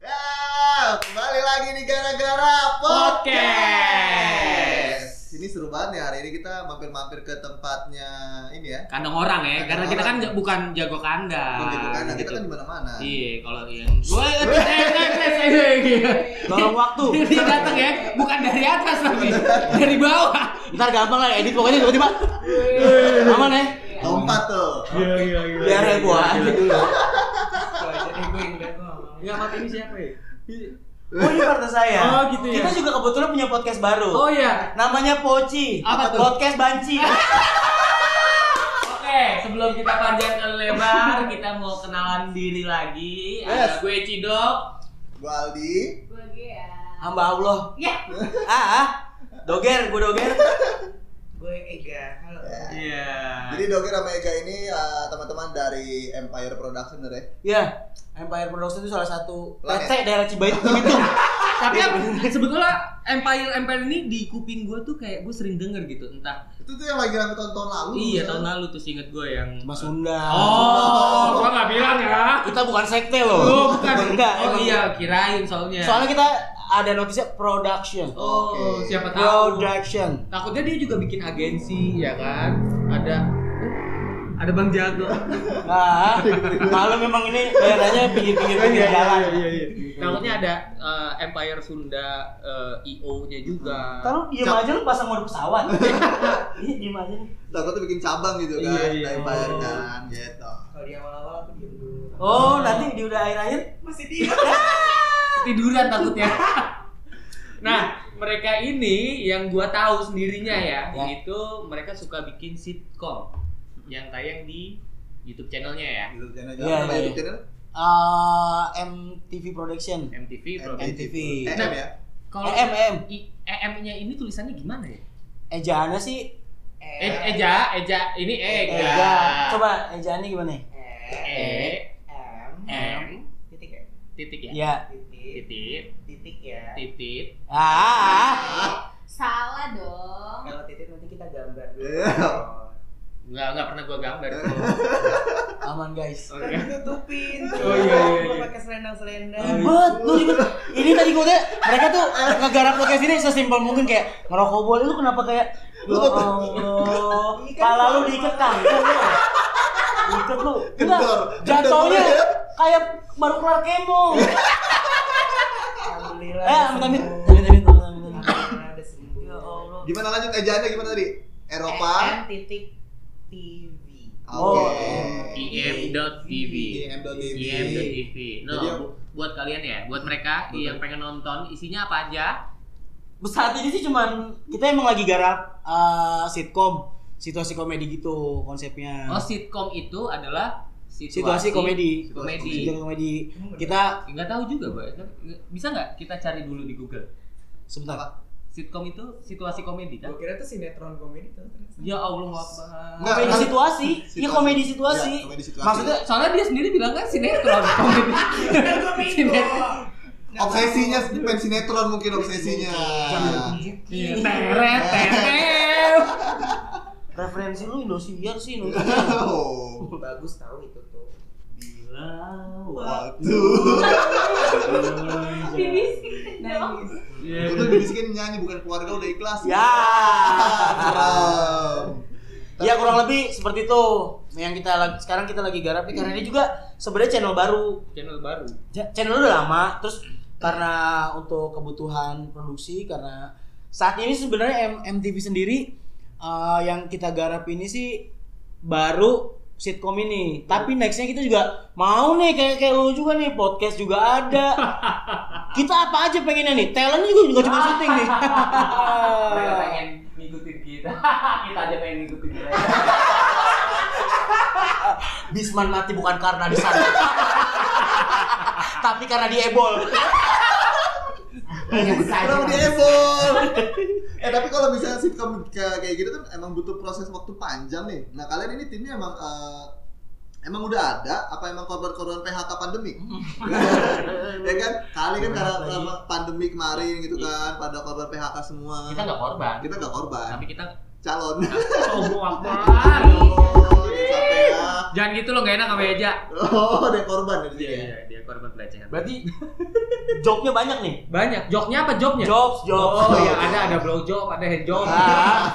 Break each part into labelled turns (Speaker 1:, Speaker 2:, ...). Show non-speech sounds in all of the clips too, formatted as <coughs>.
Speaker 1: Ya, kebetulan ya hari ini kita mampir-mampir ke tempatnya ini ya.
Speaker 2: kandang orang ya
Speaker 1: Kandang
Speaker 2: karena kita
Speaker 1: orang.
Speaker 2: kan nggak- bukan jago kandang
Speaker 1: Bukan gitu kan, nah, kita
Speaker 2: gitu.
Speaker 1: kan di mana-mana.
Speaker 2: iya kalau yang woi aduh, eh, eh, eh, eh, eh, gitu.
Speaker 3: Lorong waktu.
Speaker 2: dia datang ya bukan dari atas tapi dari bawah
Speaker 3: Ntar gampang lah edit pokoknya tiba-tiba. Aman ya?
Speaker 1: Lompat tuh.
Speaker 2: <laughs>
Speaker 4: Iya iya iya.
Speaker 3: Biar heboh aja dulu.
Speaker 5: Jadi gue yang liat lo.
Speaker 4: Enggak mati ini siapa ya?
Speaker 3: Oh ini partner saya.
Speaker 4: Oh, gitu ya.
Speaker 3: Kita juga kebetulan punya podcast baru.
Speaker 4: Oh iya.
Speaker 3: Namanya Poci.
Speaker 2: Apa tuh? Iya.
Speaker 3: Podcast Banci.
Speaker 5: Oke, sebelum kita panjang ke lebar, kita mau kenalan diri lagi. Ada
Speaker 1: Yes.
Speaker 5: gue Cidok.
Speaker 1: Gua Aldi.
Speaker 6: Gue Gea.
Speaker 3: Hamba Allah.
Speaker 2: Iya.
Speaker 6: Ya.
Speaker 3: Ah, ah. Doger, gue doger.
Speaker 5: Gue Ega. Halo.
Speaker 4: Iya.
Speaker 2: Ah.
Speaker 1: Jadi Doger sama Ega ini eh, teman-teman dari Empire Production bener ya.
Speaker 3: Ya, Empire Production itu salah satu
Speaker 1: Planet.
Speaker 3: PC daerah Cibait Cibitung.
Speaker 2: ya. tapi apa- sebetulnya empire empire ini di kuping gue tuh kayak gue sering denger gitu entah
Speaker 1: Itu tuh yang lagi rame tahun-tahun lalu.
Speaker 2: iya
Speaker 1: ya.
Speaker 2: tahun lalu tuh inget gue yang
Speaker 3: Mas Sunda.
Speaker 2: oh gua nggak bilang ya
Speaker 3: Kita bukan sekte loh.
Speaker 2: oh bukan
Speaker 3: Enggak.
Speaker 2: oh
Speaker 3: emang. iya.
Speaker 2: iya kirain soalnya
Speaker 3: Soalnya kita ada notisnya production.
Speaker 2: oh
Speaker 1: Oke.
Speaker 2: siapa tahu
Speaker 3: Production.
Speaker 2: takutnya dia juga bikin agensi ya kan ada Eh, ada bang <laughs> jago
Speaker 3: Nah, kalau memang ini daerahnya pinggir-pinggir pinggir jalan.
Speaker 4: Iya iya iya.
Speaker 2: takutnya ada eh, empire sunda io nya juga
Speaker 3: Taruh diem
Speaker 1: Cap-
Speaker 3: aja lu pasang
Speaker 4: <laughs>
Speaker 3: mode pesawat. Iya diem aja. nih.
Speaker 1: Takutnya bikin cabang gitu kan,
Speaker 4: Iya, iya.
Speaker 1: nah, Empire kan gitu.
Speaker 5: Kalau di awal-awal aku diem dulu.
Speaker 3: Oh nanti di udah akhir-akhir
Speaker 5: Masih diem.
Speaker 2: tiduran takutnya. nah, mereka ini yang gua tahu sendirinya ya,
Speaker 3: Ya.
Speaker 2: itu mereka suka bikin sitcom yang tayang di YouTube channelnya ya,
Speaker 1: YouTube channel
Speaker 3: Iya,
Speaker 1: apa kan?
Speaker 3: iya.
Speaker 1: YouTube channel?
Speaker 3: eh, MTV Production.
Speaker 2: MTV. Iya, Pro.
Speaker 3: MTV.
Speaker 1: Eh, M ya.
Speaker 2: Kalau
Speaker 3: Eh, MM.
Speaker 2: I- EM-nya ini tulisannya gimana ya?
Speaker 3: Ejaannya sih
Speaker 2: Eh, Eja, Eja, ini Eh, Ega.
Speaker 3: Eja. Coba Ejaannya gimana?
Speaker 2: E,
Speaker 5: M
Speaker 2: M,
Speaker 5: titik ya.
Speaker 2: titik ya.
Speaker 3: Ya.
Speaker 5: Titik.
Speaker 2: Titik,
Speaker 5: Titik ya.
Speaker 2: titik.
Speaker 3: Ah, Ah. ah.
Speaker 6: Salah dong.
Speaker 5: Kalau titik nanti kita gambar dulu.
Speaker 1: Iya.
Speaker 2: Enggak, enggak pernah gua <laughs> gambar.
Speaker 3: Aman guys.
Speaker 2: Oke.
Speaker 5: Tutupin.
Speaker 4: Oh, iya, iya,
Speaker 5: Gua
Speaker 4: iya.
Speaker 5: Pakai selendang-selendang.
Speaker 3: Ribet, lu ribet. Ini tadi gue liat, mereka tuh ngegarap podcast ini sesimpel mungkin kayak ngerokok boleh lu kenapa kayak Ya Allah,
Speaker 5: Ini kan
Speaker 3: pala lu
Speaker 5: sama.
Speaker 3: diikat kangkung lu. Diikat lu. Enggak,
Speaker 1: Kendor.
Speaker 3: jatuhnya
Speaker 1: Kendor.
Speaker 3: kayak baru kelar
Speaker 1: <laughs>
Speaker 3: kemo.
Speaker 5: Alhamdulillah.
Speaker 3: Eh,
Speaker 5: udah
Speaker 3: amit amit.
Speaker 5: sembuh.
Speaker 3: Amit amit. amit, amit.
Speaker 5: Alhamdulillah udah sembuh.
Speaker 3: Ya Allah.
Speaker 1: Gimana lanjut ejaannya gimana tadi? Eropa.
Speaker 7: Eh,
Speaker 5: M titik TV.
Speaker 3: Oh,
Speaker 1: Oke.
Speaker 2: IM.tv.
Speaker 3: Iya,
Speaker 1: IM.tv.
Speaker 2: Iya, IM.tv. No,
Speaker 1: Jadi-
Speaker 2: bu- buat kalian ya, buat mereka
Speaker 1: Betul.
Speaker 2: yang pengen nonton, isinya apa aja?
Speaker 3: Saat ini sih cuman kita emang lagi garap eh, sitkom, situasi komedi gitu konsepnya.
Speaker 2: Oh, sitcom itu adalah situasi,
Speaker 3: situasi komedi.
Speaker 2: Komedi.
Speaker 3: Situasi komedi. Kita
Speaker 2: Enggak tahu juga, Pak. Bisa nggak kita cari dulu di Google?
Speaker 3: sebentar.
Speaker 1: Nah,
Speaker 2: Sitcom itu situasi komedi kan?
Speaker 5: Gue kira tuh sinetron komedi tuh. ternyata.
Speaker 2: Ya Allah, Akbar.
Speaker 1: Nggak.
Speaker 3: Komedi
Speaker 1: kan-
Speaker 3: situasi. Iya
Speaker 1: situasi.
Speaker 3: komedi situasi.
Speaker 1: Iya, komedi situasi.
Speaker 3: Maksudnya
Speaker 2: Soalnya dia sendiri bilang kan sinetron komedi. Sinetron.
Speaker 1: obsesinya main sinetron mungkin obsesinya.
Speaker 2: Iya, Teret, teret.
Speaker 3: referensi lu Indosiar sih nonton.
Speaker 1: Oh.
Speaker 5: Bagus tahu itu tuh.
Speaker 3: Bila
Speaker 1: Waktu.
Speaker 6: Dibisik dong.
Speaker 4: Iya.
Speaker 1: Itu dibisikin nyanyi bukan keluarga udah ikhlas.
Speaker 3: Ya.
Speaker 1: Ah, Haram.
Speaker 3: Ya kurang lebih seperti itu yang kita lagi, sekarang kita lagi garap nih karena ini juga sebenarnya channel baru.
Speaker 2: Channel baru.
Speaker 3: Ja- Channel udah lama terus karena untuk kebutuhan produksi karena saat ini sebenarnya M- MTV sendiri eh, yang kita garap ini sih baru sitkom ini. Tapi nextnya kita juga mau nih kayak kayak lu juga nih podcast juga
Speaker 2: <laughs>
Speaker 3: ada. kita apa aja pengennya nih? Talent juga juga cuma syuting nih.
Speaker 2: Mereka <laughs> pengen ngikutin kita. kita aja pengen ngikutin mereka.
Speaker 3: Bisman mati bukan karena di sana. Tapi karena diebol.
Speaker 1: Kenapa dia
Speaker 3: <laughs>
Speaker 1: ebol? eh tapi kalau misalnya sitcom ke- kayak gitu kan emang butuh proses waktu panjang nih. Nah kalian ini timnya emang eh, emang udah ada apa emang korban-korban PHK pandemi?
Speaker 2: <laughs>
Speaker 1: ya kan? Kali kan karena karena pandemi kemarin gitu kan pada korban PHK semua.
Speaker 2: Kita nggak korban.
Speaker 1: Kita nggak korban,
Speaker 2: Tapi kita
Speaker 1: calon.
Speaker 2: Oh,
Speaker 1: <laughs> Oh, dia capek ya.
Speaker 2: Jangan gitu lo gak enak sama Eja. Iya,
Speaker 1: Oh, dia korban dari
Speaker 3: Iya.
Speaker 1: sini. ya?
Speaker 2: dia korban pelecehan.
Speaker 3: Berarti jobnya banyak nih.
Speaker 2: Banyak. Jobnya apa jobnya?
Speaker 3: Jobs, jobs.
Speaker 2: Oh, iya ada ada blow job, ada hand job.
Speaker 3: Ah,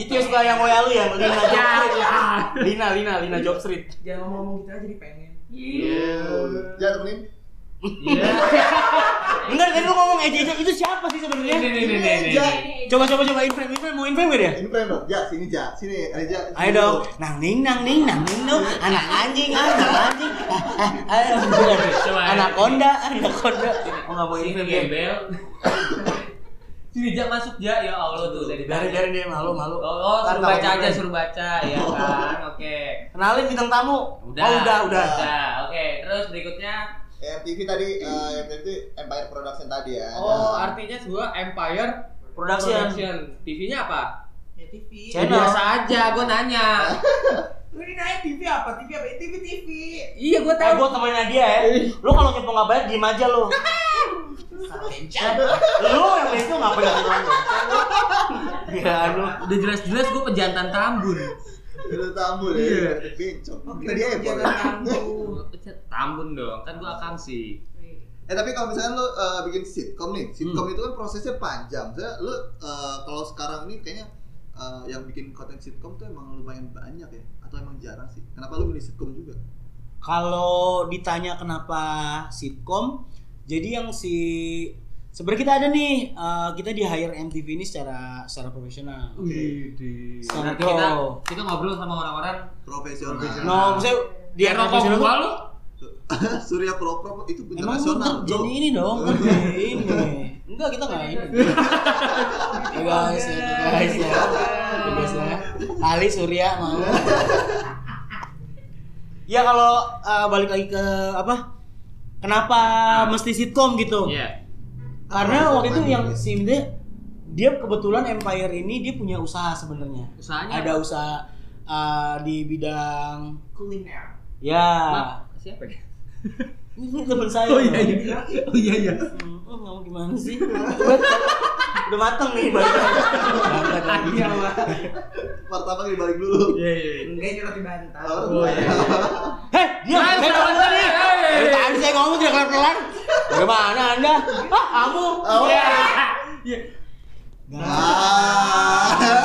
Speaker 3: Itu yang suka yang Oya lu ya, Lina
Speaker 2: Ya,
Speaker 3: Job
Speaker 2: ya.
Speaker 3: Lina, Lina, Lina Job Street.
Speaker 5: Jangan ngomong-ngomong gitu aja jadi pengen.
Speaker 1: Ya, temenin.
Speaker 5: Iya.
Speaker 3: Bener tadi lu ngomong Eja Eja itu siapa sih
Speaker 2: Ini
Speaker 3: sebenarnya?
Speaker 2: nih nih nih nih.
Speaker 3: Ya.
Speaker 1: Eja.
Speaker 3: Coba coba coba in frame, in frame, mau in frame gak dia?
Speaker 1: Ini friend dong. Ja, sini Ja. Sini, Reja.
Speaker 3: Ayo dong, nang ning nang ning nang ning dong, anak anjing, ah, anak anjing, ah, ayo
Speaker 2: Coba,
Speaker 3: anak konda, anak konda. Oh nggak mau in
Speaker 5: Ini
Speaker 3: frame dia.
Speaker 5: gembel. <laughs> Sini Jak masuk Jak ya Allah tuh dari
Speaker 3: Biarin biarin dia malu malu.
Speaker 5: Oh, oh
Speaker 3: Ntar
Speaker 5: suruh baca
Speaker 3: gitu. nggak mau
Speaker 5: aja
Speaker 3: in-frame.
Speaker 5: suruh baca ya kan. Oke.
Speaker 3: Kenalin bintang tamu.
Speaker 5: Udah.
Speaker 3: Oh, udah udah.
Speaker 5: Udah. Oke, terus berikutnya
Speaker 1: MTV tadi, eh, MTV itu Empire Production tadi ya.
Speaker 2: Oh,
Speaker 1: Nah,
Speaker 2: artinya sebuah Empire
Speaker 3: Production.
Speaker 2: TV-nya apa?
Speaker 5: ya TV.
Speaker 2: Ya,
Speaker 3: Channel.
Speaker 2: biasa aja, gue
Speaker 3: <laughs>
Speaker 2: nanya.
Speaker 5: Lu ini nanya TV apa? TV apa? Eh, TV TV.
Speaker 2: iya, gue
Speaker 3: Eh,
Speaker 2: tahu.
Speaker 3: gua temenin dia ya. Lu kalau nyepong nggak bayar diem aja lu. Lu yang itu ngapain nggak bilang lu? Ya lu.
Speaker 2: Udah jelas-jelas gue pejantan Tambun.
Speaker 1: Itu tamu deh. Bencok. Tadi Empire.
Speaker 2: Tambun dong, kan gue akamsi.
Speaker 1: Eh tapi kalau misalkan lu eh, bikin sitcom nih, sitcom itu kan prosesnya panjang. Saya lu eh, kalau sekarang ini kayaknya eh, yang bikin konten sitcom tuh emang lumayan banyak ya atau emang jarang sih? Kenapa lu milih sitcom juga?
Speaker 3: Kalau ditanya kenapa sitkom, jadi yang si sebenarnya kita ada nih eh, kita di hire MTV ini secara secara profesional. Secara
Speaker 5: Nanti kita
Speaker 3: pro.
Speaker 5: kita ngobrol sama orang-orang
Speaker 1: Profesional.
Speaker 3: No, maksudnya di
Speaker 2: Dia
Speaker 3: hire
Speaker 2: rokok
Speaker 3: profesional
Speaker 2: gua
Speaker 3: tuh-
Speaker 2: lu.
Speaker 1: <laughs> Surya Pro Pro itu
Speaker 3: Emang lu
Speaker 1: internasional,
Speaker 3: ter- jadi ini dong, kan jadi ini. Enggak, kita enggak ini. Ya guys, ya guys
Speaker 5: iya.
Speaker 3: ya. Ya guys ya. Ali Surya mau. <laughs> ya kalau eh, balik lagi ke apa? Kenapa mesti sitkom gitu?
Speaker 2: Iya.
Speaker 3: Karena waktu itu yang simde dia kebetulan Empire ini dia punya usaha sebenarnya.
Speaker 2: Usahanya
Speaker 3: Ada usaha eh, di bidang
Speaker 5: kuliner.
Speaker 3: ya.
Speaker 2: Maaf, siapa ya?
Speaker 3: Ini teman saya.
Speaker 2: Oh iya iya.
Speaker 3: Hmm, oh, kamu gimana sih? Udah mateng nih badan. Berangkat lagi.
Speaker 1: martabak dibalik dulu.
Speaker 2: Iya iya.
Speaker 5: Enggak ini roti bantal.
Speaker 1: Oh, iya.
Speaker 3: Heh, diam.
Speaker 2: Hei,
Speaker 3: Saya ngomong tadi.
Speaker 2: hei.
Speaker 3: Dari tadi saya ngomong tidak kelar-kelar. Bagaimana Anda? Ah, kamu.
Speaker 1: Oh.
Speaker 2: <laughs>
Speaker 3: Ya.
Speaker 2: Iya. Nah.
Speaker 1: Ah.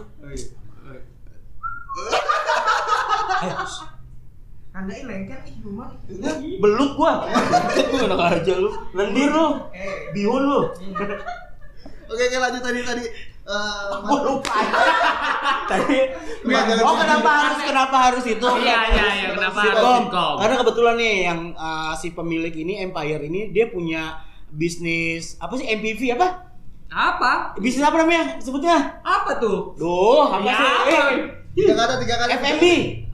Speaker 1: <laughs>
Speaker 2: Iya,
Speaker 3: Eh,
Speaker 5: Anda ini lengket ih rumah.
Speaker 3: Belut gua. Itu enak aja lu. Lendir lu.
Speaker 5: Eh.
Speaker 3: Bihun lu.
Speaker 1: Oke, oke lanjut tadi tadi. Eh,
Speaker 3: Gua
Speaker 2: <laughs>
Speaker 3: lupa. Tadi
Speaker 1: Enggak, jangan
Speaker 3: Oh,
Speaker 1: sini.
Speaker 3: kenapa harus kenapa harus itu?
Speaker 2: Iya iya iya. Kenapa harus
Speaker 3: Sitkom.
Speaker 2: sitkom?
Speaker 3: Karena kebetulan nih yang uh, si pemilik ini Empire ini dia punya bisnis apa sih MPV apa?
Speaker 2: Apa?
Speaker 3: Bisnis apa namanya sebutnya?
Speaker 2: Apa tuh?
Speaker 3: Duh, apa
Speaker 2: Ya,
Speaker 3: sih?
Speaker 2: apa?
Speaker 3: Eh,
Speaker 1: tiga kata tiga kata.
Speaker 3: FMB.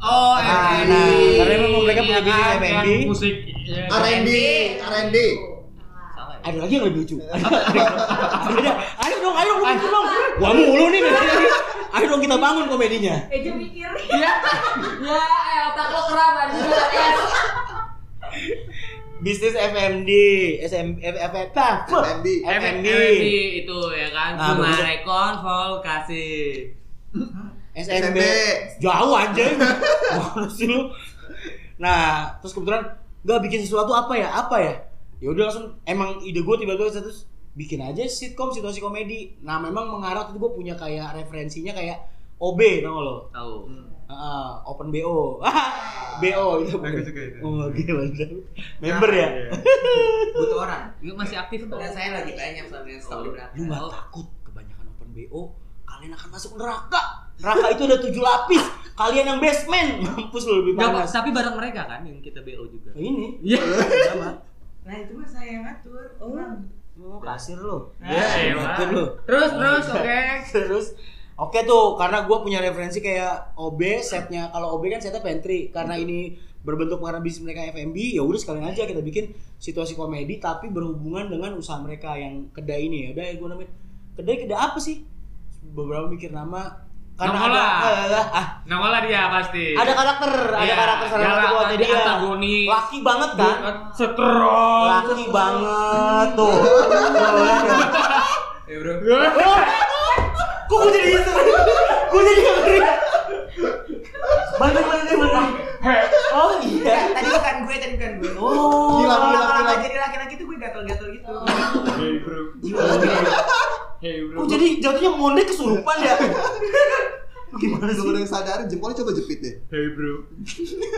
Speaker 2: Oh,
Speaker 3: Nah,
Speaker 2: FNB.
Speaker 3: nah, karena memang mereka punya
Speaker 2: Iya
Speaker 3: bisnis
Speaker 2: kan, kan,
Speaker 3: FNB.
Speaker 2: Musik. iya ya? kan.
Speaker 1: R&D, R&D.
Speaker 5: Salah.
Speaker 3: Ada lagi yang lebih <laughs> lucu. Ada. Ayo dong, ayo dong, ayo dong. Gua mulu nih. dari tadi. Ayo dong kita bangun komedinya.
Speaker 6: Eja mikir.
Speaker 2: Iya. Ya, eh, otak lo kerap anjing.
Speaker 3: Bisnis FMD, SM, FFP,
Speaker 1: FMB.
Speaker 3: FMD,
Speaker 2: FNB itu ya kan.
Speaker 3: Nah,
Speaker 2: Cuma
Speaker 3: begitu.
Speaker 2: rekon kasih.
Speaker 3: SMB.
Speaker 1: SMB.
Speaker 3: Jauh anjing. Mana sih lu? Nah, terus kebetulan nggak bikin sesuatu apa ya? Apa ya? Ya udah langsung emang ide gue tiba-tiba terus bikin aja sitkom situasi komedi. Nah, memang mengarah tuh gue punya kayak referensinya kayak OB tau gak lo?
Speaker 2: Tahu.
Speaker 3: Heeh, Ah, open BO. <laughs> BO itu.
Speaker 4: Bagus juga itu.
Speaker 3: Oh, oke, mantap. Member ya?
Speaker 5: Eh, Butuh orang.
Speaker 2: Lu masih aktif tuh.
Speaker 5: Dan saya lagi banyak sama yang story berapa.
Speaker 3: Lu nggak takut kebanyakan open BO, kalian akan masuk neraka. Neraka itu ada tujuh lapis. Kalian yang basement, <laughs> mampus lu lebih
Speaker 2: Nggak,
Speaker 3: panas.
Speaker 2: tapi bareng mereka kan yang kita BO juga.
Speaker 3: Nah, ini
Speaker 2: Iya. <laughs>
Speaker 5: Nah itu mah saya yang ngatur. Orang.
Speaker 3: Oh, kasir lu.
Speaker 2: Ya,
Speaker 4: Iya,
Speaker 2: elah.
Speaker 3: Ngatur lu.
Speaker 2: Terus terus oke.
Speaker 3: Terus Oke tuh, karena gue punya referensi kayak OB setnya. Kalau OB kan setnya pantry. Karena ini berbentuk warna bisnis mereka FMB, ya udah sekalian aja kita bikin situasi komedi tapi berhubungan dengan usaha mereka yang kedai ini ya. Udah gue namain kedai kedai apa sih? Beberapa mikir nama karena
Speaker 2: Nama
Speaker 3: ada,
Speaker 2: lah.
Speaker 3: eh, ah,
Speaker 2: Nama lah dia pasti.
Speaker 3: ada karakter, ada
Speaker 2: Iya,
Speaker 3: karakter salah
Speaker 2: galak,
Speaker 3: satu buat
Speaker 2: tadi
Speaker 3: dia.
Speaker 2: antagonis. Oh,
Speaker 3: Laki banget kan?
Speaker 4: ah,
Speaker 2: Strong.
Speaker 3: Laki banget
Speaker 2: <laughs>
Speaker 3: tuh. Tuh, kan?
Speaker 5: Ya bro.
Speaker 3: Wah, Kok gue jadi gitu? Gue jadi yang ngeri Balik, balik, balik, balik Oh iya
Speaker 5: Tadi bukan gue, tadi bukan gue.
Speaker 3: Oh
Speaker 1: Gila, gila,
Speaker 5: Lama-lama
Speaker 1: gila.
Speaker 2: Oh. <laughs>
Speaker 5: jadi laki-laki tuh gue gatel-gatel gitu.
Speaker 4: Hey, bro.
Speaker 5: Jiwa gue.
Speaker 4: Hey
Speaker 3: Kok
Speaker 4: bro.
Speaker 3: jadi jatuhnya mondek kesurupan ya?
Speaker 1: Belum
Speaker 3: Gimana
Speaker 1: ada
Speaker 3: sih?
Speaker 1: yang sadar, jempolnya coba jepit deh.
Speaker 4: Hey bro.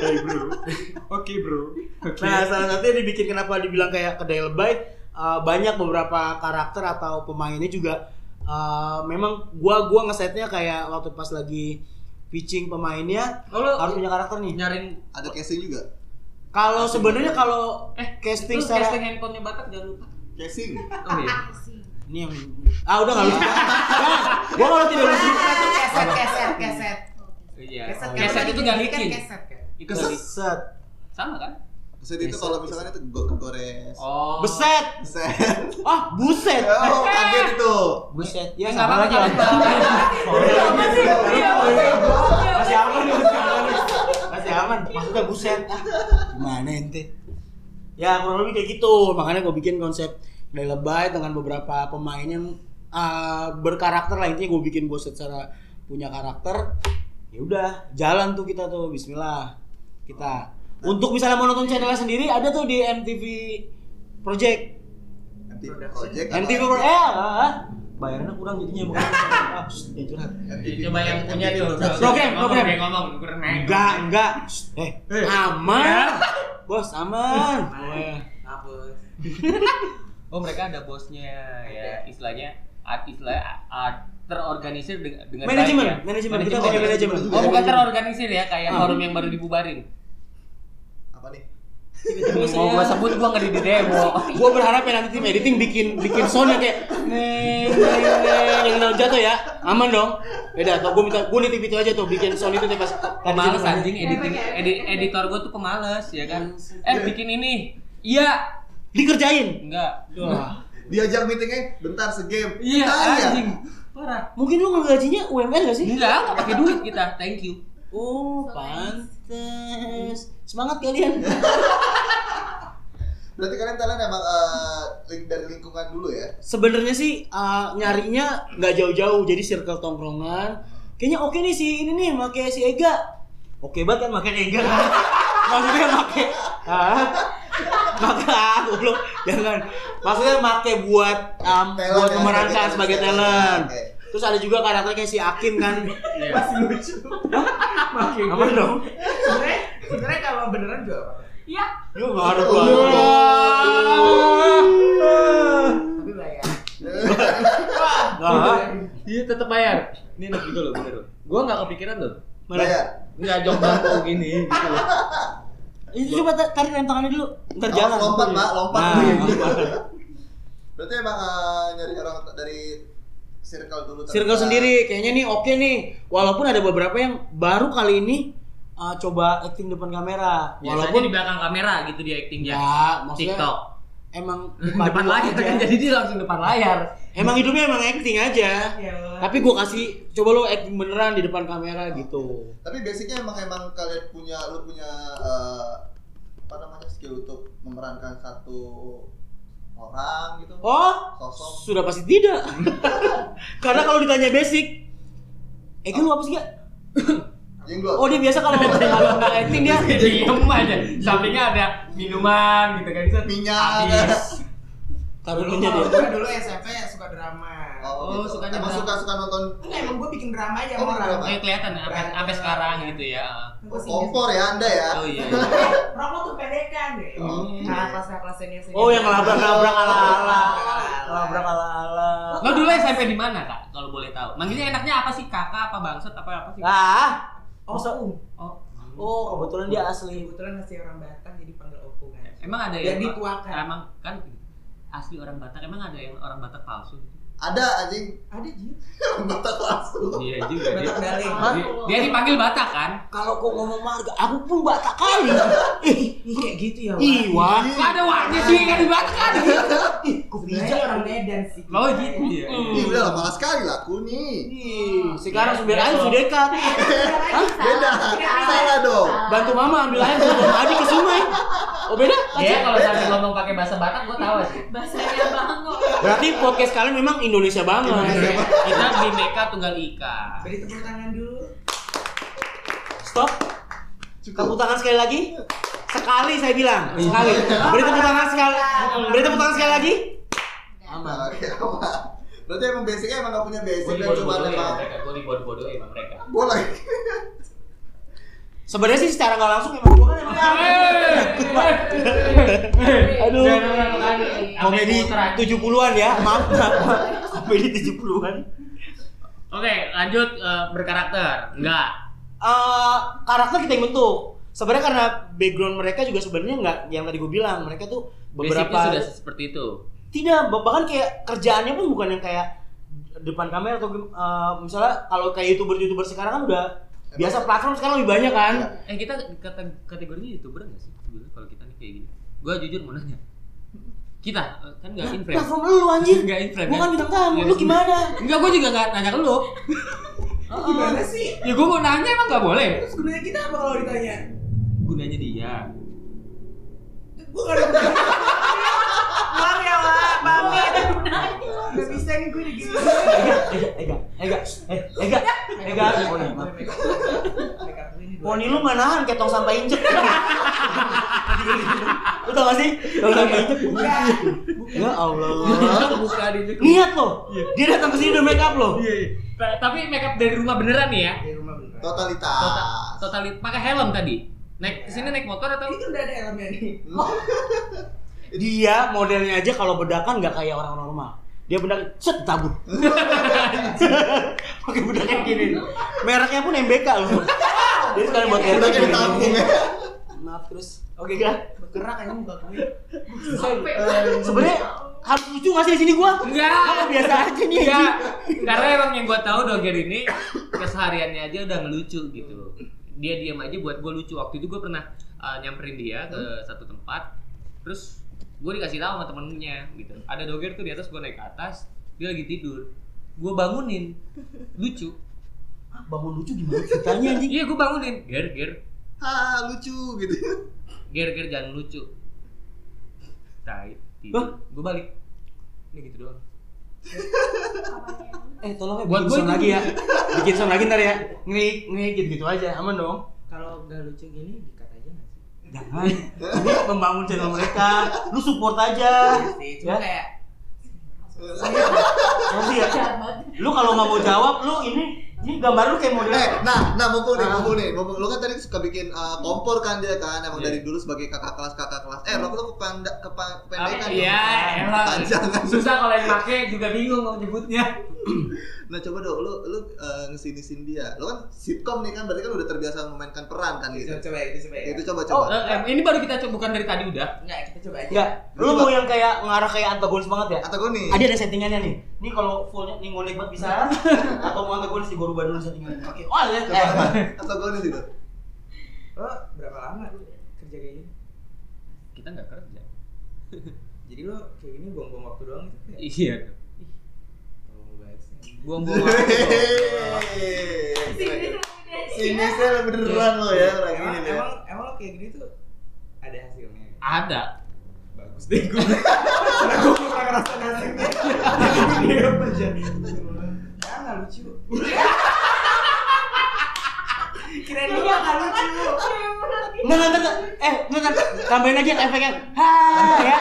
Speaker 4: Hey bro. Oke bro. Oke.
Speaker 3: Nah, salah satunya dibikin kenapa dibilang kayak kedai lebay eh, banyak beberapa karakter atau pemainnya juga eh, memang gua gua ngesetnya kayak waktu pas lagi pitching pemainnya harus
Speaker 2: Kalau
Speaker 3: punya karakter nih.
Speaker 2: nyaring
Speaker 1: Ada casing juga.
Speaker 3: Kalau sebenarnya kalau casting
Speaker 2: Eh, terus
Speaker 3: secara
Speaker 2: casting handphonenya Batak jangan lupa.
Speaker 1: Casing.
Speaker 2: Oh iya.
Speaker 3: ini yang ah udah
Speaker 2: <laughs>
Speaker 3: nggak bisa. Bang, gua kalau tidak bisa
Speaker 7: keset keset keset
Speaker 2: Iya.
Speaker 7: keset
Speaker 2: Keset itu gak
Speaker 7: kan
Speaker 2: bikin.
Speaker 7: keset kan
Speaker 2: Itu
Speaker 1: Keset.
Speaker 3: beset.
Speaker 2: sama kan?
Speaker 1: Keset itu kalau misalkan itu go- kegores.
Speaker 2: Oh.
Speaker 3: Beset.
Speaker 1: Keset.
Speaker 3: Ah, buset.
Speaker 1: <laughs> Oh, kaget itu.
Speaker 3: Buset.
Speaker 2: Ya
Speaker 3: Ya
Speaker 2: nggak
Speaker 3: <laughs> sama
Speaker 2: apa-apa.
Speaker 3: lagi.
Speaker 2: nggak apa-apa. Iya,
Speaker 3: Iya, Masih aman nih, masih aman. nih. Masih aman. Maksudnya buset. Ah, gimana ente? Ya kurang lebih kayak gitu. Makanya gue bikin konsep dari lebay dengan beberapa pemain yang ah, berkarakter lah intinya gue bikin gue secara punya karakter. Ya udah, jalan tuh kita tuh Bismillah kita. Untuk misalnya mau nonton channelnya sendiri ada tuh di MTV Project.
Speaker 1: MTV Project. apa?
Speaker 3: MTV Project. Eh, ah, bayarannya kurang jadinya <laughs> makanya. Ah, shh, jangan curhat.
Speaker 1: MTV.
Speaker 2: Coba yang punya
Speaker 1: MTV
Speaker 2: dulu.
Speaker 1: Project.
Speaker 3: Program,
Speaker 2: Ngomong,
Speaker 3: program.
Speaker 2: dia Ngomong, kurang naik.
Speaker 3: Enggak, enggak. Shh, Nah, Eh, aman. Bos, aman.
Speaker 5: Mampus.
Speaker 2: Oh mereka ada bosnya ya istilahnya art istilahnya art terorganisir deng- dengan
Speaker 3: Manajemen,
Speaker 2: baik ya.
Speaker 3: manajemen. Kita pakai manajemen.
Speaker 2: Oh bukan terorganisir ya kayak
Speaker 3: Ah.
Speaker 2: forum yang baru dibubarin.
Speaker 1: Apa nih?
Speaker 2: Mau gua sebut gua nggak di demo.
Speaker 3: Gue berharap ya nanti tim editing bikin bikin sound yang kayak neng neng neng yang daun jatuh ya. Aman dong. Beda atau gue minta gue nitip itu aja tuh bikin sound itu deh pas
Speaker 2: pemalas
Speaker 3: tadi-
Speaker 2: anjing editing
Speaker 3: ya,
Speaker 2: edi- editor gue tuh pemalas ya kan eh bikin ini iya
Speaker 3: Dikerjain.
Speaker 2: enggak
Speaker 3: Wah.
Speaker 1: Diajak meetingnya bentar segame.
Speaker 2: iya
Speaker 1: Bentar ya.
Speaker 2: anjing parah
Speaker 3: Mungkin lu ngegajinya UMR gak sih?
Speaker 2: enggak enggak pakai duit kita thank you
Speaker 3: Oh, pantes. Semangat kalian.
Speaker 1: Berarti kalian talent emang eh, link- dari lingkungan dulu ya.
Speaker 3: Sebenarnya sih uh, nyarinya nggak jauh-jauh, jadi circle tongkrongan. Kayaknya oke nih si ini nih, pakai si Ega. Oke banget kan makan Ega. <laughs> kan? Maksudnya pakai ah, maka aku lu ah, jangan. Maksudnya pakai buat um,
Speaker 1: Talent
Speaker 3: buat
Speaker 1: ya,
Speaker 3: memerankan
Speaker 1: sebagai
Speaker 3: sebagai
Speaker 1: talent.
Speaker 3: talent.
Speaker 1: Oke. Iya.
Speaker 3: Terus ada juga karakter kayak si Akin kan.
Speaker 4: Masih lucu. Makin
Speaker 3: Apa dong?
Speaker 7: sebenarnya sebenarnya kalau beneran juga apa
Speaker 3: Yuk, nggak ada
Speaker 1: Lu-
Speaker 3: gua.
Speaker 7: tapi bayar
Speaker 3: Nah,
Speaker 2: iya tetap bayar ini enak juga loh bener loh gue nggak kepikiran loh
Speaker 3: mana?
Speaker 1: Bayar.
Speaker 2: nggak jok bangku gini gitu loh
Speaker 3: Itu coba tar- tarik rem tangannya dulu. Ntar
Speaker 1: Awas,
Speaker 3: jalan.
Speaker 1: Lompat, Pak, lompat.
Speaker 3: Nah, lompat.
Speaker 1: Berarti emang eh, nyari orang dari circle dulu.
Speaker 3: Circle
Speaker 1: terdekat.
Speaker 3: sendiri kayaknya nih oke nih. Walaupun ada beberapa yang baru kali ini uh, coba acting depan
Speaker 2: biasanya
Speaker 3: kamera.
Speaker 2: di
Speaker 3: Walaupun
Speaker 2: belakang kamera gitu dia actingnya
Speaker 3: ya maksudnya
Speaker 2: TikTok
Speaker 3: emang
Speaker 2: <laughs> depan
Speaker 3: dua
Speaker 2: layar
Speaker 3: aja.
Speaker 2: kan jadi dia langsung depan layar
Speaker 3: Emang hidupnya emang acting aja. Tapi gua kasih coba lo acting beneran di depan kamera gitu.
Speaker 1: Tapi basicnya emang emang kalian punya lu punya eh, apa namanya skill untuk memerankan satu orang gitu.
Speaker 3: Oh,
Speaker 1: Sosok.
Speaker 3: sudah pasti tidak. <laughs> Karena kalau ditanya basic, Ega lu apa sih gak?
Speaker 1: Jenglot.
Speaker 3: Oh dia biasa kalau kalau nggak acting dia
Speaker 2: diem aja sampingnya ada minuman gitu kan bisa
Speaker 1: minyak.
Speaker 3: taruh
Speaker 7: dulu
Speaker 3: dulunya
Speaker 7: kalau
Speaker 3: dia.
Speaker 7: gue dulu SMP suka drama
Speaker 1: Oh,
Speaker 2: Oh,
Speaker 1: gitu.
Speaker 2: sukanya
Speaker 1: emang
Speaker 2: berapa?
Speaker 1: suka suka nonton
Speaker 7: enggak emang gue bikin drama aja
Speaker 1: Oh,
Speaker 7: sama orang Eh,
Speaker 1: drama.
Speaker 2: Kayak kelihatan sampai sampai sekarang gitu ya
Speaker 7: gue
Speaker 1: kompor ya Anda ya.
Speaker 2: Oh iya.
Speaker 7: rokok Eh, tuh pendekan deh
Speaker 1: Oh.
Speaker 7: nah kelasnya kelasnya ini
Speaker 3: Oh yang ngelabrak-labrak ala-ala.
Speaker 7: Labrak
Speaker 3: Ngelabrak ala-ala.
Speaker 2: Lo dulu SMP di mana kak? Kalau boleh tahu. Manggilnya enaknya apa sih kakak apa bangsat apa apa sih?
Speaker 3: Ah.
Speaker 7: oh um
Speaker 2: Nah. Oh,
Speaker 3: Oh, kebetulan dia asli.
Speaker 7: kebetulan masih orang Batak jadi panggil opo kan
Speaker 2: emang ada
Speaker 7: biar
Speaker 2: yang
Speaker 7: dituakan
Speaker 2: emang kan asli orang Batak emang ada yang orang Batak palsu? gitu?
Speaker 1: Ada anjing
Speaker 7: ada jir
Speaker 1: mata langsung.
Speaker 2: Iya juga. Dia,
Speaker 7: Batak Dale
Speaker 2: dia- dia dipanggil Batak kan?
Speaker 3: Kalau kau ngomong marga, aku pun batak kali. Ih,
Speaker 7: ini kayak gitu ya
Speaker 3: ih, wah.
Speaker 2: Gak ada wanya sih kan di Batak kan?
Speaker 3: Ih, kau
Speaker 7: Sebenarnya
Speaker 3: bijak.
Speaker 7: orang Medan sih
Speaker 2: Oh gitu ya.
Speaker 1: Ih, udah lah, malas sekali laku nih.
Speaker 3: Ih, sekarang sumber air sudah dekat.
Speaker 1: Beda. Salah dong.
Speaker 3: Bantu mama ambil air buat bawa adik ke sungai. Oh beda?
Speaker 2: Dia kalau sampai ngomong pakai bahasa Batak gue tahu sih.
Speaker 6: Bahasanya bango.
Speaker 3: Berarti podcast kalian memang Indonesia banget.
Speaker 2: Kita bineka tunggal ika.
Speaker 7: beri tepuk tangan dulu
Speaker 3: Stop. Tepuk tangan sekali lagi. Sekali saya bilang, sekali. Beri tepuk tangan sekali. Beri tepuk tangan sekali lagi.
Speaker 1: Nah, oke, apa? Berarti emang basicnya emang gak punya basic
Speaker 5: Gue
Speaker 1: dan cuma
Speaker 5: dibodoh-bodohin
Speaker 1: emang
Speaker 5: sama mereka, gue dibodoh-bodohin sama mereka.
Speaker 1: boleh.
Speaker 3: Sebenarnya sih secara nggak langsung emang gua kan emang Aduh. komedi 70-an ya,
Speaker 2: <laughs>
Speaker 3: maaf. komedi 70-an.
Speaker 2: Oke, lanjut eh, berkarakter. Enggak.
Speaker 3: Eh, karakter kita yang bentuk. Sebenarnya karena background mereka juga sebenarnya nggak yang tadi gue bilang, mereka tuh
Speaker 2: Basicnya
Speaker 3: beberapa
Speaker 2: sudah seperti itu.
Speaker 3: tidak bah- bahkan kayak kerjaannya pun bukan yang kayak depan kamera atau gim- eh, misalnya kalau kayak youtuber-youtuber sekarang kan udah biasa platform sekarang lebih banyak kan.
Speaker 2: Eh kita kata kategorinya youtuber nggak sih? Sebenarnya kalau kita nih kayak gini. Gua jujur mau nanya. Kita eh, kan nggak
Speaker 3: Lah,
Speaker 2: inframe.
Speaker 3: Platform lu anjir.
Speaker 2: Nggak inframe.
Speaker 3: Gua kan bintang tamu,
Speaker 2: Iya,
Speaker 3: lu
Speaker 2: <laughs>
Speaker 3: gimana?
Speaker 2: Enggak, gua juga nggak nanya ke lu.
Speaker 7: Lu gimana sih?
Speaker 2: Ya gua mau nanya emang nggak boleh.
Speaker 7: Terus gunanya kita apa kalau ditanya?
Speaker 2: Gunanya dia.
Speaker 7: Gue gak ada gunanya. Maaf ya, Wak. Pamit. Gak bisa nih gue digini.
Speaker 3: Ega, Ega, Ega, eh, Ega, Ega, Oh, iya, maaf.
Speaker 7: Makeup gue ini dua.
Speaker 3: Poni lu nggak nahan ketong sampai <laughs> injek. lu tau gak sih? Iya. Ketong sampai injek. Ya Allah. Iya.
Speaker 2: Buka dia
Speaker 3: Niat loh. Dia datang ke sini udah make up loh.
Speaker 2: iya. Tapi makeup dari rumah beneran nih ya.
Speaker 7: Di rumah beneran.
Speaker 1: Totalitas.
Speaker 2: Total, total pakai helm tadi. Naik kesini naik motor atau
Speaker 7: <laughs> Ini kan udah ada helmnya nih.
Speaker 3: Dia modelnya aja kalau bedakan nggak kayak orang normal. Dia bedak set tabur. <laughs> Pakai bedak yang gini. Mereknya pun MBK loh. <laughs> Jadi sekarang buat
Speaker 1: Udah kayak ditabung ya.
Speaker 3: Maaf terus. Oke, Kak.
Speaker 7: Bergerak aja muka gue.
Speaker 3: Sebenarnya harus lucu gak sih di sini gua?
Speaker 2: Iya. Enggak.
Speaker 3: Apa biasa aja nih?
Speaker 2: Enggak. Iya, Karena emang yang gua tahu Doger ini kesehariannya aja udah ngelucu gitu. Dia diam aja buat gua lucu. Waktu itu gua pernah uh, nyamperin dia ke satu tempat. Terus gua dikasih tahu sama temennya gitu. Ada Doger tuh di atas gua naik ke atas, dia lagi tidur. Gua bangunin. Lucu.
Speaker 3: Bangun lucu gimana ceritanya anjing?
Speaker 2: Iya, gua bangunin. Ger, ger.
Speaker 1: Ha, lucu gitu.
Speaker 2: Ger, ger jangan lucu. Tai.
Speaker 3: Hah?
Speaker 2: Tidur. Gua balik. Ini gitu doang.
Speaker 3: Eh tolong ya
Speaker 2: Buat
Speaker 3: bikin
Speaker 2: gua
Speaker 3: sound
Speaker 2: itu-
Speaker 3: lagi ya. Bikin sound lagi ntar ya. Ngeri ngeri gitu, gitu aja. Aman dong.
Speaker 7: Kalau gak lucu gini, dikat aja gak sih?
Speaker 3: Jangan. Ini membangun channel mereka. Lu support aja.
Speaker 7: Iya Sih, Cuma
Speaker 3: Ya.
Speaker 7: kayak
Speaker 3: Ngerti ya? Lu kalau nggak mau jawab, lu ini ini gambar lu kayak model.
Speaker 1: Eh, nah, nah mumpung nih,
Speaker 3: Ah.
Speaker 1: mumpung nih, mumpung lu kan tadi suka bikin eh, kompor kan dia kan, emang
Speaker 2: Iya.
Speaker 1: dari dulu sebagai kakak kelas kakak kelas. Eh, lo lu kepanda kepa, kependekan.
Speaker 2: Apa-
Speaker 1: kan dong. kan?
Speaker 2: Iya, emang.
Speaker 1: Panjangan.
Speaker 2: Susah kalau yang make juga bingung mau nyebutnya.
Speaker 1: Nah coba dong, lu lu uh, ngesinisin dia. Lu kan sitkom nih kan, berarti kan udah terbiasa memainkan peran kan gitu.
Speaker 7: coba coba ya, coba ya.
Speaker 1: Itu coba coba.
Speaker 2: Iya, Eh, eh, ini baru kita coba bukan dari tadi udah.
Speaker 7: Enggak, kita coba aja.
Speaker 3: Enggak. Lu mau yang kayak ngarah kayak antagonis banget ya?
Speaker 1: Atau gue nih.
Speaker 3: Ada ada settingannya nih. Ini kalau fullnya nih ngonek banget bisa
Speaker 1: <laughs>
Speaker 3: atau mau antagonis di rubah dulu settingannya. Oke. Oh, lihat.
Speaker 1: Coba
Speaker 3: Eh,
Speaker 1: atau gue nih gitu.
Speaker 7: Lo berapa lama lu kerja kayak gini?
Speaker 2: Kita nggak kerja.
Speaker 7: Jadi lo kayak gini buang-buang waktu doang gitu kayak.
Speaker 2: Iya.
Speaker 7: Oh, baik sih.
Speaker 2: Buang-buang waktu. <laughs>
Speaker 1: Hehehe. Sini saya beneran lo ya orang
Speaker 7: Emang,
Speaker 1: ini ya.
Speaker 7: emang, emang lo kayak gini tuh ada hasilnya. ya?
Speaker 2: Ada.
Speaker 7: Bagus deh gue. <laughs> Karena gue pernah ngerasa hasilnya. Dia aja. Ah, nggak lucu. Kirain lu nggak lucu.
Speaker 3: Enggak, enggak, enggak. Eh, bentar. Tambahin aja efeknya. Ha, ya.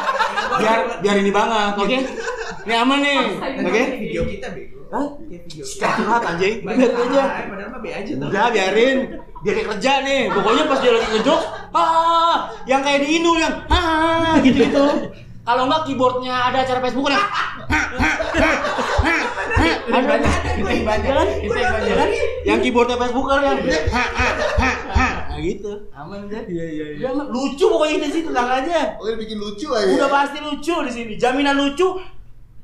Speaker 3: Biar biar ini banget, oke? Ini aman nih. Oke?
Speaker 7: Video kita bego.
Speaker 3: Hah?
Speaker 7: Kayak video kita.
Speaker 3: Suka <laughs> curhat anjing.
Speaker 7: Baik,
Speaker 3: Lihat aja.
Speaker 7: ah, Padahal mah be aja tuh.
Speaker 3: Udah biarin. Dia kayak kerja nih. Pokoknya pas dia lagi ngejok, ah, yang kayak di Inul yang ah gitu-gitu. Kalau enggak keyboardnya ada acara Facebook yang
Speaker 7: Ada ada gue yang banyak.
Speaker 3: Jangan.
Speaker 7: Gue nonton lagi.
Speaker 3: yang keyboardnya Facebook yang ha ha ha ha Nah, gitu. Iya. Aman kan? Iya iya iya. Lucu pokoknya kita sih tenang aja.
Speaker 1: Oke bikin lucu aja.
Speaker 3: Udah pasti lucu di sini. Jaminan lucu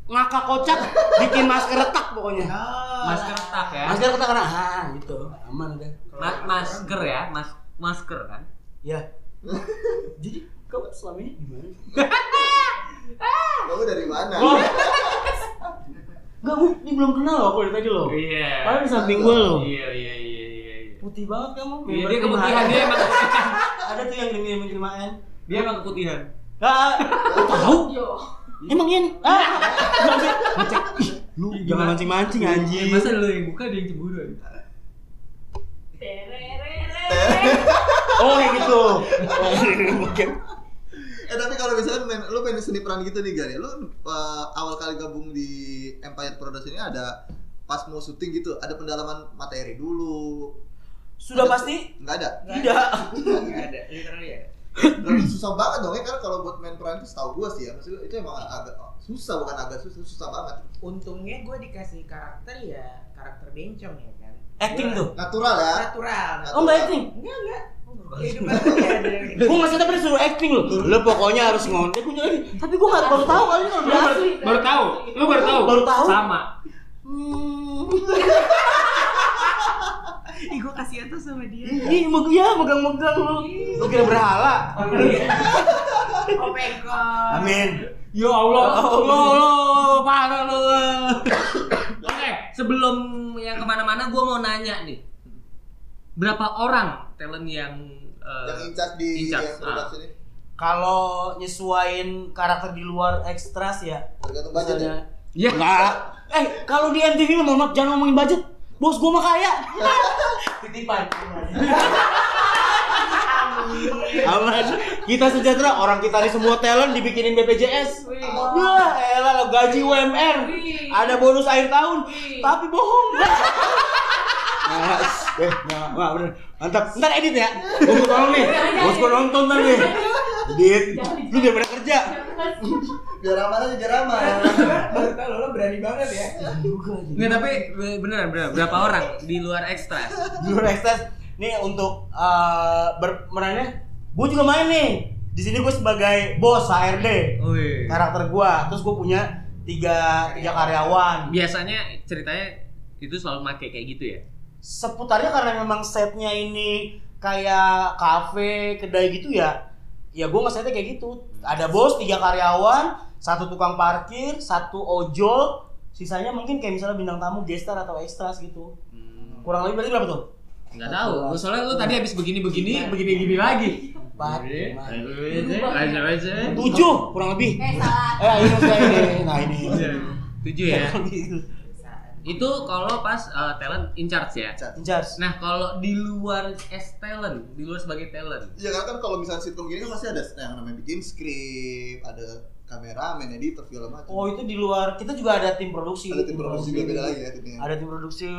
Speaker 3: ngakak kocak bikin masker retak pokoknya.
Speaker 7: Oh,
Speaker 2: Masker tak ya.
Speaker 3: Masker retak karena ah gitu. Iya. Aman udah.
Speaker 2: Ma- masker ya, mas masker kan. <laughs>
Speaker 3: Ya. Jadi kamu selama ini gimana?
Speaker 1: Kamu dari mana?
Speaker 3: Oh. Enggak, Bu. Ini belum kenal loh aku dari tadi loh. Padahal
Speaker 2: Iya.
Speaker 3: di samping gua loh.
Speaker 2: Iya iya iya iya. iya.
Speaker 3: Putih banget kamu.
Speaker 2: Iya,
Speaker 3: member
Speaker 2: dia keputihan dia emang keputihan.
Speaker 3: Ada tuh yang ngirim kirimaan.
Speaker 2: Dia emang keputihan.
Speaker 3: Ah, lu tahu? Emang Yan? Ah, mancing. Ih, Lu jangan mancing-mancing anjing.
Speaker 2: Iya, Masa lu yang buka dia yang cemburu.
Speaker 6: Tererere.
Speaker 1: Eh.
Speaker 2: Oh.
Speaker 3: Oh, kayak gitu. Oke.
Speaker 1: Eh tapi kalau misalnya main, lu pengen seni peran gitu nih Gary, lu eh, awal kali gabung di Empire Production ini ada pas mau syuting gitu, ada pendalaman materi dulu.
Speaker 3: Sudah
Speaker 1: Ada-
Speaker 3: pasti
Speaker 1: Nggak ada.
Speaker 3: tidak.
Speaker 5: Enggak ada, literally ya.
Speaker 1: Dan <clears throat> susah banget dong ya, karena kalau buat main peran itu setahu gua sih ya, maksudnya itu emang agak oh, susah bukan agak susah, susah banget.
Speaker 7: Untungnya gue dikasih karakter ya karakter bencong ya kan.
Speaker 3: Acting tuh.
Speaker 1: Natural ya.
Speaker 7: Natural.
Speaker 3: Oh nggak acting.
Speaker 7: Enggak enggak. Kehidupan gue ada.
Speaker 3: Gue masih tapi disuruh acting lo. Lo pokoknya harus ngondek punya lagi. Tapi gue nggak baru tahu kali ini
Speaker 2: Lu
Speaker 3: udah
Speaker 2: baru,
Speaker 3: asli.
Speaker 2: baru tahu, lu baru tahu.
Speaker 3: Baru tahu.
Speaker 2: Sama.
Speaker 3: Hmm.
Speaker 7: Ih gue Eh, kasihan tuh sama dia.
Speaker 3: Ih, meg ya megang-megang lo. Lo kira berhala.
Speaker 7: <laughs> Oh pengkol.
Speaker 3: Amin.
Speaker 2: Ya Allah,
Speaker 3: Oh.
Speaker 2: lo lo parah lo. Oke, sebelum yang kemana-mana, gue mau nanya nih, berapa orang talent yang eh,
Speaker 1: Yang incas di
Speaker 2: Incas,
Speaker 1: yang production ini
Speaker 3: Kalau nyesuain karakter di luar ekstras ya.
Speaker 1: tergantung budget ya.
Speaker 3: Misalnya,
Speaker 2: ya
Speaker 3: Enggak. Eh, kalau di MTV mah mohon maaf jangan ngomongin budget. Bos gua mah kaya.
Speaker 5: Titipan.
Speaker 3: Aman. Kita sejahtera, orang kita di semua talent dibikinin BPJS. Wah, Ya, elah lo gaji UMR. Ada bonus akhir tahun, tapi bohong. Nah, eh, nah, wah, bener. Mantap. Ntar edit ya. Bos gua tolong nih. Bos gua nonton ntar nih. Edit. Lu udah pernah kerja.
Speaker 1: Biar aman aja biar ya. aman.
Speaker 3: <laughs>
Speaker 7: Baru tau lo, lo berani banget ya.
Speaker 2: Nggak, tapi beneran, beneran. Berapa orang di luar ekstra?
Speaker 3: Dulu Rexes nih untuk eh berperannya gue juga main nih. Di sini gue sebagai bos HRD.
Speaker 2: Wih.
Speaker 3: Karakter gue, terus gue punya tiga tiga karyawan.
Speaker 2: Biasanya ceritanya itu selalu make kayak gitu ya.
Speaker 3: Seputarnya karena memang setnya ini kayak kafe, kedai gitu ya. Ya gue setnya kayak gitu. Ada bos, tiga karyawan, satu tukang parkir, satu ojol, sisanya mungkin kayak misalnya bintang tamu, gestar atau ekstras gitu. Kurang lebih berarti berapa tuh?
Speaker 2: Hmm, Nggak tahu. Gua soalnya lu tadi habis begini-begini, begini-gini lagi.
Speaker 3: Empat, lima,
Speaker 2: Aja aja.
Speaker 3: tujuh kurang lebih.
Speaker 6: Eh salah.
Speaker 3: Eh, ini maksudnya ini. Nah, ini.
Speaker 2: Iya, Tujuh
Speaker 3: Iya.
Speaker 2: ya.
Speaker 3: <laughs> Gitu.
Speaker 7: Bisa.
Speaker 2: Itu kalau pas eh, talent in charge ya.
Speaker 3: Incas.
Speaker 2: Nah, kalau di luar as talent, di luar sebagai talent.
Speaker 1: Iya karena kan kalau misalnya sitcom gini kan pasti ada yang namanya bikin skrip, ada kameramen, editor segala macam.
Speaker 3: Oh, itu di luar. Kita juga ada tim produksi.
Speaker 1: ada tim produksi juga beda lagi ya timnya.
Speaker 3: Ada tim produksi.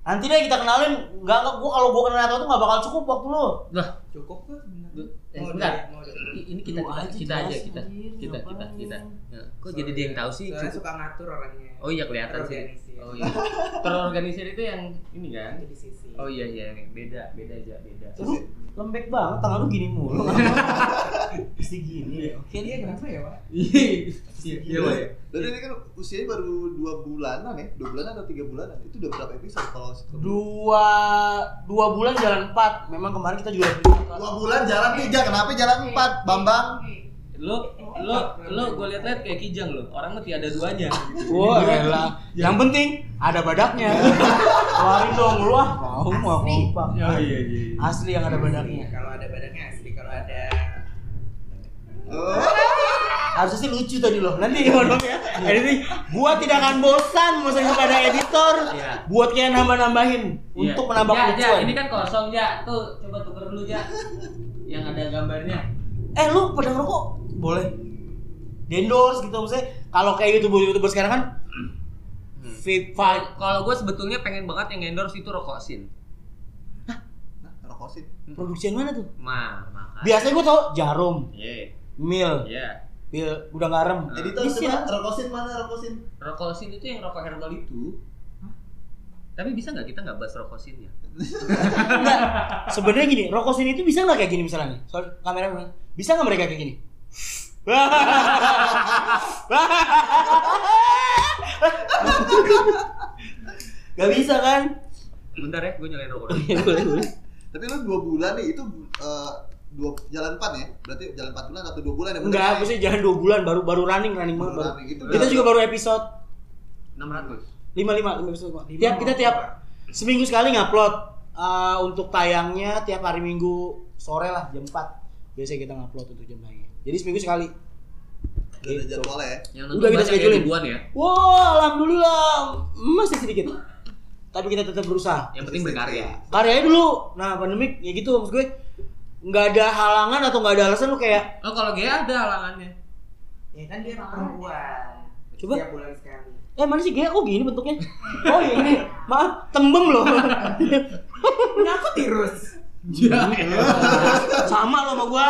Speaker 3: Nanti deh kita kenalin. Enggak enggak gua kalau gua kenalin atau tuh enggak bakal cukup waktu lu.
Speaker 2: Lah,
Speaker 7: Cukup tuh bener.
Speaker 2: eh,
Speaker 7: Mau
Speaker 2: bentar.
Speaker 7: deh, mau deh.
Speaker 2: I- Ini kita
Speaker 3: Lu
Speaker 2: kita
Speaker 3: aja
Speaker 2: kita aja
Speaker 3: jelasin,
Speaker 2: kita
Speaker 3: anjir,
Speaker 2: kita kita
Speaker 3: ngapain.
Speaker 2: kita. Nah, Kok jadi dia yang tahu sih?
Speaker 7: Soalnya suka ngatur orangnya.
Speaker 2: Oh iya kelihatan
Speaker 7: Terorganisir.
Speaker 2: sih. Oh iya. Terorganisir itu yang ini kan?
Speaker 7: Di sisi.
Speaker 2: Oh iya iya beda beda aja beda.
Speaker 3: Lu lembek banget, tangan lu gini mulu.
Speaker 1: Iya.
Speaker 3: <laughs> Mesti gini.
Speaker 7: Oke dia kenapa ya pak?
Speaker 2: Iya iya Boy.
Speaker 1: Dan ini kan usianya baru 2 bulanan ya, 2 bulanan atau 3 bulanan. Itu udah berapa episode kalau sitcom?
Speaker 3: Dua dua bulan jalan empat. Memang kemarin kita juga ada
Speaker 1: 2 bulan jalan 3, kenapa jalan 4? Bambang.
Speaker 2: Lu lu lu gue liat-liat kayak kijang lu. Orang mah tiada duanya.
Speaker 3: Wah, elah. Yang penting ada badaknya. <laughs> Keluarin dong lu ah. Mau mau
Speaker 7: Asli.
Speaker 3: kompak.
Speaker 4: iya iya.
Speaker 3: Asli yang ada badaknya.
Speaker 7: Kalau ada badannya asli, kalau ada
Speaker 1: Oh,
Speaker 3: harusnya sih lucu tadi loh nanti mohon maaf ya editing gua tidak akan bosan mesen kepada editor
Speaker 2: Iya.
Speaker 3: buat kayak nambah-nambahin
Speaker 2: Iya.
Speaker 3: untuk menambah
Speaker 2: Ja, Ja,
Speaker 3: kelucuan
Speaker 2: ini kan kosong ja. Tuh coba tuker dulu ja. Yang ada gambarnya.
Speaker 3: eh lu pedang rokok boleh di endorse gitu maksudnya kalau kayak youtuber youtuber sekarang kan fit fight
Speaker 2: Kalau- Kalau gue sebetulnya pengen banget yang endorse itu rokok sin.
Speaker 1: nah, rokosin.
Speaker 3: produksian mana tuh
Speaker 2: Mah, makan.
Speaker 3: biasanya gua tau jarum
Speaker 2: Iya.
Speaker 3: mil
Speaker 2: Iya.
Speaker 3: mil gudang garam
Speaker 2: Nah.
Speaker 1: Editor
Speaker 3: Bisa.
Speaker 1: coba rokosin mana rokosin?
Speaker 2: Rokok sin itu yang rokok herbal itu. Tapi bisa nggak kita nggak bahas rokok sinnya?
Speaker 3: Enggak. Sebenarnya gini, rokok sini itu bisa nggak kayak gini misalnya? nih? Soal kamera gimana? bisa nggak mereka kayak gini? gak bisa kan?
Speaker 2: Bentar ya, gue nyalain rokok. dulu.
Speaker 1: Tapi lu 2 bulan nih itu eh, dua jalan 4 ya? Berarti jalan 4 bulan atau 2 bulan ya?
Speaker 3: Enggak,
Speaker 1: Bener,
Speaker 3: maksudnya jangan dua bulan baru baru running running
Speaker 1: Baru
Speaker 3: banget baru.
Speaker 1: running, itu
Speaker 3: Kita
Speaker 1: udah-
Speaker 3: juga baru episode
Speaker 2: 600.
Speaker 3: 55 lima episode. Tiap kita tiap seminggu sekali ngupload eh, untuk tayangnya tiap hari Minggu sore lah jam 4. Biasanya kita ngupload untuk jam tayangnya. Jadi seminggu sekali.
Speaker 1: Udah ada jadwalnya ya.
Speaker 2: Yang
Speaker 3: Udah kita
Speaker 2: banyak ya,
Speaker 3: schedule-in.
Speaker 2: ribuan ya.
Speaker 3: Wow, alhamdulillah masih sedikit. Tapi kita tetap berusaha. Iya.
Speaker 2: Yang penting berkarya.
Speaker 3: Karyanya dulu. Nah, pandemik ya gitu maksud gue. nggak ada halangan atau nggak ada alasan lu kayak
Speaker 2: Oh kalau gay ada halangannya.
Speaker 7: Ya kan dia perempuan.
Speaker 3: Coba.
Speaker 7: Setiap bulan sekali.
Speaker 3: eh mana sih gaya kok gini bentuknya <laughs> oh iya ini maaf tembem loh <laughs>
Speaker 7: Enggak aku tirus.
Speaker 3: Iya.
Speaker 2: <laughs> Iya.
Speaker 3: sama lo sama gua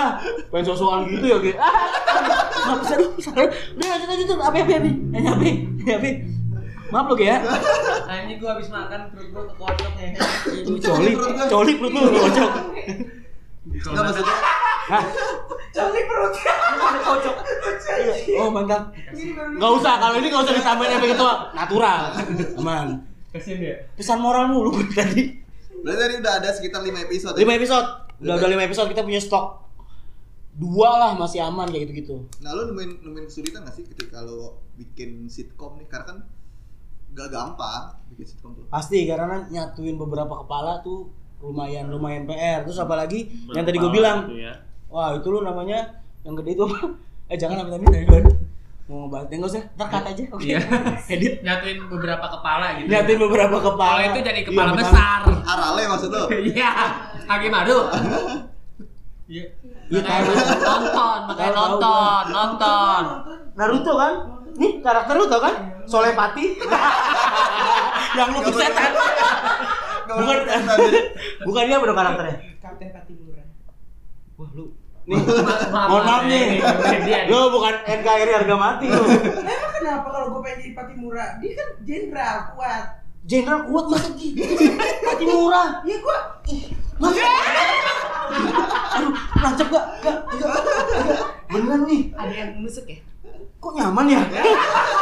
Speaker 3: pengen sosokan gitu ya gaya ah, <laughs> maaf sorry sorry udah lanjut lanjut lanjut. apa apa apa Eh, apa apa maaf ya. lo gaya
Speaker 5: Nah ini gue habis makan perut gue kekocok ya.
Speaker 3: Lu coli coli perut lu <laughs> Nah, kocok
Speaker 1: Enggak maksudnya
Speaker 3: Hah?
Speaker 7: Coli perutnya.
Speaker 3: kocok Iya. oh mantap
Speaker 7: Ini baru
Speaker 3: Gak usah, kalau ini gak usah ditambahin efek ketua Natural Aman
Speaker 5: Kasian dia.
Speaker 3: Pesan moral mulu gue tadi
Speaker 1: berarti tadi udah ada sekitar 5 episode. ya?
Speaker 3: 5 episode Udah udah 5 episode kita punya stok Dua lah masih aman kayak gitu-gitu
Speaker 1: Nah, lo nemuin nemuin kesulitan gak sih ketika lo bikin sitkom nih? Karena kan gak gampang bikin sitkom tuh.
Speaker 3: Pasti karena nyatuin beberapa kepala tuh lumayan lumayan PR terus apalagi
Speaker 4: Berkepala
Speaker 3: yang tadi gue bilang
Speaker 4: gitu ya.
Speaker 3: wah itu lu namanya yang gede itu apa eh jangan amit amit dari dulu mau ngebahas enggak usah ntar cut aja oke
Speaker 2: Iya.
Speaker 3: edit
Speaker 2: Nyatuin beberapa kepala gitu.
Speaker 3: nyatuin beberapa kepala
Speaker 2: Kalau itu jadi kepala
Speaker 3: Iya,
Speaker 2: besar.
Speaker 1: Arale maksud lo?
Speaker 2: Iya. Kaki madu. Iya.
Speaker 3: Iya,
Speaker 2: Makanya
Speaker 3: tahu.
Speaker 2: nonton, makanya
Speaker 3: Tahu, tahu gua.
Speaker 2: nonton, nonton.
Speaker 3: Naruto kan? Nih karakter lu tau kan? Solepati <laughs> Yang lu
Speaker 1: Nggak boleh.
Speaker 3: gitu. setan Bukan Bukan dia bener karakternya
Speaker 7: Kapten Patimura.
Speaker 3: Wah lu Nih
Speaker 2: Mohon
Speaker 3: maaf nih. Lu bukan NKRI harga mati lu
Speaker 7: Lah emang kenapa kalau gue pengen jadi Patimura? Dia kan jenderal kuat.
Speaker 3: Jenderal kuat masa gitu Mati murah
Speaker 7: Ya gue
Speaker 3: <laughs> Masa Aduh lancap gak? Gak gak, gak. Beneran nih
Speaker 7: ada yang nusuk ya?
Speaker 3: Kok nyaman <laughs> ya?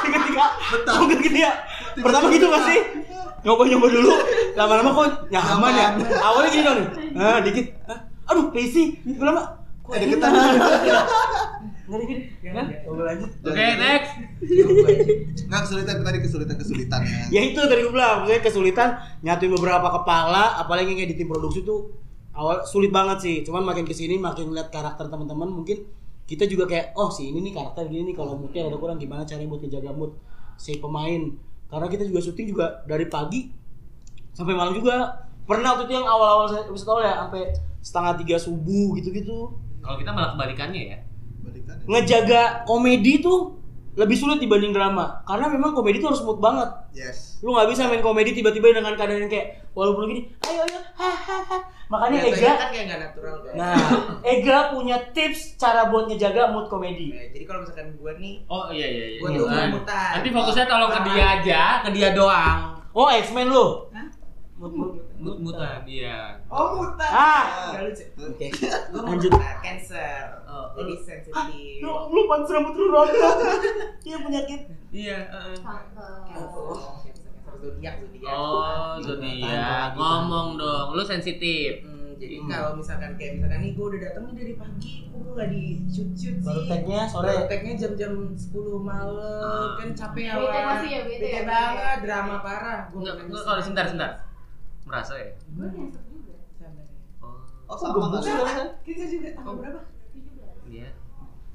Speaker 3: Ketika Kok gini ya? Pertama gitu gak sih? Nyoba-nyoba dulu Lama-lama kok nyaman ya? Awalnya gini dong nih Ah dikit Ah, Aduh PC Lama Kok
Speaker 1: Eh,
Speaker 3: enak
Speaker 1: deketan.
Speaker 3: Ngeri gini Hah? Coba lanjut
Speaker 2: Oke, next.
Speaker 1: Nggak kesulitan tadi kesulitan kesulitannya.
Speaker 3: ya itu tadi gue bilang maksudnya kesulitan nyatuin beberapa kepala apalagi yang editing produksi tuh awal sulit banget sih cuman makin kesini makin lihat karakter teman-teman mungkin kita juga kayak oh si ini nih karakter gini nih kalau moodnya ada kurang gimana caranya buat ngejaga mood si pemain karena kita juga syuting juga dari pagi sampai malam juga pernah waktu itu yang awal-awal saya episode awal ya sampai setengah tiga subuh gitu-gitu
Speaker 2: Kalau kita malah kebalikannya ya.
Speaker 1: Balikan ya.
Speaker 3: ngejaga komedi tuh lebih sulit dibanding drama karena memang komedi tuh harus mood banget
Speaker 1: Yes.
Speaker 3: lu nggak bisa main komedi tiba-tiba dengan keadaan yang kayak walaupun gini ayo ayo hahaha makanya Ega
Speaker 7: Biasanya kan kayak nggak natural kan.
Speaker 3: nah Ega punya tips cara buat ngejaga mood komedi
Speaker 7: Nah, jadi kalau misalkan gue nih,
Speaker 2: Oh iya iya iya.
Speaker 7: gue tuh
Speaker 2: Bukan.
Speaker 7: mutan.
Speaker 2: Nanti fokusnya tolong ke dia aja, ke dia doang.
Speaker 3: oh X-Men lu
Speaker 7: Hah?
Speaker 3: mood mood
Speaker 2: Mut-mutan dia.
Speaker 7: Oh mutan.
Speaker 3: Ah.
Speaker 7: Nggak lucu.
Speaker 3: oke <laughs>
Speaker 7: Gue
Speaker 3: Lanjut.
Speaker 7: Cancer.
Speaker 2: Oh,
Speaker 7: Jadi sensitif.
Speaker 3: lu lu pantas rambut lu <laughs> rontok dia penyakit
Speaker 2: Iya, heeh.
Speaker 7: Cancer.
Speaker 6: Tante.
Speaker 7: Cancer zodiak zodiak.
Speaker 2: Oh, zodiak.
Speaker 7: gitu.
Speaker 2: Ngomong dong, lu sensitif.
Speaker 7: Hmm, jadi kalau misalkan kayak misalkan nih gue udah datang nih dari pagi, kok gue nggak di shoot shoot sih.
Speaker 3: baru tagnya sore
Speaker 7: Baru tag-nya jam-jam 10 malam, kan capek ya.
Speaker 6: Bete
Speaker 7: Wan.
Speaker 6: pasti ya, bete ya.
Speaker 7: banget, drama parah. Gua
Speaker 2: Enggak, enggak
Speaker 7: nggak bisa.
Speaker 2: kalau oh, sebentar sebentar. Merasa ya?
Speaker 6: Gue nyesek juga.
Speaker 7: Sabar ya.
Speaker 2: Oh,
Speaker 1: Oh, sama nggak sih?
Speaker 7: Kita juga tanggal berapa?
Speaker 6: 17.
Speaker 2: iya.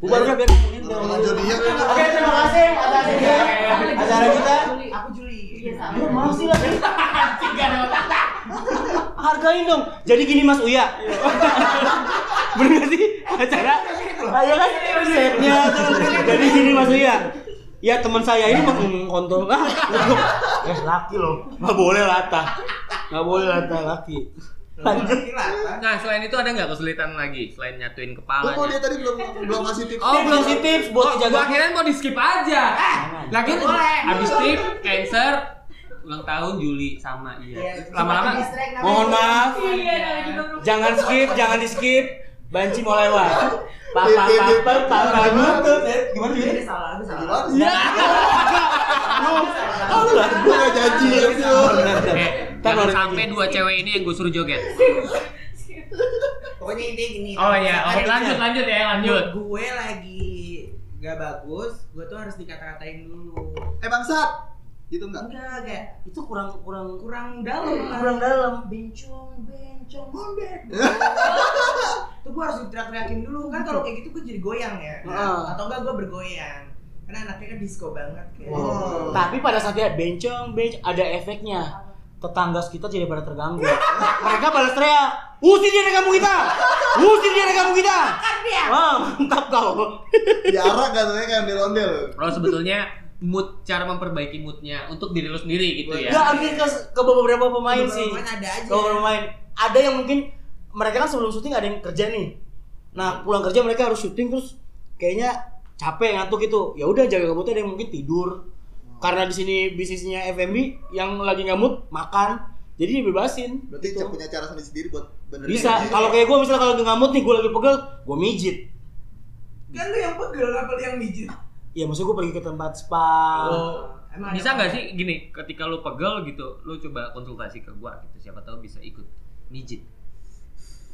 Speaker 3: bubar udah biar ngomongin biar
Speaker 1: Kalau
Speaker 3: ngomongin.
Speaker 1: zodiak kan
Speaker 3: oke terima kasih atas Ega acara kita
Speaker 6: Juli.
Speaker 7: Aku Juli.
Speaker 6: Iya, sama.
Speaker 3: Lu masih lagi Hargain dong. Jadi gini Mas Uya. <laughs> Bener gak sih acara? Ayo kan setnya terus. iya. Jadi gini Mas Uya. Ya teman saya ini mengkontol ah. Eh laki loh. Gak boleh lata. Gak boleh lata laki. Lanjut.
Speaker 2: Nah, selain itu ada nggak kesulitan lagi selain nyatuin
Speaker 1: Lu kok dia
Speaker 2: kepalanya?
Speaker 1: tadi belum belum ngasih tips.
Speaker 2: Oh, belum
Speaker 3: Kasih
Speaker 2: sih.
Speaker 3: tips
Speaker 2: Buat
Speaker 3: buat
Speaker 2: gua
Speaker 3: jaga.
Speaker 2: akhirnya mau di skip aja. Eh, lagi
Speaker 7: Boleh.
Speaker 2: habis tip cancer ulang tahun Juli sama iya. Lama-lama
Speaker 3: Mohon maaf.
Speaker 6: Iya, namanya juga belum.
Speaker 3: Jangan skip, jangan di skip. Banci mau lewat. Papa, papa, papa, lutut. Eh, Gimana
Speaker 7: Iya,
Speaker 3: sih?
Speaker 7: ada salah, ada salah.
Speaker 1: Gimana sih?
Speaker 3: Oh, lah,
Speaker 1: Gue gak kan janji ya, Sil.
Speaker 2: Eh,
Speaker 3: Ntar
Speaker 2: jangan
Speaker 3: baru-
Speaker 2: sampai dua cewek ini yang gue suruh joget.
Speaker 7: Pokoknya intinya gini.
Speaker 2: Oh
Speaker 7: kalau
Speaker 2: iya,
Speaker 7: misalkan
Speaker 2: oke lanjut lanjut ya lanjut.
Speaker 7: Gue lagi gak bagus, gue tuh harus dikata-katain dulu.
Speaker 1: Eh bangsat. Gitu enggak?
Speaker 7: Enggak, kayak
Speaker 3: Itu kurang kurang
Speaker 7: Iya, kurang dalam. lah.
Speaker 3: kurang dalam.
Speaker 7: Bencong, bencong, ngondek. <laughs> Tuh gue harus diteriak-teriakin dulu kan kalau kayak gitu gue jadi goyang ya. Nah,
Speaker 3: Heeh.
Speaker 7: Atau enggak gue bergoyang. Karena anaknya kan disco banget kayak.
Speaker 1: Wow.
Speaker 3: Tapi pada saatnya bencong, benc ada efeknya. tetangga kita jadi pada terganggu. Mereka balas teriak, usir dia dari kampung kita, usir dia dari kampung kita. Wah mantap kau.
Speaker 1: Diarak kan sebenarnya kayak ondel-ondel.
Speaker 2: Kalau sebetulnya mood cara memperbaiki moodnya untuk diri lo sendiri gitu
Speaker 3: Nggak,
Speaker 2: ya.
Speaker 3: hampir ke, ke beberapa pemain sih.
Speaker 7: Pemain ada aja.
Speaker 3: Ke beberapa pemain. Ada yang mungkin mereka kan sebelum syuting ada yang kerja nih. Nah, pulang kerja mereka harus syuting terus kayaknya capek ngantuk gitu. Ya udah jaga kabutnya ada yang mungkin tidur. Karena di sini bisnisnya FMB yang lagi ngamut makan. Jadi dibebasin.
Speaker 1: Berarti
Speaker 3: gitu.
Speaker 1: punya cara sendiri buat benerin.
Speaker 3: Bisa.
Speaker 1: diri.
Speaker 3: Kalau kayak gue misalnya kalau lagi ngamut nih gue lagi pegel, gue mijit.
Speaker 7: Kan lu yang pegel apa lu yang mijit?
Speaker 3: Ya maksud gue pergi ke tempat spa.
Speaker 7: emang ada
Speaker 2: Bisa
Speaker 7: apa?
Speaker 2: nggak sih gini, ketika lo pegel gitu, lo coba konsultasi ke gua gitu, siapa tahu bisa ikut mijit.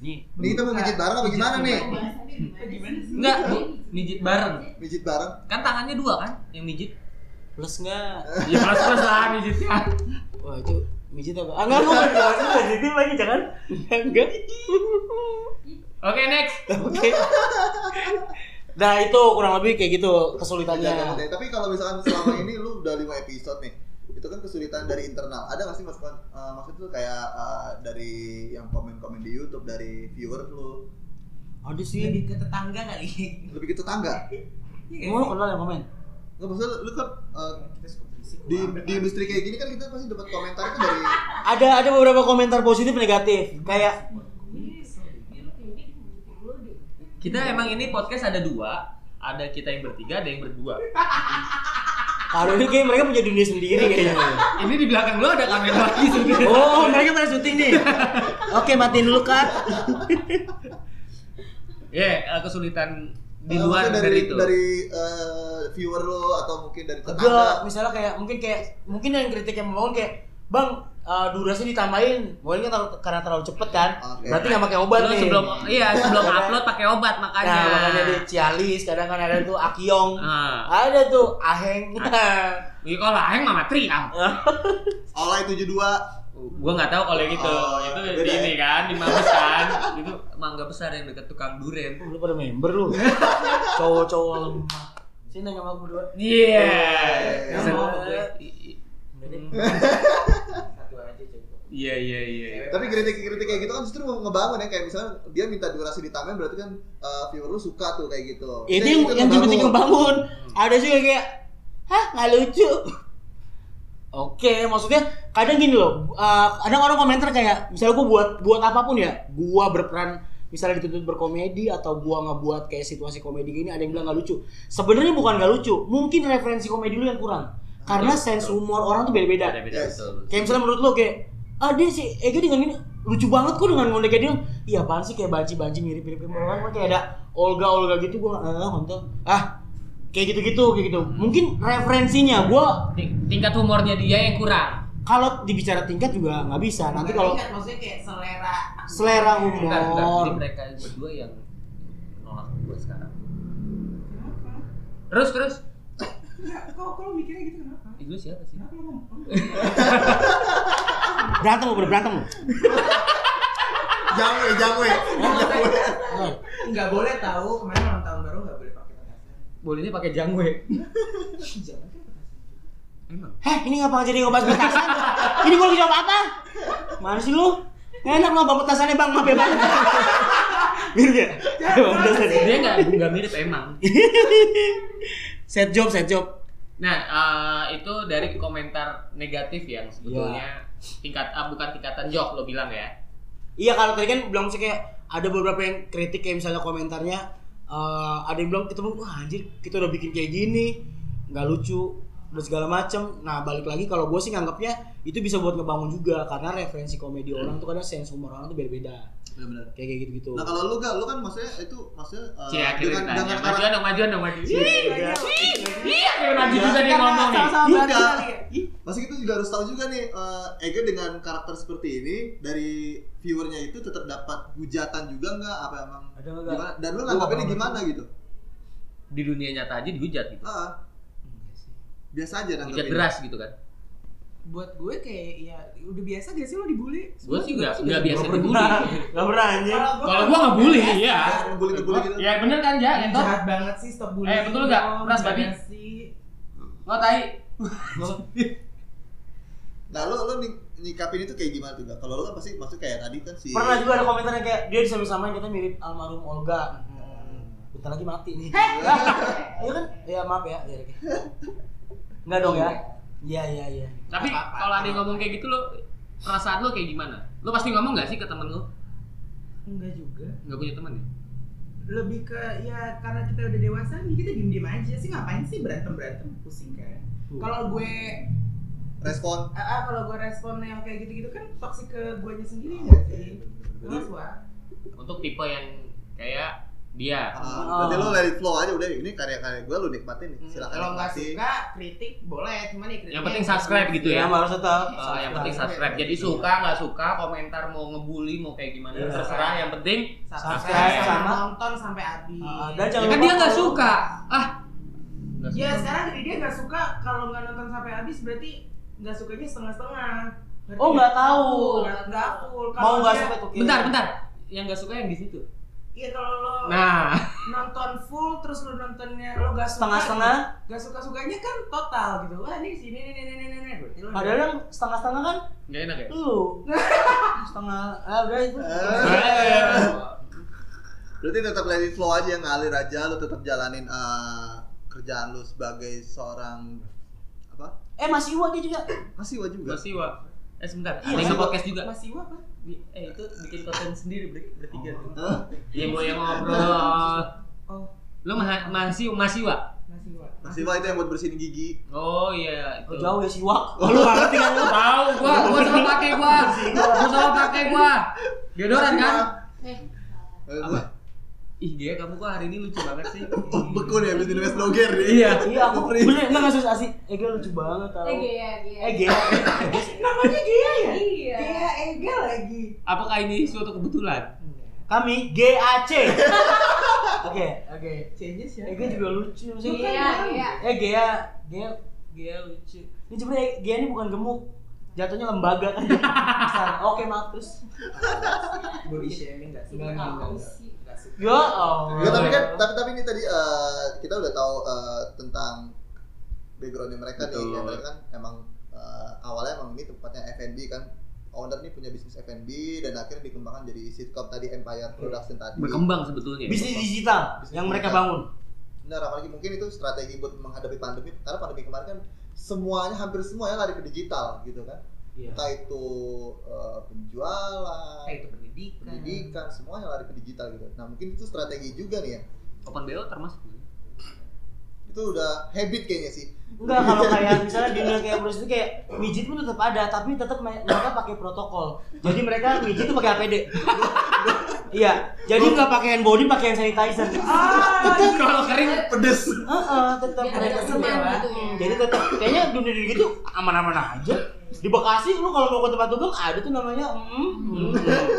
Speaker 2: Nih,
Speaker 1: Ini kita mau mijit bareng apa gimana nih?
Speaker 6: Pembahasannya gimana sih?
Speaker 2: enggak, bu, mijit bareng.
Speaker 1: Mijit bareng.
Speaker 2: Kan tangannya dua kan yang mijit.
Speaker 3: Plus nggak?
Speaker 2: Ya plus-plus lah mijitnya.
Speaker 3: Wah itu mijit apa? Ah enggak, gue nggak jelasin dari tim lagi jangan. Enggak.
Speaker 2: Oke, next.
Speaker 3: Oke. Nah itu kurang lebih kayak gitu
Speaker 1: Jaga kabutnya.
Speaker 3: kesulitannya.
Speaker 1: Tapi kalau misalkan selama ini lu udah 5 episode nih, itu kan kesulitan dari internal. Ada nggak sih masukan eh, maksud tuh kayak eh, dari yang komen-komen di YouTube dari viewer lu
Speaker 3: Ada sih.
Speaker 7: Lebih ke tetangga kali.
Speaker 2: Iya
Speaker 7: Iya
Speaker 1: lebih ke tetangga?
Speaker 3: Mau kenal yang komen?
Speaker 1: Nggak maksudnya lu kan eh,
Speaker 7: Kita suka berisik.
Speaker 1: di, di industri kayak gini kan kita pasti dapat komentar itu dari
Speaker 3: Ada ada beberapa komentar positif negatif. Kayak
Speaker 2: Kita emang ini podcast ada dua, ada kita yang bertiga, ada yang berdua.
Speaker 3: kalau ini kayak mereka punya dunia sendiri kayaknya.
Speaker 2: Ini di belakang lo ada kamera lagi sebenarnya.
Speaker 3: Oh mereka pada syuting nih. Oke matiin dulu kan.
Speaker 2: Ya, eh, kesulitan di
Speaker 1: eh,
Speaker 3: Oh,
Speaker 2: luar
Speaker 1: maksudnya
Speaker 2: dari,
Speaker 1: dari
Speaker 2: itu.
Speaker 1: dari eh, viewer lu atau mungkin dari
Speaker 3: Enggak,
Speaker 1: tetangga.
Speaker 3: misalnya kayak mungkin kayak mungkin yang kritik yang membangun kayak Bang, eh, durasi ditambahin, mungkin kan terlalu- karena terlalu cepet kan,
Speaker 1: Oke.
Speaker 3: berarti nggak pakai obat
Speaker 2: Lo
Speaker 3: nih.
Speaker 2: sebelum iya,
Speaker 3: <laughs>
Speaker 2: sebelum
Speaker 3: Makanya-
Speaker 2: upload pakai obat makanya.
Speaker 3: Nah, makanya di Cialis kadang kan ada tuh Akiong,
Speaker 2: Ah.
Speaker 3: ada tuh Aheng. <laughs>
Speaker 2: Iya, kalau Aheng mama teriak.
Speaker 1: Olay 72
Speaker 2: Gua nggak tahu kalau yang itu
Speaker 1: Oh,
Speaker 3: iya,
Speaker 2: itu
Speaker 1: beda
Speaker 2: di
Speaker 1: ya?
Speaker 2: ini kan di Mabes
Speaker 3: <laughs>
Speaker 2: kan. itu mangga besar yang dekat tukang duren.
Speaker 3: lu pada member
Speaker 2: <laughs>
Speaker 3: lu cowok-cowok lemah sini nanya sama aku berdua
Speaker 2: Iya.
Speaker 1: Ya,
Speaker 2: Sen-
Speaker 3: mau gue.
Speaker 2: I- i- <laughs>
Speaker 5: Satu aja cukup.
Speaker 2: Iya iya iya.
Speaker 1: Tapi kritik-kritik kayak gitu kan justru ngebangun ya kayak misalnya dia minta durasi ditambahin berarti kan eh, viewer lu suka tuh kayak gitu.
Speaker 3: Iya, itu yang yang tiba-tiba bangun ada juga kayak hah nggak lucu oke maksudnya kadang gini loh uh, kadang orang komentar kayak misalnya gua buat buat apapun ya gua berperan misalnya dituntut berkomedi atau gua ngebuat kayak situasi komedi gini ada yang bilang nggak lucu sebenarnya bukan nggak lucu mungkin referensi komedi lu yang kurang karena sense humor orang tuh Iya, beda-beda
Speaker 2: Beda beda
Speaker 1: Yes.
Speaker 2: betul.
Speaker 3: Kayak misalnya menurut lo kayak ah dia si Ega dengan ini lucu banget kok dengan ngondek kayak dia iya apaan sih kayak banci-banci mirip-mirip kayak orang kan kayak ada Olga Olga gitu gue ah kontol ah kayak gitu-gitu kayak gitu mungkin referensinya gue
Speaker 2: Ting- Tingkat humornya dia yang kurang.
Speaker 3: kalau dibicara tingkat juga nggak bisa nanti kalau
Speaker 7: Ingat, maksudnya kayak selera
Speaker 3: selera
Speaker 2: Bukan, bukan. Ini
Speaker 3: humor
Speaker 2: mereka berdua yang nolak gue sekarang. Terus terus.
Speaker 7: Enggak, kok kok lu Iya, mikirnya gitu kenapa?
Speaker 2: Ih, Lu siapa sih?
Speaker 7: Kenapa lu <laughs> ngomong?
Speaker 3: berantem lo udah berantem lo
Speaker 1: Jamu ya jamu ya.
Speaker 7: Enggak boleh tahu kemarin ulang tahun baru enggak boleh pakai petasan.
Speaker 2: Bolehnya pakai
Speaker 1: <laughs>
Speaker 2: jangwe.
Speaker 7: Jangan kan petasan.
Speaker 2: Emang.
Speaker 3: heh Eh, ini ngapa jadi ngebahas petasan ini gue lagi jawab apa mana sih lu enak lo bang petasannya bang maaf ya bang mirip ya bang petasannya
Speaker 2: Dia nggak nggak mirip emang.
Speaker 3: set job set job
Speaker 2: Nah, eh, itu dari komentar negatif yang sebetulnya
Speaker 1: Iya.
Speaker 2: tingkat ah, bukan tingkatan jok lo bilang ya.
Speaker 1: Eh,
Speaker 3: Iya kalau tadi kan bilang sih kayak ada beberapa yang kritik kayak misalnya komentarnya eh, ada yang bilang kita wah anjir kita udah bikin kayak gini nggak lucu udah segala macem nah balik lagi kalau gue sih nganggapnya itu bisa buat ngebangun juga karena referensi komedi orang tuh kadang sense humor orang tuh beda-beda
Speaker 1: Benar-benar.
Speaker 3: kayak kayak gitu gitu
Speaker 1: Nah kalau lu gak, lu kan maksudnya itu maksudnya eh,
Speaker 2: Cie,
Speaker 1: dengan
Speaker 2: akhirnya ditanya.
Speaker 1: dengan
Speaker 2: Majuan
Speaker 1: karakter
Speaker 2: dong, majuan dong, majuan. Iya, iya, kayak maju
Speaker 1: Iya.
Speaker 2: juga dia ngomong nih.
Speaker 7: Sama-sama berarti
Speaker 1: Enggak.
Speaker 7: kali ya.
Speaker 1: masih kita juga harus tahu juga nih eh, Ega dengan karakter seperti ini dari viewernya itu tetap dapat hujatan juga nggak apa emang
Speaker 3: Ada nggak?
Speaker 1: gimana dan lu nangkapinnya gimana gitu
Speaker 2: Di dunia nyata aja dihujat gitu.
Speaker 1: ah
Speaker 3: Iya
Speaker 1: biasa aja
Speaker 2: Hujat
Speaker 1: nanggapinnya
Speaker 2: deras gitu kan.
Speaker 7: Buat gue kayak ya udah biasa gak sih lo dibully?
Speaker 2: Gue sih nggak nggak biasa
Speaker 3: Nggak
Speaker 2: dibully.
Speaker 3: pernah nggak pernah anjing
Speaker 7: Kalau
Speaker 2: Kalau gue nggak bully, iya.
Speaker 1: ngebully-ngebully gitu.
Speaker 2: Ya bener kan, Ja? Entot.
Speaker 7: jahat banget sih stop bullying.
Speaker 2: Eh, betul nggak?
Speaker 7: dong.
Speaker 2: Pras, babi?
Speaker 7: Gimana sih?
Speaker 2: Lo tai.
Speaker 1: nah lu lu nih nyikapin itu kayak gimana tuh Kak? Kalau lo kan pasti maksud kayak tadi kan si
Speaker 3: Pernah juga ada komentar yang kayak dia disamain kita mirip almarhum Olga. Hmm, Bentar lagi mati nih. <laughs> Iya kan? Ya maaf ya, ya oke. Enggak dong ya. Iya iya iya.
Speaker 2: Tapi kalau ada yang ngomong kayak gitu lo perasaan lo kayak gimana? Lo pasti ngomong gak sih ke temen lo?
Speaker 7: Enggak juga.
Speaker 2: Gak punya temen ya?
Speaker 7: Lebih ke ya karena kita udah dewasa nih kita diem-diem aja sih ngapain sih berantem-berantem pusing kan. Kalau gue
Speaker 1: respon
Speaker 7: ah, ah, kalau gue respon yang kayak gitu-gitu kan toksik ke guanya sendiri enggak
Speaker 3: Iya,
Speaker 7: sih? Jelas wah.
Speaker 2: Untuk tipe yang kayak dia.
Speaker 1: Ah, berarti lo
Speaker 3: Oh.
Speaker 1: let it flow aja udah ini karya-karya gue lo nikmatin
Speaker 3: Hmm.
Speaker 1: nih. Silakan
Speaker 7: Hmm, Kalau nggak
Speaker 1: nikmati.
Speaker 7: suka kritik boleh, cuman ya kritik.
Speaker 2: Yang penting subscribe gitu ya.
Speaker 3: Yang harus tetap.
Speaker 2: Eh, yang penting subscribe. Iya. Jadi suka nggak suka, komentar mau ngebully mau kayak gimana
Speaker 3: Iya.
Speaker 2: terserah. Yang penting
Speaker 7: subscribe
Speaker 3: Subscribe
Speaker 7: sama
Speaker 3: sama-
Speaker 7: nonton sampai habis.
Speaker 3: Ah, dan
Speaker 2: ya
Speaker 3: jangan
Speaker 2: kan
Speaker 3: lupa
Speaker 2: dia nggak suka. Ah. Nggak
Speaker 7: Ya
Speaker 2: suka.
Speaker 7: sekarang dari dia nggak suka kalau nggak nonton sampai habis berarti nggak sukanya setengah-setengah. Berarti
Speaker 3: Oh, nggak tahu.
Speaker 7: Nggak nggak full.
Speaker 3: Mau
Speaker 7: Kalau
Speaker 3: nggak
Speaker 7: dia-
Speaker 3: suka tuh.
Speaker 2: Bentar, bentar. Yang nggak suka yang di situ.
Speaker 7: Iya kalau lo
Speaker 2: Nah, <laughs>
Speaker 7: nonton full terus lo nontonnya lo nggak suka.
Speaker 3: Setengah-setengah.
Speaker 7: Nggak suka sukanya kan total gitu. Wah ini sini ini ini ini ini. Berarti lo
Speaker 3: Padahal yang setengah-setengah kan
Speaker 2: nggak <laughs> enak ya.
Speaker 3: lu. Setengah ah udah itu.
Speaker 1: Eh. Berarti tetap let it flow aja ngalir aja lo tetap jalanin eh, kerjaan lo sebagai seorang apa?
Speaker 3: Eh masih Iwa dia juga.
Speaker 1: Masih wajib juga.
Speaker 2: Masih wa. Eh sebentar,
Speaker 1: Iya,
Speaker 2: ada yang
Speaker 1: masih,
Speaker 2: podcast juga.
Speaker 7: masih wah kan?
Speaker 2: Bi- Eh itu bikin konten sendiri ber- bertiga.
Speaker 1: Hah?
Speaker 2: Iya mau yang ngobrol.
Speaker 7: Oh
Speaker 2: Lo ma- masih masih wa.
Speaker 7: masih wah.
Speaker 1: Masih wah itu yang buat bersihin gigi.
Speaker 2: Oh iya itu.
Speaker 3: Oh, jauh ya
Speaker 2: <laughs>
Speaker 3: si Iwa.
Speaker 2: Oh, lu ngerti kan lu? Tahu gua, gua sama pakai gua. Gua sama pakai gua. Deodoran kan?
Speaker 1: Eh,
Speaker 2: Apa? Ih, dia kamu kok hari ini lucu banget sih.
Speaker 1: Oh, beku nih abis minum es doger nih.
Speaker 2: Iya.
Speaker 3: Iya aku bener enggak ngasih asih. Ege lucu banget tau.
Speaker 6: Eh, gaya, gaya.
Speaker 3: Ege. ya?
Speaker 7: Namanya Gia ya?
Speaker 6: Iya.
Speaker 7: Gia Ega lagi.
Speaker 2: Apakah ini suatu kebetulan?
Speaker 3: Kami
Speaker 1: <laughs>
Speaker 3: GAC. Oke, oke.
Speaker 7: C-nya siapa?
Speaker 3: Ege juga lucu sih.
Speaker 6: Iya, iya.
Speaker 3: Eh Gea, Gea, Gea lucu. Ini sebenarnya Gea ini bukan gemuk, jatuhnya lembaga
Speaker 1: <laughs>
Speaker 3: kan. Besar. Oke maaf terus.
Speaker 7: Body shaming nggak suka.
Speaker 3: Nggak,
Speaker 7: Nggak,
Speaker 3: nggak,
Speaker 7: nggak. Nggak suka.
Speaker 3: Ya Allah.
Speaker 1: Ya, tapi kan tapi tapi ini tadi eh, kita udah tahu eh, tentang backgroundnya mereka
Speaker 2: Betul.
Speaker 1: nih. Ya, mereka kan emang eh, awalnya emang ini tempatnya F&B kan. Owner nih punya bisnis F&B dan akhirnya dikembangkan jadi sitcom tadi Empire Production tadi.
Speaker 2: Berkembang sebetulnya.
Speaker 3: bisnis digital
Speaker 1: Bisnis
Speaker 3: yang mereka
Speaker 1: digital.
Speaker 3: bangun.
Speaker 1: Benar, apalagi mungkin itu strategi buat menghadapi pandemi karena pandemi kemarin kan semuanya hampir semuanya lari ke digital gitu kan.
Speaker 3: Iya.
Speaker 1: Entah itu eh, penjualan,
Speaker 7: Kayak itu pendidikan.
Speaker 1: pendidikan semuanya lari ke digital gitu. Nah mungkin itu strategi juga nih ya.
Speaker 2: Open BO termasuk.
Speaker 1: Itu udah habit kayaknya sih.
Speaker 3: Enggak kalau kayak misalnya di dunia kayak Bruce itu kayak mijit pun tetap ada tapi tetap me- mereka pakai protokol. Jadi mereka mijit tuh pakai
Speaker 1: <laughs>
Speaker 3: APD. iya, jadi nggak pakai hand body, pakai hand sanitizer.
Speaker 1: <laughs>
Speaker 7: Ah, iya.
Speaker 2: Tetep kalau kering
Speaker 1: Pedes.
Speaker 3: Heeh, tetap
Speaker 6: Biar
Speaker 3: mereka
Speaker 6: ada
Speaker 3: juga.
Speaker 6: semen gitu ya.
Speaker 3: Jadi tetap kayaknya dunia dunia gitu aman-aman aja. Di Bekasi lu kalau mau ke tempat dugem ada tuh namanya mm, mm,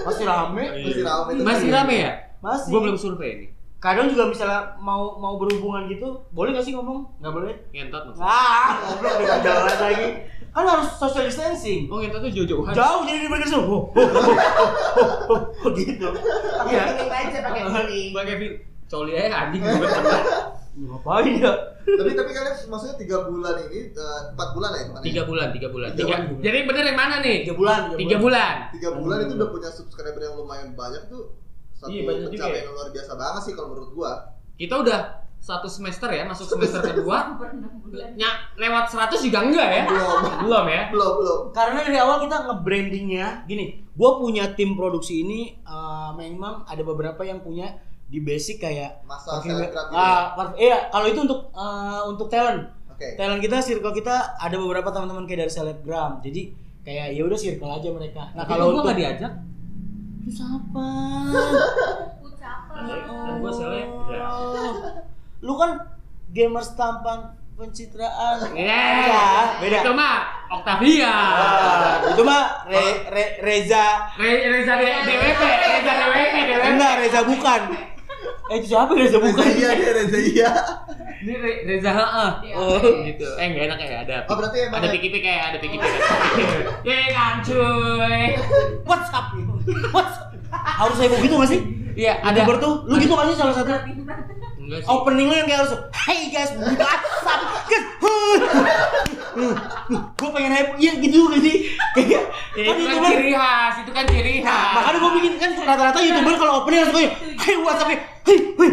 Speaker 3: masih rame.
Speaker 1: Masih rame itu.
Speaker 2: masih rame ya?
Speaker 3: Masih.
Speaker 2: Gua belum survei nih.
Speaker 3: Kadang juga misalnya mau mau berhubungan gitu, boleh gak sih ngomong? Nggak boleh.
Speaker 2: Ngentot maksudnya.
Speaker 3: Ah, goblok dengan jalan lagi. Kan harus social distancing.
Speaker 2: Oh, ngentot tuh jauh-jauhan.
Speaker 3: Jauh jadi di bagian sini. Oh, oh, oh, oh, oh, oh, gitu.
Speaker 7: Pakai
Speaker 3: Iya.
Speaker 7: feeling aja, pakai feeling.
Speaker 2: Gua kayak Fir- coli aja anjing gue pernah.
Speaker 3: Ngapain ya?
Speaker 1: tapi tapi kalian maksudnya tiga bulan ini eh, empat bulan ya kemarin?
Speaker 2: Tiga bulan, tiga bulan.
Speaker 1: Tiga
Speaker 2: Tiga.
Speaker 3: bulan.
Speaker 2: Jadi yang bener yang mana nih?
Speaker 3: Tiga bulan.
Speaker 2: Tiga bulan.
Speaker 1: Tiga bulan itu udah punya subscriber yang lumayan banyak tuh satu
Speaker 2: Iya, banyak juga
Speaker 1: pencapaian
Speaker 2: ya.
Speaker 1: yang luar biasa banget sih kalau menurut gua.
Speaker 2: Kita udah satu semester ya, masuk semester kedua.
Speaker 6: Hampir enam bulan.
Speaker 2: Ny- lewat 100 juga enggak ya?
Speaker 1: Belum,
Speaker 2: Belum ya?
Speaker 1: Eh, belum, belum.
Speaker 3: Karena dari awal kita nge-brandingnya gini, gue punya tim produksi ini eh, memang ada beberapa yang punya di basic kayak
Speaker 1: Masa
Speaker 3: Parfum-
Speaker 1: selebgram gitu. ya?
Speaker 3: ah, parfum- iya, kalau itu untuk eh, untuk talent.
Speaker 1: Oke.
Speaker 3: Talent kita circle kita ada beberapa teman-teman kayak dari selebgram. Jadi kayak ya udah circle aja mereka. Nah, kalau
Speaker 2: gua
Speaker 3: untuk
Speaker 2: nggak diajak,
Speaker 3: Lu siapa?
Speaker 6: Ucapan.
Speaker 2: Dan Kan gua ya? Iya. selebgram.
Speaker 3: Lu kan gamers tampan pencitraan.
Speaker 2: Iya,
Speaker 3: beda.
Speaker 2: Itu mah Octavia.
Speaker 3: Ah, itu mah Re- Re- Reza
Speaker 2: Re- Reza D- DWP, Reza DWP, DWP.
Speaker 3: enggak Reza bukan. Eh itu siapa Reza
Speaker 1: Reza
Speaker 3: bukan?
Speaker 1: iya, dia Reza iya.
Speaker 2: Ini Re- Reza heeh.
Speaker 6: Iya,
Speaker 2: Oh,
Speaker 6: oke.
Speaker 2: gitu. Eh enggak enak ya ada.
Speaker 1: Oh, berarti emang- Oh.
Speaker 2: ada pikipik kayak ada pikipik. <laughs> Ya kan cuy.
Speaker 3: What's up? What's up? Harus saya begitu gak sih?
Speaker 2: Iya, ada.
Speaker 3: Ada tuh, lu gitu gak sih salah satu?
Speaker 2: Enggak
Speaker 1: Oh,
Speaker 2: sih.
Speaker 3: Opening lu yang kayak harus Hey guys, what's up? <laughs> Guys, gue pengen hype, iya gitu gak sih? Kayak,
Speaker 1: kan
Speaker 2: kan
Speaker 1: Nah,
Speaker 3: Nah, kan rata-rata youtuber kalau opening langsung kayak hey what's up hey hey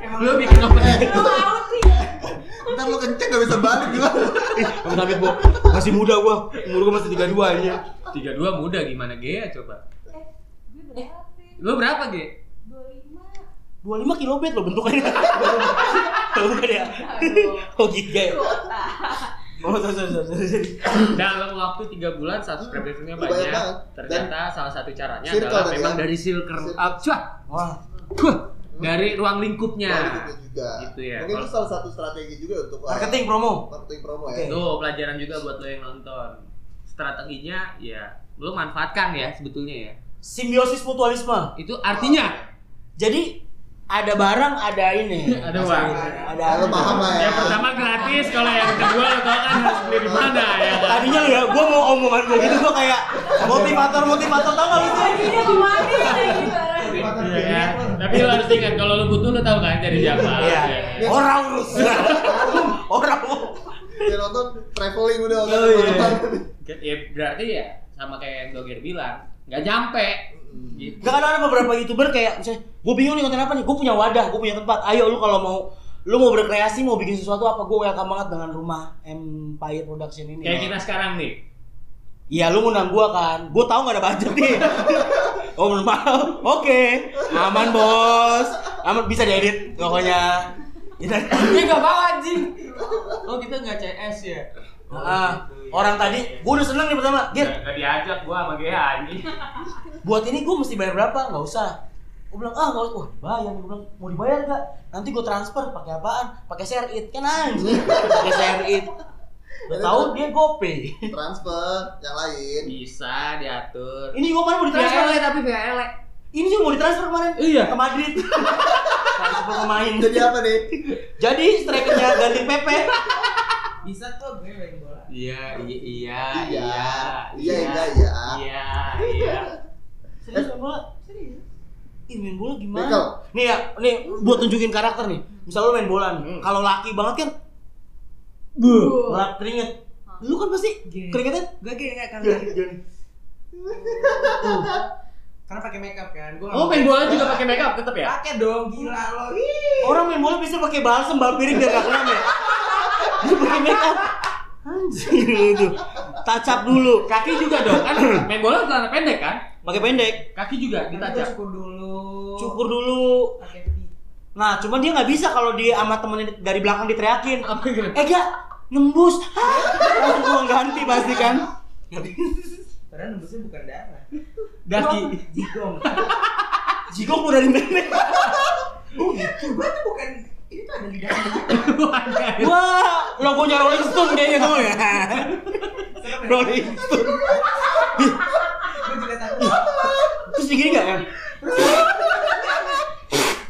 Speaker 7: Emang
Speaker 2: Lu bikin
Speaker 1: Eh.
Speaker 2: opening
Speaker 6: Lu out sih.
Speaker 1: Ntar lu kenceng gak bisa balik gimana?
Speaker 3: kamu sakit bu masih muda gua umur gua masih tiga dua aja
Speaker 2: 32 muda gimana Gea coba
Speaker 6: Eh, gue berapa sih?
Speaker 2: Lu berapa Ge?
Speaker 6: 25.
Speaker 3: dua lima kilobit loh bentukannya <laughs> tahu kan ya oh giga ya
Speaker 6: Kota.
Speaker 3: oh sorry sorry sorry sorry.
Speaker 2: <coughs> Dalam waktu 3 bulan subscribernya
Speaker 1: Banyak
Speaker 2: banyak
Speaker 1: banget.
Speaker 2: Ternyata salah satu caranya
Speaker 1: Circle
Speaker 2: adalah
Speaker 1: tadi
Speaker 2: memang
Speaker 1: kan?
Speaker 2: dari circle
Speaker 1: Circle.
Speaker 2: ah, cuah,
Speaker 3: wah
Speaker 2: cuah, Dari ruang lingkupnya
Speaker 1: Balik Nah, juga.
Speaker 2: Iya. Gitu ya.
Speaker 1: Mungkin itu salah satu strategi juga untuk uh,
Speaker 3: marketing promo
Speaker 1: marketing promo ya.
Speaker 3: Oke.
Speaker 2: Tuh pelajaran juga buat lo yang nonton Strateginya ya lo manfaatkan ya sebetulnya ya
Speaker 3: simbiosis mutualisme
Speaker 2: Itu artinya
Speaker 3: jadi ada barang ada ini
Speaker 2: <laughs> Ada barang.
Speaker 3: ada
Speaker 1: Ya, lu paham lah ya.
Speaker 2: Yang pertama gratis, kalau yang kedua lo tau kan harus beli di mana ya kan?
Speaker 3: tadinya lu ya gua mau omongan gua gitu gua kayak motivator motivator tau gak lu tuh
Speaker 6: Jadinya kemana lagi barang?
Speaker 2: Iya ya. Tapi lo harus ingat kalau lo butuh lo tahu kan dari siapa.
Speaker 3: Iya.
Speaker 2: ya kan?
Speaker 3: orang urus orang
Speaker 1: Dia nonton traveling udah
Speaker 3: Oh, iya.
Speaker 2: Ya berarti ya sama kayak yang Doger bilang, nggak nyampe. Gitu.
Speaker 3: Gak kadang ada beberapa youtuber kayak misalnya gue bingung nih konten apa nih, gue punya wadah, gue punya tempat. Ayo lu kalau mau lu mau berkreasi, mau bikin sesuatu apa gue welcome banget dengan rumah Empire Production ini.
Speaker 2: Kayak kita sekarang nih.
Speaker 3: Iya lu ngundang gue kan, gue tahu gak ada budget
Speaker 2: <laughs>
Speaker 3: nih. oh belum paham, oke, aman bos, aman bisa diedit pokoknya. Iya. Kita-
Speaker 5: Ini gak mau anjing. Oh kita gak CS ya.
Speaker 3: Ah, orang tadi gue udah seneng nih pertama, Gir,
Speaker 2: Nggak diajak gua sama Gea anjing.
Speaker 3: buat ini gue mesti bayar berapa? Gak usah. Gue bilang ah nggak usah, wah dibayar. Gue bilang mau dibayar gak? Nanti gue transfer pakai apaan? Pakai share it kan anjing. pakai share it. Udah tahu dia gopay.
Speaker 1: Transfer yang lain.
Speaker 2: Bisa diatur. Iya.
Speaker 3: Ini gue kemarin mau ditransfer
Speaker 2: VL
Speaker 3: ya?
Speaker 2: tapi VL.
Speaker 3: Ini juga mau ditransfer kemarin.
Speaker 2: Iya.
Speaker 3: Ke Madrid. transfer pemain.
Speaker 1: Jadi apa nih?
Speaker 3: Jadi strikernya ganti Pepe.
Speaker 7: bisa tuh gue main bola.
Speaker 2: Iya, iya, iya,
Speaker 1: Iya.
Speaker 2: iya,
Speaker 1: Iya, iya, iya.
Speaker 2: iya, iya.
Speaker 3: Eh? Serius main bola? Ih main bola gimana?
Speaker 1: Bekel.
Speaker 3: Nih ya, nih buat tunjukin karakter nih. Misal lu main bola nih,
Speaker 2: Hmm.
Speaker 3: kalau laki banget kan
Speaker 6: Buh.
Speaker 3: ngelap keringet. Lu kan pasti
Speaker 7: Geng.
Speaker 3: keringetan
Speaker 7: Gue kayak nggak kan karena pakai makeup kan. Gue
Speaker 2: <laughs> Oh, main bola juga pakai makeup tetap ya?
Speaker 7: Pakai dong gila lo. Ih.
Speaker 3: Orang main bola bisa pakai balsam bal piring biar gak kelam ya. Dia pakai make up. Anjir lu itu. Tacap dulu.
Speaker 2: Kaki juga dong <laughs> kan main bola celana pendek kan?
Speaker 3: Pakai pendek,
Speaker 2: Kaki juga
Speaker 7: Nanti gua
Speaker 2: ditacak.
Speaker 7: cukur dulu.
Speaker 3: cukur dulu.
Speaker 7: Pakai pi.
Speaker 3: Nah, cuman dia nggak bisa kalau dia sama temennya dari belakang diteriakin.
Speaker 2: Apa gitu?
Speaker 3: Eh gak, nembus. Hah? Langsung uang ganti pasti kan. Nggak bisa.
Speaker 7: Padahal nembusnya bukan darah.
Speaker 2: Daki.
Speaker 7: Jigong.
Speaker 2: Uh.
Speaker 3: Jigong udah dari pendek.
Speaker 7: Oh gitu. Gue tuh bukan itu ada lidahnya.
Speaker 2: <laughs>
Speaker 3: Wah, logonya Rolling Stone kayaknya tuh ya.
Speaker 7: Serem ya?
Speaker 3: Rolling Stone.
Speaker 7: Gue juga takut.
Speaker 3: Terus gini gak kan?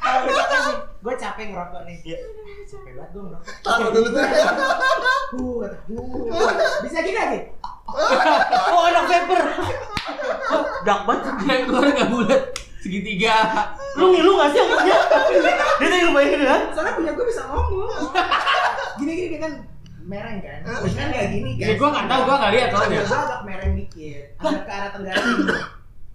Speaker 7: Kalau misalkan gue capek ngerokok nih.
Speaker 2: Iya.
Speaker 7: Capek banget gue ngerokok.
Speaker 1: Taruh dulu tuh. <laughs>
Speaker 7: Uh, kata, uh. Bisa gini lagi.
Speaker 3: Oh, anak paper. Wah, dark banget.
Speaker 2: <laughs> Yang keluar nggak bulat segitiga.
Speaker 3: lu ngilu gak sih anaknya? dia tadi ngebayangin ya
Speaker 7: Soalnya punya gue bisa
Speaker 2: <laughs>
Speaker 7: ngomong. Gini gini dia kan mereng kan. Gue kan kayak gini kan.
Speaker 2: Ya gue nggak tahu, gue nggak lihat soalnya.
Speaker 7: Gue agak mereng dikit. Agak ke arah tenggara.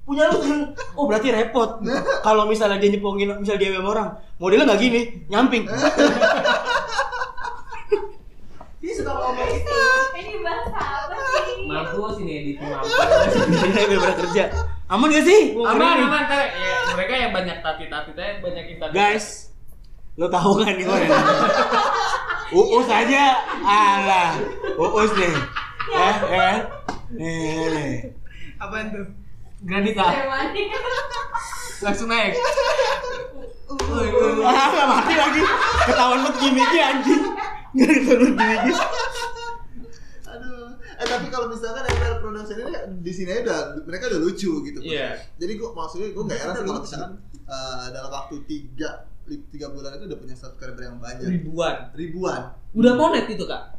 Speaker 3: punya lu kan oh berarti repot kalau misalnya dia nyepongin misalnya dia sama orang modelnya nggak gini nyamping
Speaker 7: Dia suka ngomong gitu.
Speaker 6: Ini bahasa apa sih?
Speaker 2: Mampus ini edit mampus.
Speaker 3: ini lebih berat kerja aman gak sih Gua
Speaker 2: Aman
Speaker 3: ngeri nih.
Speaker 2: aman ntar ya, mereka yang banyak tati tati tadi banyakin tati.
Speaker 3: guys lu tahu kan nih orang uus aja alah uus nih eh eh nih nih, nih
Speaker 7: Apaan tuh?
Speaker 2: Granita
Speaker 6: Jermani.
Speaker 2: langsung naik. Uh,
Speaker 3: ah nggak mati lagi ketahuan banget gimmicknya anjing nggak ketahuan gimmicknya
Speaker 1: Aduh. Eh tapi kalau misalkan ML production ini di sini aja udah mereka udah lucu gitu.
Speaker 2: Iya.
Speaker 1: Jadi gua maksudnya gua nggak heran sih kalau misalkan eh, dalam waktu tiga li- tiga bulan itu udah punya subscriber yang banyak
Speaker 2: Ribuan.
Speaker 1: ribuan.
Speaker 2: Udah monet itu kak?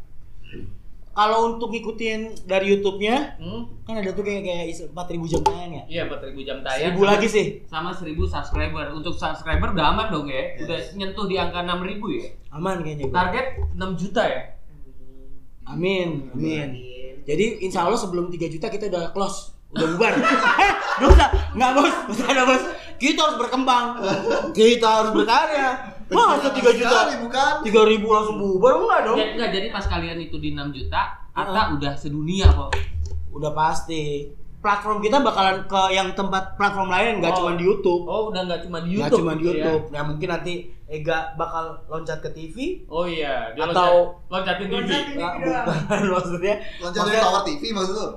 Speaker 3: kalau untuk ngikutin dari YouTube-nya
Speaker 2: Hmm?
Speaker 3: kan ada tuh kayak kayak is- 4000 jam tayang ya
Speaker 2: Iya 4000 jam tayang.
Speaker 3: seribu lagi sih
Speaker 2: sama 1000 subscriber. Untuk subscriber udah aman dong ya. Udah nyentuh di angka 6000 ya.
Speaker 3: aman kayaknya gue
Speaker 2: Target 6 juta ya.
Speaker 3: amin amin Jadi insya Allah sebelum 3 juta kita udah close, udah bubar. <laughs> Eh, dosa, nggak bos, dosa ada bos. Kita harus berkembang, kita harus berkarya. Masa 3 juta?
Speaker 1: Sekali, bukan?
Speaker 3: 3 ribu Iya. langsung bubar enggak dong?
Speaker 2: Ya, enggak, jadi pas kalian itu di 6 juta, Ata udah sedunia kok.
Speaker 3: Udah pasti. Platform kita bakalan ke yang tempat platform lain, nggak
Speaker 2: Oh.
Speaker 3: cuma di YouTube.
Speaker 2: Oh, udah nggak cuma di
Speaker 3: Nggak
Speaker 2: YouTube.
Speaker 3: cuma di
Speaker 2: gitu ya.
Speaker 3: YouTube. Nah mungkin nanti Ega bakal loncat ke TV.
Speaker 2: Oh iya, dia
Speaker 3: Atau-
Speaker 2: loncat, loncatin TV.
Speaker 7: Loncatin. Ini
Speaker 3: Nah,
Speaker 7: doang.
Speaker 3: bukan <laughs> maksudnya.
Speaker 1: Loncat dari
Speaker 3: maksudnya
Speaker 1: tower TV maksud lu?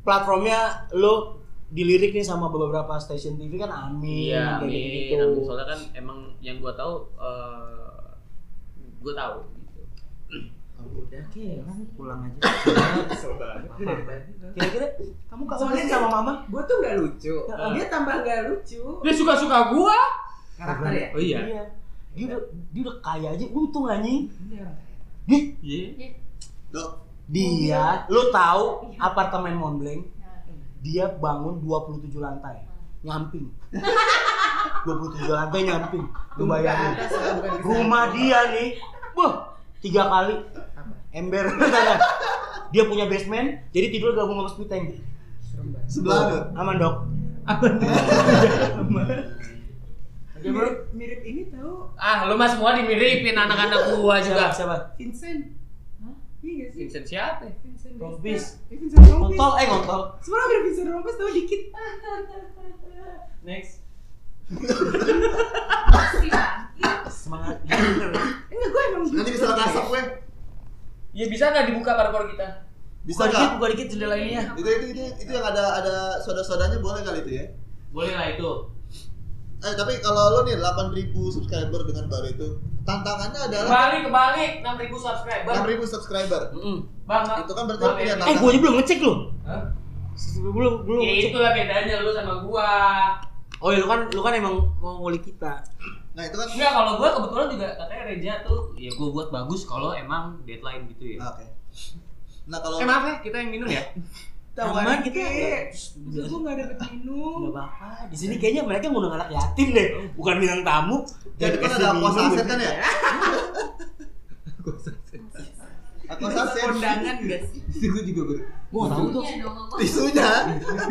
Speaker 3: platformnya lo dilirik nih sama beberapa stasiun TV kan amin
Speaker 2: Iya,
Speaker 3: kayak gitu.
Speaker 2: amin,
Speaker 3: gitu-gitu.
Speaker 2: amin. Soalnya kan emang yang gua tahu eh gua tahu gitu.
Speaker 7: Udah,
Speaker 3: pulang aja
Speaker 4: Kesel banget.
Speaker 3: kira-kira kamu gak
Speaker 7: Soalnya
Speaker 3: sih sama mama
Speaker 7: Gue tuh nggak lucu.
Speaker 3: Heeh.
Speaker 7: Dia tambah nggak lucu.
Speaker 2: Dia suka-suka gua.
Speaker 7: Karakter ya.
Speaker 2: Oh iya.
Speaker 3: dia udah dia udah kaya aja untung anjing
Speaker 7: Dia orang kaya.
Speaker 2: Iya.
Speaker 1: Dok,
Speaker 3: dia lu tahu apartemen Montblanc dia bangun 27 lantai nyamping 27 lantai nyamping lu bayangin
Speaker 7: Bukan atas, bukan di sana.
Speaker 3: rumah dia nih wah tiga kali
Speaker 7: Apa?
Speaker 3: ember dia punya basement jadi tidur gabung sama speed tank
Speaker 7: Serem banget.
Speaker 1: sebelah lu.
Speaker 3: aman dok <laughs>
Speaker 7: Mirip, mirip ini tau
Speaker 2: Ah, lu mah semua dimiripin anak-anak gua
Speaker 3: siapa
Speaker 2: juga.
Speaker 3: siapa
Speaker 7: Vincent. Hah? Iya nggak sih?
Speaker 2: Vincent siapa? ya?
Speaker 7: Vincent Desta.
Speaker 3: Robis.
Speaker 7: Eh, Vincent Robis.
Speaker 3: ngontol eh ngontol
Speaker 7: Sebenarnya mirip Vincent Robis tau dikit.
Speaker 2: Next.
Speaker 3: <coughs> semangat
Speaker 7: Enggak, gue emang
Speaker 1: Nanti bisa kasar gue.
Speaker 2: Ya bisa nggak dibuka paru-paru kita?
Speaker 1: Bisa
Speaker 3: buka dikit
Speaker 1: nggak?
Speaker 3: buka dikit jendela ya.
Speaker 6: Iya.
Speaker 3: ininya
Speaker 1: Itu itu itu itu yang ada ada soda-sodanya boleh kali itu ya.
Speaker 2: Boleh lah itu.
Speaker 1: Eh tapi kalau lu nih 8000 subscriber dengan baru itu tantangannya adalah
Speaker 2: Kembali kembali 6000 subscriber.
Speaker 1: 6000 subscriber.
Speaker 2: Bang, Bang.
Speaker 1: Itu kan berarti
Speaker 2: Bang,
Speaker 1: punya
Speaker 2: eh,
Speaker 3: eh gua aja belum ngecek lu
Speaker 2: Hah?
Speaker 3: belum belum
Speaker 2: Ya
Speaker 3: ngecek
Speaker 2: itulah bedanya lu sama gua.
Speaker 3: oh ya lu kan lu kan emang mau ngulik kita
Speaker 1: Nah, itu kan
Speaker 2: Enggak, kalau gua kebetulan juga katanya Reja tuh ya gua buat bagus kalau emang deadline gitu ya.
Speaker 1: Nah, Oke. Nah, kalau
Speaker 2: Eh maaf ya, kita yang minum ya.
Speaker 3: Aman,
Speaker 7: Tawaran
Speaker 3: kita-
Speaker 7: kita. Terus gue nggak dapet
Speaker 3: nggak
Speaker 7: minum.
Speaker 3: apa-apa di sini kayaknya mereka ngundang anak yatim deh bukan bintang tamu
Speaker 1: Ya, di depan
Speaker 3: Dikasih
Speaker 1: ada
Speaker 3: minum,
Speaker 1: aqua saset kan
Speaker 2: <laughs>
Speaker 1: ya? Aqua saset.
Speaker 7: Kondangan nggak sih?
Speaker 2: Itu gua juga baru.
Speaker 3: gua nggak tahu tuh
Speaker 6: Iya
Speaker 1: Tisunya.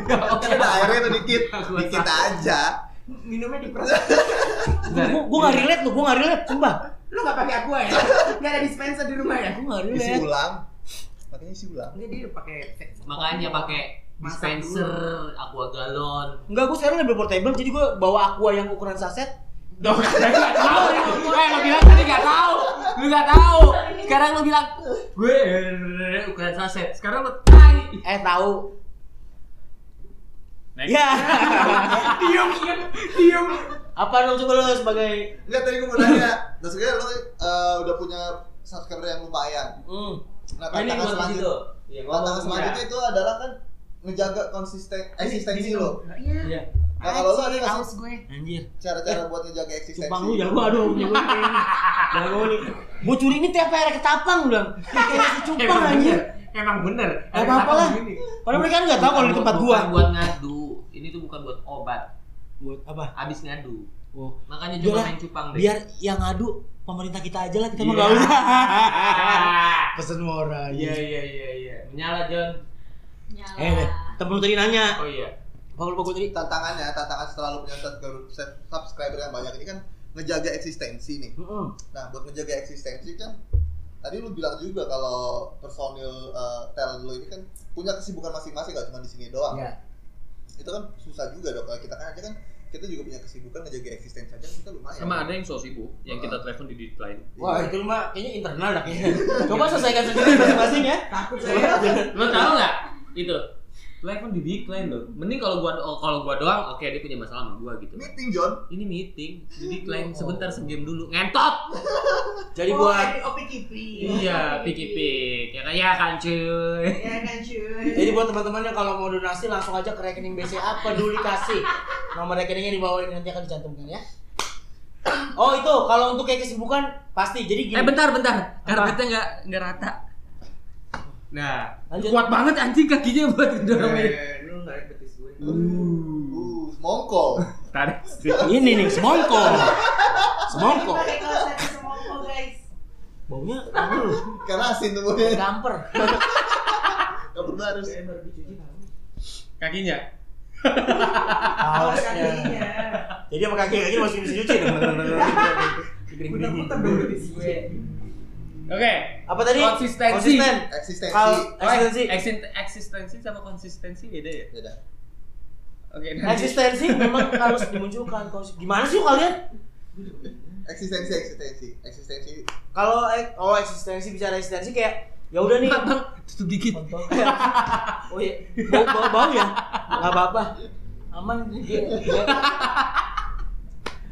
Speaker 1: Kan ada airnya tuh dikit. Dikit aja.
Speaker 7: Minumnya diperas.
Speaker 3: gua gua nggak ya? relate tuh gua nggak relate sumpah
Speaker 7: Lu nggak pakai aqua ya? Nggak ada dispenser di rumah ya?
Speaker 3: gua nggak
Speaker 2: Iya.
Speaker 1: Isi
Speaker 3: relate
Speaker 1: ulang. Makanya isi ulang.
Speaker 7: Enggak dia pakai
Speaker 2: Makanya pakai
Speaker 7: Masak
Speaker 2: dispenser, aqua galon.
Speaker 3: Enggak, gua sekarang lebih portable, jadi gua bawa aqua yang ukuran saset
Speaker 2: <laughs> Dong, saya nggak tahu. Eh, lo bilang tadi nggak tahu. Lu nggak tahu. Sekarang lo bilang, gue eh, ukuran saset. Sekarang lo tai.
Speaker 3: Eh, tahu
Speaker 2: Next.
Speaker 3: Ya
Speaker 7: Diam, diam.
Speaker 3: <laughs> Apa dong coba lu sebagai
Speaker 1: Enggak tadi gue mau nanya. Nah, sebenarnya lo eh, udah punya subscriber yang lumayan.
Speaker 3: hmm.
Speaker 1: Nah,
Speaker 2: Oh, ini
Speaker 1: tantangan
Speaker 2: gua di situ.
Speaker 1: selanjutnya,
Speaker 2: Iya, gua
Speaker 1: tantangan
Speaker 2: mau-
Speaker 1: selanjutnya itu adalah kan menjaga konsisten eksistensi lo.
Speaker 3: Iya
Speaker 1: Nah, kalau lo ada nggak sih
Speaker 7: Haus gue.
Speaker 3: Anjir
Speaker 1: cara-cara buat ngejaga eksistensi?
Speaker 3: Cupang lu jago aduh jago nih. Jago nih. Gua curi ini tiap hari ketapang udah. Kayak
Speaker 2: <laughs>
Speaker 3: si cupang
Speaker 2: Iya, Emang
Speaker 3: anjir.
Speaker 2: bener. Emang bener.
Speaker 3: Gak apa-apa lah. Padahal mereka kan enggak tahu kalau di
Speaker 2: Bukan-
Speaker 3: tempat gua.
Speaker 2: Bukan buat ngadu. Ini tuh bukan buat obat.
Speaker 3: Buat apa?
Speaker 2: Abis ngadu.
Speaker 3: Oh.
Speaker 2: Makanya
Speaker 3: Udah
Speaker 2: coba
Speaker 3: lah,
Speaker 2: main cupang deh.
Speaker 3: Biar yang ngadu pemerintah kita aja lah kita
Speaker 2: Iya.
Speaker 3: mah enggak
Speaker 2: <laughs>
Speaker 3: usah. Eh,
Speaker 2: Ah.
Speaker 3: Pesen moral.
Speaker 2: Iya iya iya iya. Menyala John.
Speaker 3: Eh, deh, temen lu tadi nanya.
Speaker 2: Oh iya.
Speaker 3: Apa lupa gua tadi?
Speaker 1: tantangannya tantangan setelah lu punya subscriber, subscriber yang banyak ini kan ngejaga eksistensi nih
Speaker 3: Heeh.
Speaker 1: nah buat ngejaga eksistensi kan tadi lu bilang juga kalau personil eh, tel lu ini kan punya kesibukan masing-masing gak cuma di sini doang
Speaker 3: Iya.
Speaker 1: itu kan susah juga dong kalau kita kan aja kan kita juga punya kesibukan ngejaga eksistensi aja kita lumayan
Speaker 2: Sama ada yang so sibuk yang kita
Speaker 1: Ah.
Speaker 2: telepon di deadline.
Speaker 3: Wah, itu mah kayaknya internal dah kayaknya. Coba selesaikan sendiri masing-masing ya.
Speaker 7: Takut saya.
Speaker 2: <laughs> Lo tau nggak? Itu. Telepon di decline loh. Mending kalau gua oh, kalau gua doang, oke dia punya masalah sama gua gitu.
Speaker 1: meeting John
Speaker 2: Ini meeting, di decline sebentar segame dulu. Ngentot.
Speaker 3: Jadi
Speaker 7: Oh,
Speaker 3: buat
Speaker 7: ada Opi Kipi.
Speaker 2: Iya, pik-pik. Ya kan ya kan cuy.
Speaker 7: Ya kan cuy.
Speaker 3: Jadi buat teman-teman yang kalau mau donasi langsung aja ke rekening BCA peduli kasih. Nomor rekeningnya di bawah ini nanti akan dicantumkan ya. Oh itu kalau untuk kayak kesibukan pasti jadi gini.
Speaker 2: Eh bentar bentar, karpetnya nggak nggak rata. Nah,
Speaker 3: Lanjut.
Speaker 2: kuat banget anjing kakinya buat dorongin.
Speaker 7: Eh, Lu nggak ikut betis gue.
Speaker 1: uh
Speaker 2: <laughs>
Speaker 1: mongko
Speaker 2: Tarik.
Speaker 3: Ini nih semongko. Semongko.
Speaker 7: Pakai kaos satu semongko guys.
Speaker 3: Baunya anu,
Speaker 1: karena asin tuh
Speaker 3: damper.
Speaker 1: Kabur barus.
Speaker 7: Yang baru dicuci tahu.
Speaker 2: kakinya
Speaker 3: Hausnya.
Speaker 2: ya.
Speaker 7: Kakinya.
Speaker 3: Jadi sama kaki kaki masukin mesin cuci.
Speaker 7: Puter-puter dong di
Speaker 2: Iya.
Speaker 7: gue.
Speaker 2: oke
Speaker 3: Apa tadi?
Speaker 2: Konsistensi.
Speaker 3: Konsisten.
Speaker 1: Eksistensi.
Speaker 3: Kal-
Speaker 2: Oh,
Speaker 3: eksistensi.
Speaker 2: eksin- eksistensi sama konsistensi beda ya
Speaker 1: Beda.
Speaker 2: oke nanti.
Speaker 3: Eksistensi memang harus dimunculkan. Konsis- Gimana sih kalian?
Speaker 1: Eksistensi, eksistensi, eksistensi.
Speaker 3: Kalau ek- oh eksistensi bicara eksistensi kayak ya udah nih.
Speaker 2: Bang, tutup dikit
Speaker 3: <laughs> Kontol. Oh iya, bau, bau, bau ya? Gak apa-apa Aman Iya,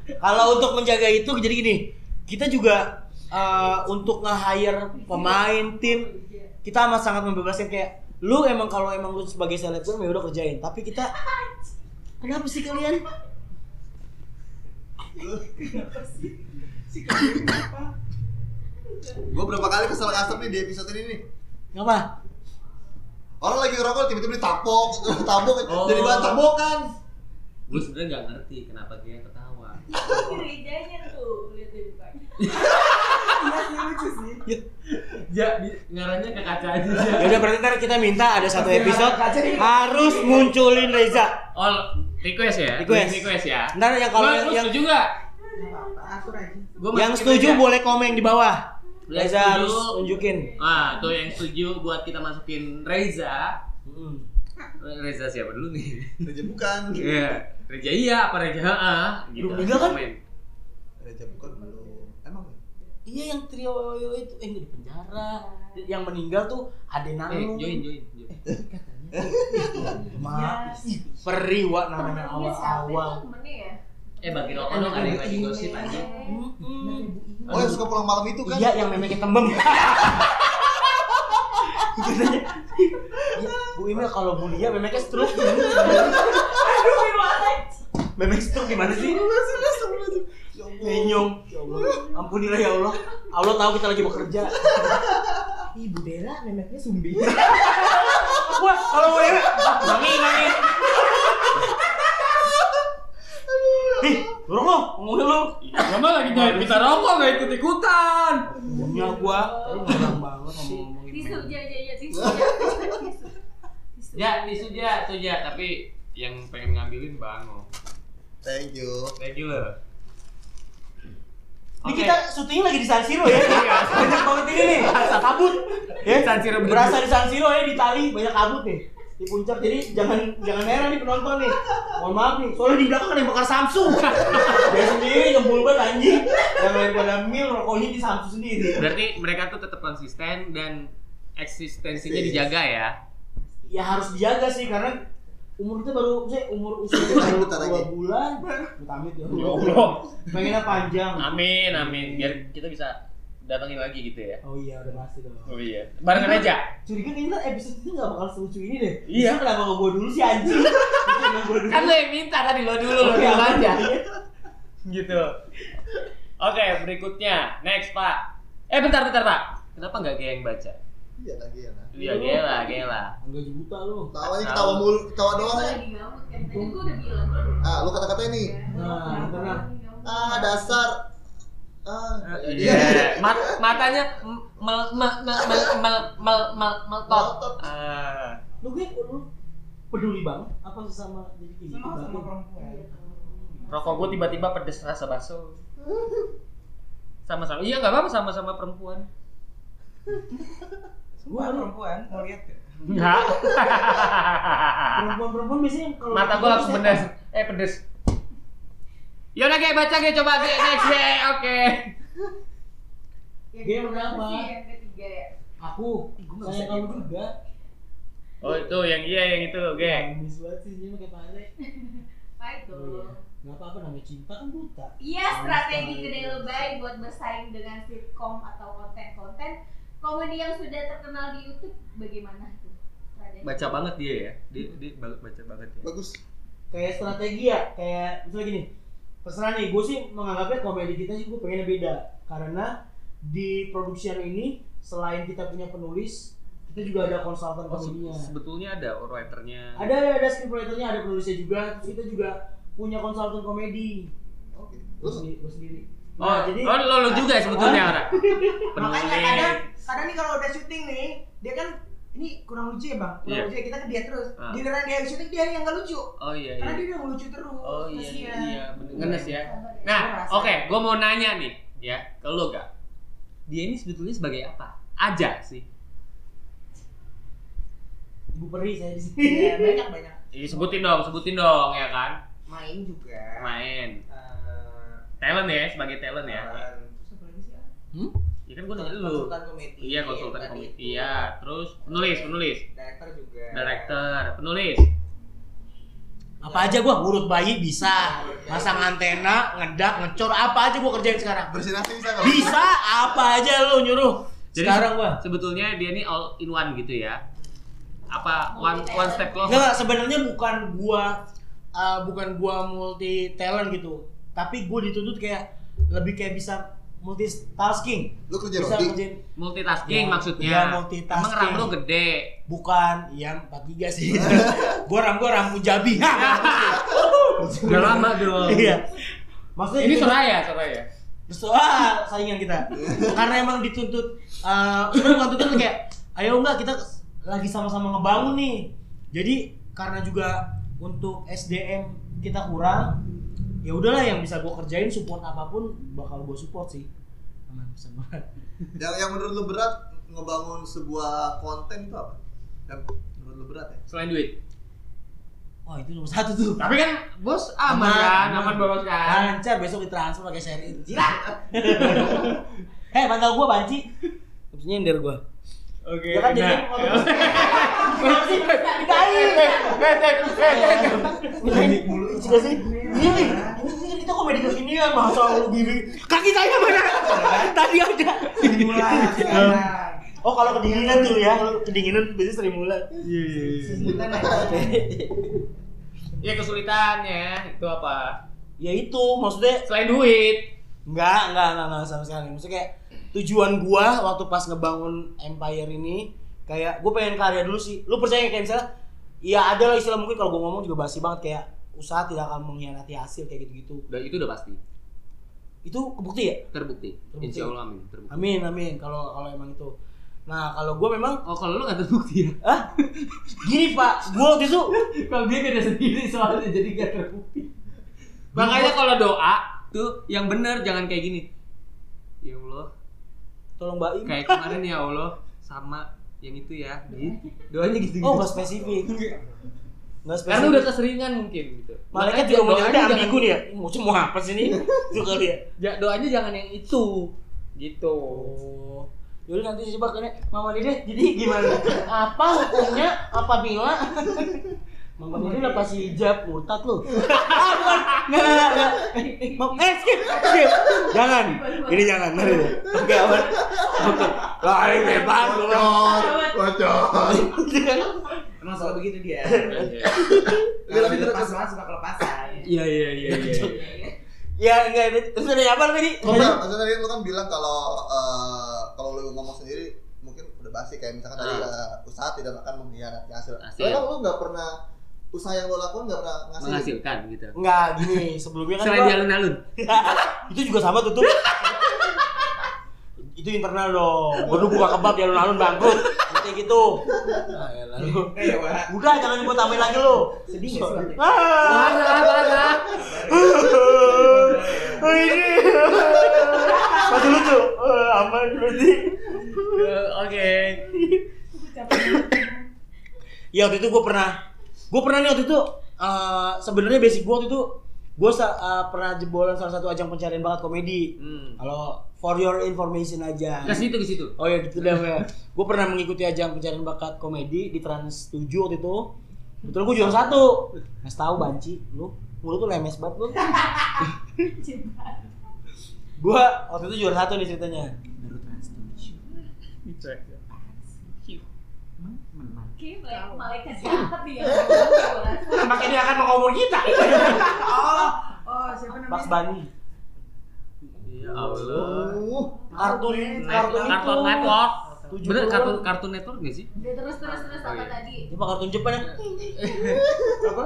Speaker 3: Kalau untuk menjaga itu jadi gini Kita juga eh, untuk nge-hire pemain, tim Kita amat sangat membebaskan kayak Lu emang kalau emang lu sebagai selebgram ya udah kerjain Tapi kita Kenapa sih kalian?
Speaker 7: Si kaki apa?
Speaker 1: Gue berapa kali kesel custom nih di episode ini nih.
Speaker 3: Kenapa?
Speaker 1: Orang lagi ngerokok tiba-tiba ditapok, <laughs> tabok,
Speaker 2: Oh.
Speaker 1: jadi bahan tabokan.
Speaker 2: gue sebenarnya nggak ngerti kenapa dia ketawa
Speaker 6: gerejanya tuh lihat dia bukanya
Speaker 7: Iya sih lucu sih.
Speaker 2: <laughs> ya di- ngarahnya ke kaca aja ya
Speaker 3: Ya udah berarti ntar kita minta ada satu
Speaker 7: Pasti
Speaker 3: episode
Speaker 7: ngarah kaca nih.
Speaker 3: harus munculin Reza.
Speaker 2: <laughs> all request ya
Speaker 3: Request.
Speaker 2: request ya
Speaker 3: Ntar yang kalau
Speaker 2: Gua-
Speaker 3: yang,
Speaker 2: gua
Speaker 3: yang,
Speaker 2: setuju nggak?
Speaker 7: Nggak apa-apa, atur aja.
Speaker 2: Gua
Speaker 3: yang
Speaker 2: masukin
Speaker 3: setuju
Speaker 2: aja.
Speaker 3: boleh komen di bawah.
Speaker 2: Yang
Speaker 3: Reza
Speaker 2: setuju.
Speaker 3: harus tunjukin.
Speaker 2: Ah, tuh yang setuju buat kita masukin Reza.
Speaker 3: Mm.
Speaker 2: Reza siapa dulu nih?
Speaker 1: Reja bukan.
Speaker 2: Iya. <laughs> Reza iya apa Reza ha? Gitu.
Speaker 3: Lu bilang kan?
Speaker 2: Komen.
Speaker 1: Reja bukan belum. Emang ya?
Speaker 3: Iya yang trio Yoyo itu eh di penjara. Yang meninggal tuh Ade
Speaker 2: Eh,
Speaker 3: Nanu. Iya.
Speaker 2: join join join.
Speaker 3: Ma, periwa namanya
Speaker 6: temennya Iya, siapa itu
Speaker 3: awal-awal.
Speaker 6: temennya ya Iya.
Speaker 2: Eh, bagi rokok dong ada yang lagi gosip
Speaker 3: Iya.
Speaker 2: aja. Hmm.
Speaker 3: Mm-mm.
Speaker 1: Oh, yang suka pulang malam itu kan?
Speaker 3: Iya yang memangnya <laughs> tembem. Katanya, "Iya, Bu Imel kalau Bu Lia memangnya stroke gimana?
Speaker 7: Aduh, Firwan.
Speaker 3: Memek stroke gimana
Speaker 1: Ya
Speaker 3: sih?
Speaker 1: Allah.
Speaker 3: Nenyong. Ya Allah, ampunilah ya Allah. Allah tahu kita lagi bekerja. Ibu Bella memangnya sumbi. Wah, kalau Ah, Bu Bella, mami, mami. Ih, buruk lo, ngomongin lo.
Speaker 2: Sama lagi join kita rokok nggak ikut ikutan.
Speaker 3: Punya Iya, gua, lu ngomong gitu. Iya. banget ngomong-ngomongin.
Speaker 6: Iya. tisu
Speaker 3: memang.
Speaker 6: ya ya ya tisu ya tisu. Tisu.
Speaker 2: Ya,
Speaker 3: Iya.
Speaker 2: tisu ja, tuh ja, tapi yang pengen ngambilin Bango.
Speaker 1: Thank you.
Speaker 2: Thank you loh.
Speaker 3: Ini kita syutingnya lagi di San Siro ya. banyak banget ini nih. Kabut. Ya,
Speaker 2: San Siro bener.
Speaker 3: Berasa di San Siro ya di Itali banyak kabut nih. Di puncak jadi jangan jangan merah nih penonton nih. Mohon maaf nih. Soalnya di belakang ada yang bakar Samsung. Dia sendiri ngebul banget anjing. Yang lain pada mil rokoknya di Samsung sendiri.
Speaker 2: Berarti mereka tuh tetap konsisten dan eksistensinya
Speaker 1: Eksis.
Speaker 2: dijaga ya.
Speaker 3: Ya harus dijaga sih karena umur kita baru saya umur usia kita baru
Speaker 1: Bentar lagi.
Speaker 3: dua bulan. Amit ya.
Speaker 2: Ya Allah.
Speaker 3: Pengennya panjang.
Speaker 2: Amin, amin. Biar kita bisa datangin lagi gitu ya.
Speaker 3: Oh iya udah pasti dong.
Speaker 2: Oh iya. Bareng aja.
Speaker 3: Curiga kayaknya episode ini gak bakal selucu ini deh
Speaker 2: Iya.
Speaker 3: Justru kenapa gak gue dulu sih
Speaker 2: <laughs>
Speaker 3: anjing Kenapa gua dulu?
Speaker 2: Kan lo yang minta tadi lo dulu lo
Speaker 3: Oke,
Speaker 2: dulu
Speaker 3: aman
Speaker 2: aja.
Speaker 3: ya.
Speaker 2: Gitu. Oke, berikutnya. Next, Pak. Eh, bentar, bentar, Pak. Kenapa nggak gaya yang baca?
Speaker 1: Iya lagi ya. Nah.
Speaker 2: Iya, gela, gela.
Speaker 3: Enggak juta lu
Speaker 1: Tawanya ketawa mulu, ketawa doang ya.
Speaker 6: lagi gabut kan tadi gua udah bilang
Speaker 1: Ah, lu kata-kata ini.
Speaker 3: Nah, tenang.
Speaker 1: Ah, dasar. Ah,
Speaker 2: Iya. Mat- matanya m- mel mel mel mel mel mel mel
Speaker 1: Melotot.
Speaker 2: meltot. Ah.
Speaker 3: Lu gue lu peduli banget apa sesama gitu, diri kita
Speaker 7: Sama sama perempuan.
Speaker 2: Rokok gue tiba-tiba pedes rasa baso. Sama-sama. Iya, nggak apa-apa sama-sama perempuan.
Speaker 3: Gua
Speaker 7: Gua perempuan, mau lihat gak?
Speaker 2: Enggak.
Speaker 3: Perempuan-perempuan biasanya kalau
Speaker 2: <laughs> Mata gua langsung pedes. Eh pedes. Ya udah kayak baca kayak coba Ge. next Ge. oke.
Speaker 3: Dia berapa?
Speaker 6: Sih, yang ketiga ya
Speaker 3: Aku Saya kamu
Speaker 2: gitu.
Speaker 3: juga
Speaker 2: Oh itu yang iya yang itu Ge.
Speaker 3: Amis banget sih dia pakai pare
Speaker 6: pahit
Speaker 2: Oh iya.
Speaker 3: Oh,
Speaker 6: tuh
Speaker 3: Gak apa-apa namanya cinta kan buta
Speaker 6: Iya, strategi kedai lebay buat bersaing dengan sitkom atau konten-konten komedi yang sudah terkenal di YouTube bagaimana tuh? Strategi.
Speaker 2: Baca banget dia ya. Dia dia ba- baca banget ya.
Speaker 1: Bagus.
Speaker 3: kayak strategi ya kayak misalnya gini terserah nih gue sih menganggapnya komedi kita sih gue pengennya beda karena di produksian ini selain kita punya penulis kita juga ada konsultan
Speaker 2: Oh, se-
Speaker 3: komedinya
Speaker 2: sebetulnya ada writernya.
Speaker 3: ada ada ada scriptwriternya ada penulisnya juga terus kita juga punya konsultan komedi
Speaker 1: Oke.
Speaker 3: gue
Speaker 1: Terus
Speaker 3: sendiri, gua sendiri. Nah,
Speaker 2: Oh,
Speaker 7: Nah,
Speaker 2: oh lo,
Speaker 7: <laughs>
Speaker 2: lo juga ya sebetulnya orang.
Speaker 7: Makanya kadang
Speaker 2: Penulis.
Speaker 7: kadang nih kalau udah syuting nih, dia kan ini kurang lucu ya bang kurang
Speaker 2: Iya.
Speaker 7: lucu ya kita ke dia terus
Speaker 2: Ah.
Speaker 7: giliran dia syuting dia yang nggak lucu
Speaker 2: Oh iya
Speaker 7: karena
Speaker 2: iya.
Speaker 7: dia udah ngelucu terus
Speaker 2: Oh iya iya,
Speaker 7: kasihan.
Speaker 2: iya. bener. Ngenes ya.
Speaker 6: Sabar ya.
Speaker 2: Nah,
Speaker 7: Ngerasa.
Speaker 2: oke, gue mau nanya nih, ya, ke lo gak? Dia ini sebetulnya sebagai apa? Aja sih.
Speaker 3: Ibu peri saya di sini.
Speaker 2: <laughs>
Speaker 7: Iya, banyak banyak
Speaker 2: Ih, sebutin dong, sebutin dong ya kan.
Speaker 7: main juga
Speaker 2: Main.
Speaker 7: Eh,
Speaker 2: Talent ya, sebagai talent ya.
Speaker 7: dan- terus apa lagi sih ah?
Speaker 2: Ya kan gue nanya lu.
Speaker 7: Iya. konsultan komedi
Speaker 2: Iya, konsultan
Speaker 7: tadi
Speaker 2: komedi.
Speaker 7: itu.
Speaker 2: Iya, terus penulis, penulis,
Speaker 7: director juga
Speaker 2: director, penulis.
Speaker 3: Apa aja gua ngurut bayi bisa. Masang antena, ngedak, ngecor apa aja gua kerjain sekarang.
Speaker 1: Bersinasi bisa nggak?
Speaker 3: Bisa apa aja lu nyuruh.
Speaker 2: Jadi-
Speaker 3: sekarang gua.
Speaker 2: Sebetulnya dia ini all in one gitu ya. Apa one one step
Speaker 3: Enggak,
Speaker 2: closer?
Speaker 3: enggak, sebenarnya bukan gua eh, bukan gua multi talent gitu. Tapi gua dituntut kayak lebih kayak bisa multitasking.
Speaker 1: Lu kerja
Speaker 3: Bisa
Speaker 1: roti.
Speaker 3: ngerjain
Speaker 2: Multitasking
Speaker 3: Ya,
Speaker 2: maksudnya.
Speaker 3: iya, multitasking.
Speaker 2: Emang ram lu gede.
Speaker 3: bukan iya 43 sih. gua ram gua ramu jabi. <laughs>
Speaker 2: Udah lama <laughs> dong.
Speaker 3: Iya. Maksudnya
Speaker 2: Ini
Speaker 3: gitu.
Speaker 2: Soraya, Soraya.
Speaker 3: Soal ah, saingan kita. Karena emang dituntut eh sebenarnya bukan tuntut kayak ayo enggak kita lagi sama-sama ngebangun nih. Jadi karena juga untuk SDM kita kurang, ya udahlah yang bisa gue kerjain support apapun bakal gue support sih. Aman pesan gua.
Speaker 1: Yang yang menurut lu berat ngebangun sebuah konten itu apa? Yang menurut lu berat ya?
Speaker 2: Selain duit.
Speaker 3: Wah itu nomor satu tuh.
Speaker 2: Tapi kan bos aman, kan, aman bos kan.
Speaker 3: Lancar besok ditransfer pakai seri. Gila. Hei, bantal Eh, gua banci. Terus nyender gua.
Speaker 2: Oke.
Speaker 3: Ya kan jadi
Speaker 2: Iya. Eh,
Speaker 1: Gimik mulu.
Speaker 3: juga sih. Iya nih, ini kan kita komedi kesinian masa lu gini. Kaki saya <laughs> mana? Tadi ada.
Speaker 7: Semula,
Speaker 2: <laughs>
Speaker 7: sekarang.
Speaker 3: Oh kalau kedinginan tuh ya, kalau kedinginan biasanya sering mulai.
Speaker 4: Iya iya iya.
Speaker 7: Sebutan
Speaker 2: <laughs>
Speaker 7: aja.
Speaker 2: Ya kesulitannya itu apa?
Speaker 3: Ya itu maksudnya
Speaker 2: Selain duit.
Speaker 3: enggak, enggak, enggak, enggak sama sekali. Maksudnya kayak tujuan gua waktu pas ngebangun empire ini kayak gua pengen karya dulu sih. Lu percaya nggak? kayak misalnya ya ada lah istilah mungkin kalau gua ngomong juga basi banget kayak usaha tidak akan mengkhianati hasil kayak gitu-gitu.
Speaker 2: Udah, itu udah pasti.
Speaker 3: Itu kebukti ya?
Speaker 2: Terbukti.
Speaker 3: Terbukti.
Speaker 2: Insya Allah amin. Terbukti.
Speaker 3: Amin amin kalau kalau emang itu. Nah, kalau gua memang
Speaker 2: Oh kalau lu nggak terbukti ya?
Speaker 3: ah gini Pak, gua waktu itu
Speaker 2: kalau dia beda sendiri soalnya jadi nggak terbukti. Makanya kalau doa tuh yang bener jangan kayak gini. Ya Allah,
Speaker 3: tolong Mbak Im.
Speaker 2: kayak kemarin ya Allah sama yang itu ya. Gitu. Doanya gitu.
Speaker 3: Oh, enggak spesifik. Enggak spesifik.
Speaker 2: Karena udah keseringan mungkin gitu.
Speaker 3: Malaikat
Speaker 2: Makanya
Speaker 3: juga mau
Speaker 2: doanya
Speaker 3: nyari
Speaker 2: jangan-
Speaker 3: ambigu nih ya. Ih, Mau semua apa sih ini? Itu kali ya.
Speaker 2: Ja- doanya jangan yang itu gitu
Speaker 3: Oh. Yaudah nanti coba kena Mama Dede. Jadi gimana? apa hukumnya apabila <laughs> Mama Dede udah pasti hijab murtad <laughs> lu. ah, bukan. Enggak, enggak, enggak. Mam- Eh, skip, skip. Jangan. Ini jangan, mari. deh. Oke, aman. Oke. Lah, ini bebas lu.
Speaker 1: <laughs> Bocor, bocor.
Speaker 7: Emang suka begitu dia.
Speaker 1: Iya,
Speaker 7: Kalau
Speaker 1: tapi
Speaker 7: dilepas
Speaker 1: terus-
Speaker 7: banget suka kelepasan.
Speaker 2: iya iya iya
Speaker 3: Ya, enggak ini. Terus ada apa tadi?
Speaker 1: Enggak, maksudnya tadi lu kan bilang kalau eh, kalau lu ngomong sendiri mungkin udah basi kayak misalkan tadi eh, usaha tidak akan mengkhianati hasil.
Speaker 2: Hasil.
Speaker 1: Soalnya kan lu nggak pernah usaha yang lu lakukan nggak pernah ngasih.
Speaker 2: menghasilkan gitu
Speaker 3: Enggak, gini. Sebelumnya kan
Speaker 2: selain
Speaker 3: gua-
Speaker 2: di alun-alun
Speaker 3: <laughs> itu juga sama tutup itu internal dong baru buka kebab di alun-alun bangkrut kayak gitu nah, ya lalu
Speaker 7: Eh, ya, Wak.
Speaker 3: udah jangan gue tambahin lagi lo
Speaker 7: Sedih nggak sih, Wak?
Speaker 3: ah
Speaker 2: parah parah
Speaker 3: oh, ini masih lucu Eh, aman berarti
Speaker 2: oke
Speaker 3: ya waktu itu gue pernah gue pernah nih waktu itu eh, sebenarnya basic gue waktu itu gue pernah jebolan salah satu ajang pencarian bakat komedi
Speaker 2: hmm.
Speaker 3: kalau for your information aja
Speaker 2: ke situ ke situ
Speaker 3: Oh ya gitu dah ya. Gue pernah mengikuti ajang pencarian bakat komedi di Trans 7 waktu itu. Betul gue juara satu. Mas tahu banci lu. Mulut tuh lemes banget lu. gue waktu itu juara satu nih ceritanya.
Speaker 7: Baru trans tujuh. Emang menang.
Speaker 6: Kayaknya malaikat- malaikat jahat ya. Gua rasa.
Speaker 3: Makanya dia akan mau ngomong kita.
Speaker 7: Oh, oh siapa
Speaker 3: Mas
Speaker 7: namanya?
Speaker 3: Bani.
Speaker 2: ya Allah
Speaker 1: Uh,
Speaker 3: Kartun kartun itu.
Speaker 2: kartun network
Speaker 3: Tujuh
Speaker 2: bener
Speaker 3: puluhan.
Speaker 2: kartun kartun network gak sih
Speaker 6: Udah terus terus terus
Speaker 2: Oh,
Speaker 6: apa
Speaker 2: iya. <laughs>
Speaker 6: tadi?
Speaker 3: Cuma kartun Jepang <laughs> ya.
Speaker 7: Apa?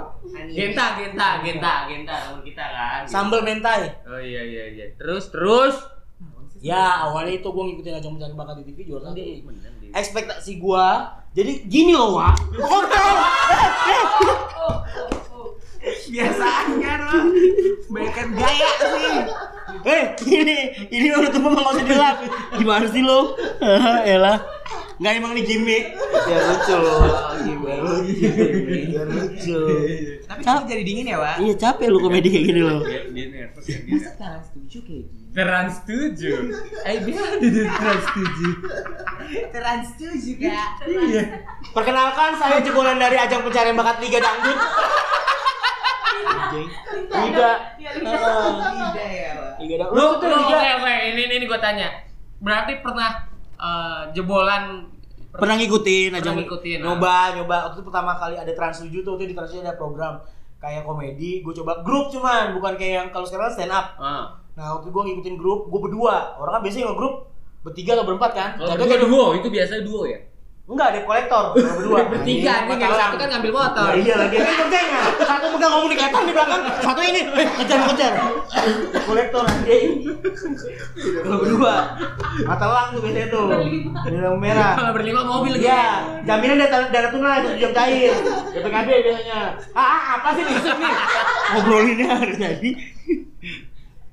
Speaker 2: genta genta genta genta teman kita kan
Speaker 3: Sambal mentai.
Speaker 2: oh iya iya iya terus terus
Speaker 3: Ya awalnya itu gue ngikutin ajang pencarian bakat di TV juara satu.
Speaker 2: menang dia
Speaker 3: ekspektasi gua jadi gini loh Wak hotel
Speaker 6: Oh, oh, oh.
Speaker 7: Biasaan kan lo. Banyakan gaya sih.
Speaker 3: <laughs> eh ini ini udah tuh nggak usah dilap gimana sih lo <laughs> Elah nggak emang nih gimmick ya lucu loh biar lucu
Speaker 7: Tapi kamu jadi dingin ya, Wak?
Speaker 3: <laughs> iya capek lo komedi kayak gini lo
Speaker 4: Dia, dia nervous ya dia.
Speaker 7: Masa trans tujuh kayak gini?
Speaker 4: Trans tujuh.
Speaker 7: Eh, biar
Speaker 4: Dia trans tujuh.
Speaker 7: trans tujuh kak.
Speaker 4: Iya.
Speaker 3: perkenalkan saya jebolan dari ajang pencarian bakat Liga Dangdut Anjing. Liga
Speaker 6: Iya,
Speaker 3: Ah,
Speaker 7: Tidak Oh, ya, Wak.
Speaker 3: Liga Dangdut
Speaker 2: Lu
Speaker 3: Lu
Speaker 2: tuh
Speaker 3: tuh
Speaker 2: oke
Speaker 3: Liga
Speaker 2: oke ini ini, ini gue tanya. Berarti pernah eh, jebolan
Speaker 3: pernah ngikutin aja
Speaker 2: Pernah ngikutin, ah.
Speaker 3: nyoba nyoba waktu itu pertama kali ada trans 7 tuh waktu itu di trans 7 ada program kayak komedi gue coba grup cuman bukan kayak yang kalau sekarang stand up
Speaker 2: Ah.
Speaker 3: nah waktu gue ngikutin grup gue berdua orang kan biasanya kalau grup bertiga atau berempat kan
Speaker 2: Kalau
Speaker 3: Jatuh
Speaker 2: Oh, berdua
Speaker 3: kayak-
Speaker 2: duo, itu biasanya duo ya?
Speaker 3: enggak ada
Speaker 2: <laughs>
Speaker 3: kolektor kalau berdua Nah,
Speaker 2: Bertiga
Speaker 3: Anjing,
Speaker 2: anjing,
Speaker 3: empat
Speaker 2: yang
Speaker 3: orang.
Speaker 2: satu kan ngambil motor
Speaker 3: Ya, iya lagi ini kerjanya satu pegang komunikatan di belakang satu ini eh kejar kejar kolektor anjing kalau berdua mata lang tuh biasanya tuh ini yang merah
Speaker 2: Kalau berlima mobil gitu
Speaker 3: Iya, jaminan data data tunai itu jam cair. BPKB biasanya. Ah, ah, apa sih nih iseng nih? Ngobrolinnya <laughs> harus jadi.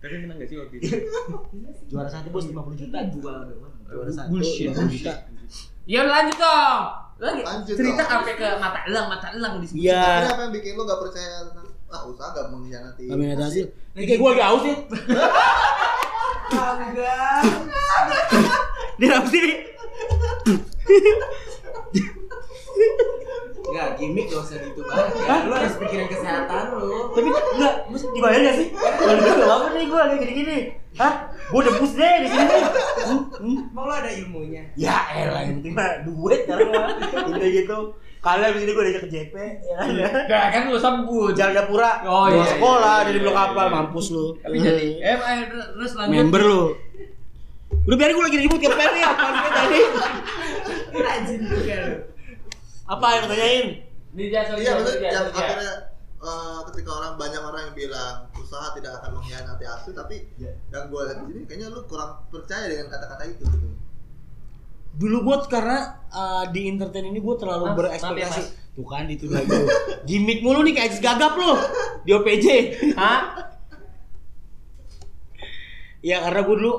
Speaker 4: Tapi menang gak sih waktu itu?
Speaker 3: Juara satu bos 50 juta jual doang. Juara satu.
Speaker 4: Bullshit.
Speaker 3: 50 juta.
Speaker 2: Ya lanjut dong. Lagi
Speaker 1: Lanjut
Speaker 2: cerita
Speaker 1: dong.
Speaker 2: sampai ke mata elang, mata elang di
Speaker 3: Iya.
Speaker 1: Akhirnya apa yang bikin lo gak percaya tentang ah usaha gak mengkhianati
Speaker 3: Kami ada hasil. Ini kayak gua lagi haus ya. <laughs>
Speaker 7: Oh, Bangga.
Speaker 3: Di rapi sini.
Speaker 7: Enggak, gimmick gak usah gitu banget ya. Lu harus pikirin kesehatan lu.
Speaker 3: Tapi enggak, mesti dibayar enggak sih? Kalau dibayar enggak apa nih gua lagi gini-gini. Hah? Gua debus deh di sini. nih. Hmm, hmm.
Speaker 7: Emang lu ada ilmunya?
Speaker 3: Ya elah, yang penting mah duit sekarang mah. <laughs> Udah gitu. Kalian di sini gua diajak ke JP, ya kan ya.
Speaker 2: Nah, kan lu sebut.
Speaker 3: Jalan Japura,
Speaker 2: Oh,
Speaker 3: dua
Speaker 2: iya, iya,
Speaker 3: sekolah,
Speaker 4: iya,
Speaker 3: jadi blok
Speaker 4: iya,
Speaker 3: kapal,
Speaker 4: iya.
Speaker 3: mampus lu.
Speaker 2: Tapi jadi eh eh, terus lanjut.
Speaker 3: member lu. Udah biarin gue lagi ribut ke pen nih apa sih tadi?
Speaker 7: Rajin juga lu.
Speaker 3: Apa yang tanyain?
Speaker 2: Di jasa
Speaker 1: Iya maksudnya yang akhirnya eh, ketika orang banyak orang yang bilang usaha tidak akan mengkhianati hasil tapi yang gue lihat di sini kayaknya lu kurang percaya dengan kata-kata itu gitu.
Speaker 3: Dulu gue karena uh, di entertain ini gue terlalu
Speaker 2: Mas, maaf
Speaker 3: berekspektasi.
Speaker 2: ya,
Speaker 3: Tuh kan itu lagi. Gimik mulu nih kayak Ajis gagap lu di OPJ.
Speaker 2: Hah?
Speaker 3: Ya karena gue dulu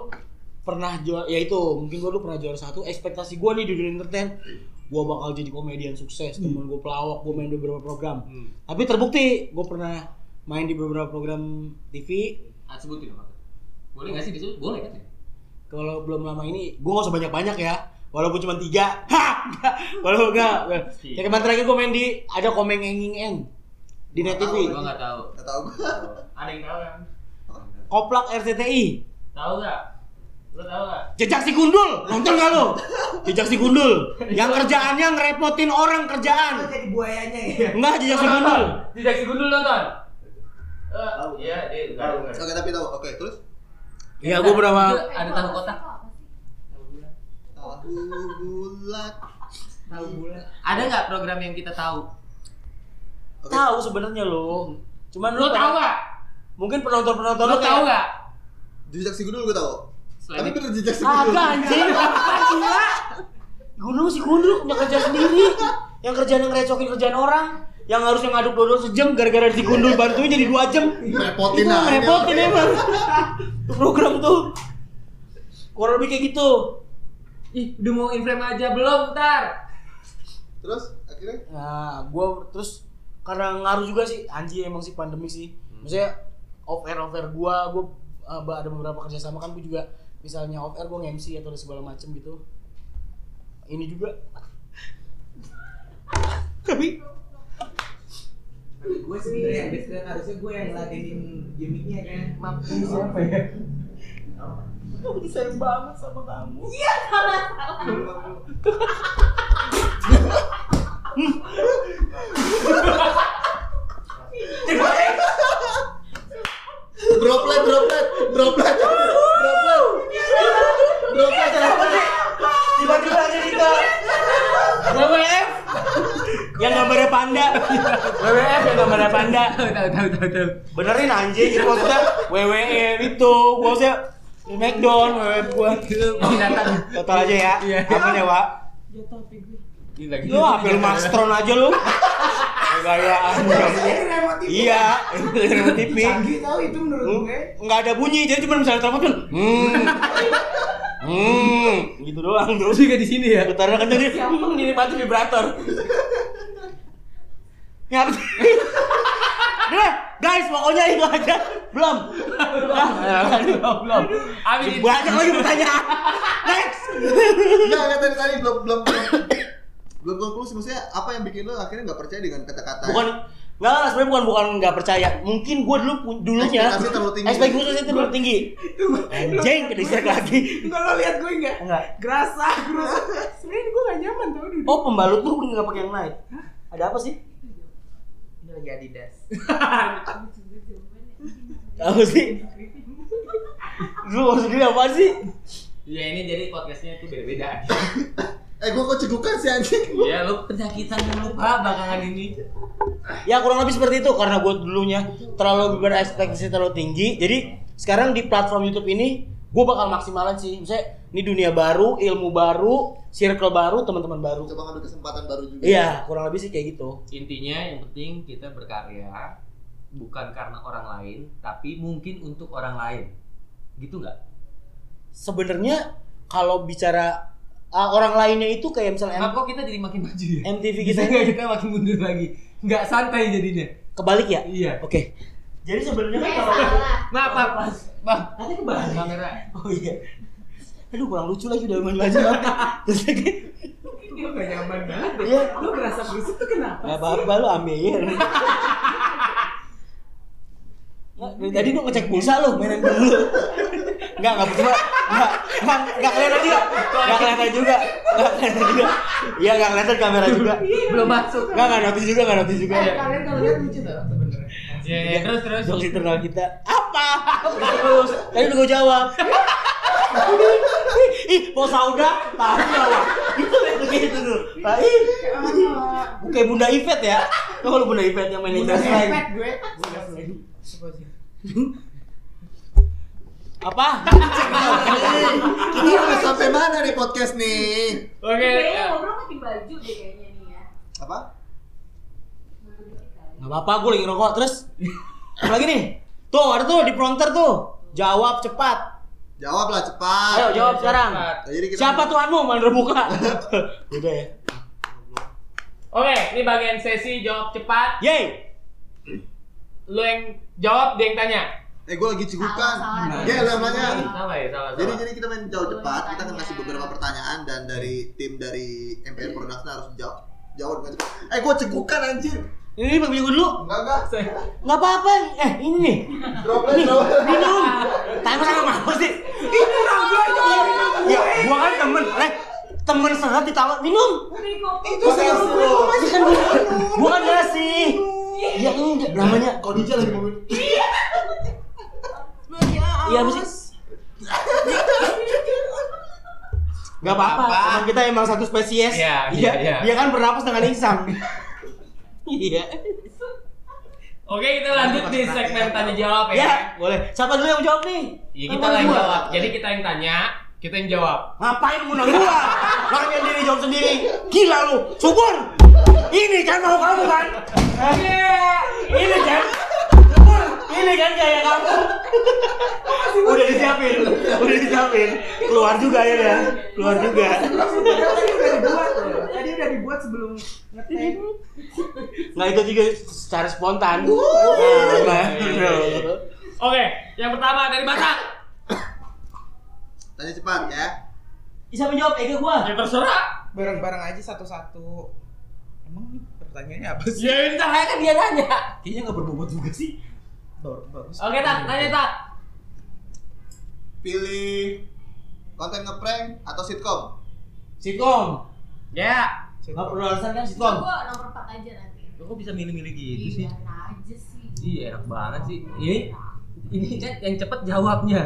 Speaker 3: pernah jual ya itu mungkin gue dulu pernah juara satu ekspektasi gue nih di dunia entertain gue bakal jadi komedian sukses temen gue pelawak gue main di beberapa program tapi terbukti gue pernah main di beberapa program TV
Speaker 2: Ah, sebutin apa? Boleh nggak sih disebut? Boleh kan? ya?
Speaker 3: kalau belum lama ini gue gak usah banyak banyak ya walaupun cuma tiga <laughs> Hah! Nggak. walaupun enggak ya kemarin terakhir gue main di ada komeng enging eng di net TV
Speaker 1: kan?
Speaker 2: Gua nggak tahu.
Speaker 1: Kata gue
Speaker 5: Ada yang tahu kan?
Speaker 3: koplak RCTI
Speaker 5: Tahu nggak? Lo tahu nggak?
Speaker 3: jejak si gundul nonton gak lo jejak si gundul yang kerjaannya ngerepotin orang
Speaker 7: Lu
Speaker 3: kerjaan
Speaker 7: jadi buayanya ya.
Speaker 3: enggak jejak si gundul
Speaker 5: Di Jaksi Gundul nonton. Eh, iya, dia tahu kan.
Speaker 1: oke tapi tahu oke terus
Speaker 2: Iya,
Speaker 3: ya gue berapa
Speaker 6: Eh,
Speaker 2: Ada tahu kotak.
Speaker 1: tahu bulat
Speaker 7: Tahu bulan.
Speaker 2: Ada nggak program yang kita tahu?
Speaker 1: oke
Speaker 3: tahu sebenarnya lo cuman
Speaker 2: Lo tahu nggak?
Speaker 3: mungkin penonton penonton
Speaker 2: Lo tahu nggak?
Speaker 1: jejak si gundul gue tahu
Speaker 2: Selain
Speaker 1: tapi
Speaker 2: itu, Ah,
Speaker 1: bener jejak si gundul
Speaker 3: Agak Ah,
Speaker 1: <laughs>
Speaker 3: anjing, apaan gila? Gunung si gundruk punya kerja sendiri. Yang kerjaan yang ngerecokin kerjaan orang, yang harusnya ngaduk dodol sejam gara-gara si gundul bantuin jadi dua jam.
Speaker 1: Ngerepotin
Speaker 3: Itu
Speaker 1: aja.
Speaker 3: ngerepotin
Speaker 1: <laughs>
Speaker 3: emang. Itu program tuh. Kurang lebih kayak gitu.
Speaker 2: ih udah mau inframe aja belum ntar.
Speaker 1: terus akhirnya
Speaker 3: Nah, gua terus karena ngaruh juga sih anjing emang sih pandemi sih. Maksudnya off air off air gua, gua eh, ada beberapa kerjasama kan gua juga misalnya off air gua nge-MC atau segala macem gitu. Ini juga tapi
Speaker 7: Gue sebenarnya yang best kan harusnya gue yang ngeladenin gimmicknya kan. Mampu siapa ya? Aku sayang banget sama kamu.
Speaker 1: droplet droplet droplet droplet droplet
Speaker 3: tiba-tiba aja kita WWF yang gambarnya panda WWF yang gambarnya panda
Speaker 2: <laughs> Tahu tahu tahu tahu tahu.
Speaker 3: benerin anjing itu maksudnya WWF itu E gitu. gua maksudnya McDon WWF E gua
Speaker 2: Itu binatang.
Speaker 3: total aja ya
Speaker 2: Iya.
Speaker 3: apa ya Wak
Speaker 7: Jatuh HP gue.
Speaker 2: Ini lagi.
Speaker 3: Lu apel Maxtron aja lu. Gayaan.
Speaker 7: Maksudnya remote itu.
Speaker 3: Iya, remote TV.
Speaker 7: Canggih tau itu menurut
Speaker 2: Oh.
Speaker 3: Lu
Speaker 7: gue.
Speaker 3: Nggak ada bunyi, jadi cuma misalnya telepon tuh. Hmm. Hmm, gitu doang terus.
Speaker 2: juga di sini ya.
Speaker 3: Getarnya kenceng jadi hmm, gini pasti vibrator. Ngap. Udah, guys, pokoknya itu aja. Belum.
Speaker 2: Belum, belum. Amin.
Speaker 3: Banyak lagi pertanyaan. Next.
Speaker 1: Enggak, enggak tadi tadi belum belum belum- belum konklusi maksudnya apa yang bikin lo akhirnya nggak percaya dengan kata-kata
Speaker 3: bukan nggak nggak, sebenarnya bukan bukan nggak percaya mungkin gue dulu pu- dulunya
Speaker 1: Ekspektasi terlalu tinggi.
Speaker 3: ekspektasi terlalu tinggi
Speaker 7: Lu-
Speaker 3: anjing ke distract lagi
Speaker 7: Enggak lo lihat gue enggak?
Speaker 3: Enggak.
Speaker 7: Gerasa, gerasa. Sebenarnya gue gak nyaman tau duduk.
Speaker 3: oh pembalut lu nggak pakai yang naik ada apa sih
Speaker 7: Ini lagi Adidas.
Speaker 3: apa sih lu maksud gue apa sih
Speaker 2: Ya ini jadi podcastnya itu beda-beda.
Speaker 1: eh gua kok cegukan sih anjing
Speaker 2: Iya, lu penyakitan dulu Pak bakalan ini.
Speaker 3: ya kurang lebih seperti itu karena gue dulunya terlalu berekspektasi terlalu tinggi jadi sekarang di platform YouTube ini gue bakal maksimalin sih misalnya ini dunia baru ilmu baru circle baru teman-teman baru
Speaker 1: coba ngambil kesempatan baru juga
Speaker 3: iya kurang lebih sih kayak gitu
Speaker 2: Intinya yang penting kita berkarya bukan karena orang lain, tapi mungkin untuk orang lain. Gitu nggak?
Speaker 3: sebenarnya kalau bicara ah, orang lainnya itu kayak misalnya M-
Speaker 2: Kenapa kok kita jadi makin maju ya? <laughs>
Speaker 3: MTV
Speaker 2: Bisa
Speaker 3: kita ini <laughs>
Speaker 2: nggak kita makin mundur lagi? Nggak santai jadinya.
Speaker 3: kebalik ya?
Speaker 2: Iya.
Speaker 3: Oke. Jadi sebenarnya kan
Speaker 6: Eh,
Speaker 3: kalau <laughs>
Speaker 6: salah.
Speaker 2: Maaf, maaf, Mas. Maaf.
Speaker 3: nanti kebalik.
Speaker 2: Kamera.
Speaker 3: Oh iya. Aduh kurang lucu lagi udah main maju banget. Terus lagi
Speaker 7: Ini gak nyaman banget. deh.
Speaker 3: Iya.
Speaker 7: Lu gerasa berusut tuh
Speaker 3: nggak
Speaker 7: kenapa?
Speaker 3: apa-apa lu ambil. Nggak, dari tadi lu ngecek pulsa lu mainin dulu. Enggak, enggak percuma. Enggak, enggak, enggak kelihatan juga. Enggak kelihatan juga. Enggak kelihatan juga. Iya, enggak kelihatan kamera juga.
Speaker 2: Belum masuk.
Speaker 3: Enggak, enggak notice juga, enggak notice juga.
Speaker 7: Eh, kalian kalau lihat lucu tau sebenernya.
Speaker 2: Ya, ya, terus terus.
Speaker 3: Iya. jokes internal kita apa terus tadi udah gue jawab ih mau sauda tahu lah itu itu gitu tuh Nah, ih. bukan bunda Ivet ya Tau kalau bunda Ivet yang main
Speaker 7: Udah
Speaker 3: Legends lagi
Speaker 7: sempet gue. Udah sempet.
Speaker 3: apa Iya.
Speaker 1: kita udah sampai mana nih podcast nih
Speaker 2: Oke.
Speaker 6: Eh, Kayaknya ngobrol pakai baju deh kayaknya nih ya.
Speaker 1: apa
Speaker 6: Ngobrol dikit kali.
Speaker 3: nggak apa-apa gue lagi ngerokok terus apa lagi nih tuh ada tuh di prompter tuh jawab cepat
Speaker 1: jawablah cepat
Speaker 3: ayo jawab sekarang
Speaker 1: Nah, jadi kita
Speaker 3: siapa tuanmu mandor muka udah ya
Speaker 2: Oke, ini bagian sesi jawab cepat.
Speaker 3: yay
Speaker 2: Lu yang jawab, dia yang tanya.
Speaker 1: eh gua lagi cegukan
Speaker 6: Salah, salah.
Speaker 1: ya lu yang nanya
Speaker 2: Salah ya, salah.
Speaker 1: jadi
Speaker 2: salah.
Speaker 1: jadi kita main jawab cepat kita akan
Speaker 6: Tanya.
Speaker 1: kasih beberapa pertanyaan dan dari tim dari MPR Production harus jawab jawab dengan cepat eh gua cegukan anjir
Speaker 3: ini bagi gue dulu
Speaker 1: enggak enggak
Speaker 3: nggak apa-apa eh ini nih
Speaker 1: droplet droplet
Speaker 3: minum tapi sama apa sih ih kurang gue
Speaker 2: Iya,
Speaker 3: itu ya gua kan temen eh temen seret ditawar minum
Speaker 6: Beli kopi.
Speaker 7: Itu seru gue kok
Speaker 3: Ini
Speaker 7: masih
Speaker 3: kan gua gua kan ngasih
Speaker 2: Iya.
Speaker 3: ya enggak namanya
Speaker 1: Kodija lagi mau minum
Speaker 3: iya apa sih
Speaker 7: eh,
Speaker 3: Gak apa-apa, emang kita emang satu spesies
Speaker 2: Iya,
Speaker 3: Iya,
Speaker 2: iya, iya.
Speaker 3: Dia kan bernapas dengan insang
Speaker 2: <laughs>
Speaker 3: Iya
Speaker 2: Oke, kita lanjut di segmen tanya jawab ya.
Speaker 3: Ya, boleh Siapa dulu yang jawab nih?
Speaker 2: Ya kita
Speaker 3: Apa
Speaker 2: lah yang
Speaker 3: gua?
Speaker 2: jawab. Jadi kita yang tanya, kita yang jawab.
Speaker 3: Ngapain ngundang gua? Nanya diri jawab sendiri. Gila lu, syukur. Ini kan mau kamu kan? Iya. Ini kan. Syukur. Ini kan gaya kamu. Udah disiapin, udah disiapin. Keluar juga ya, ya. keluar juga.
Speaker 7: Sebenarnya tadi udah dibuat loh. Tadi udah dibuat sebelum ngetek.
Speaker 3: Nah itu juga secara spontan. Nah, nah.
Speaker 2: Oke, yang pertama dari Batak.
Speaker 1: tanya cepat ya
Speaker 3: Bisa menjawab Ega gua.
Speaker 2: Ya terserah.
Speaker 7: Bareng-bareng aja satu-satu. Emang nih pertanyaannya apa sih?
Speaker 2: Ya bentar aja kan dia nanya.
Speaker 3: Kayaknya nggak berbobot juga sih.
Speaker 7: Baru- Bagus.
Speaker 2: Oke, Tak, tanya Tak.
Speaker 1: pilih konten ngeprank atau
Speaker 3: <laughs>
Speaker 1: sitkom
Speaker 3: Sitkom.
Speaker 2: Ya.
Speaker 3: Nggak perlu alasan kan sitkom.
Speaker 6: Coba nomor 4 aja nanti.
Speaker 2: Kok bisa milih-milih gitu
Speaker 6: Iya, enak aja sih.
Speaker 2: Iya, enak banget sih. Ini ini kan yang cepet jawabnya.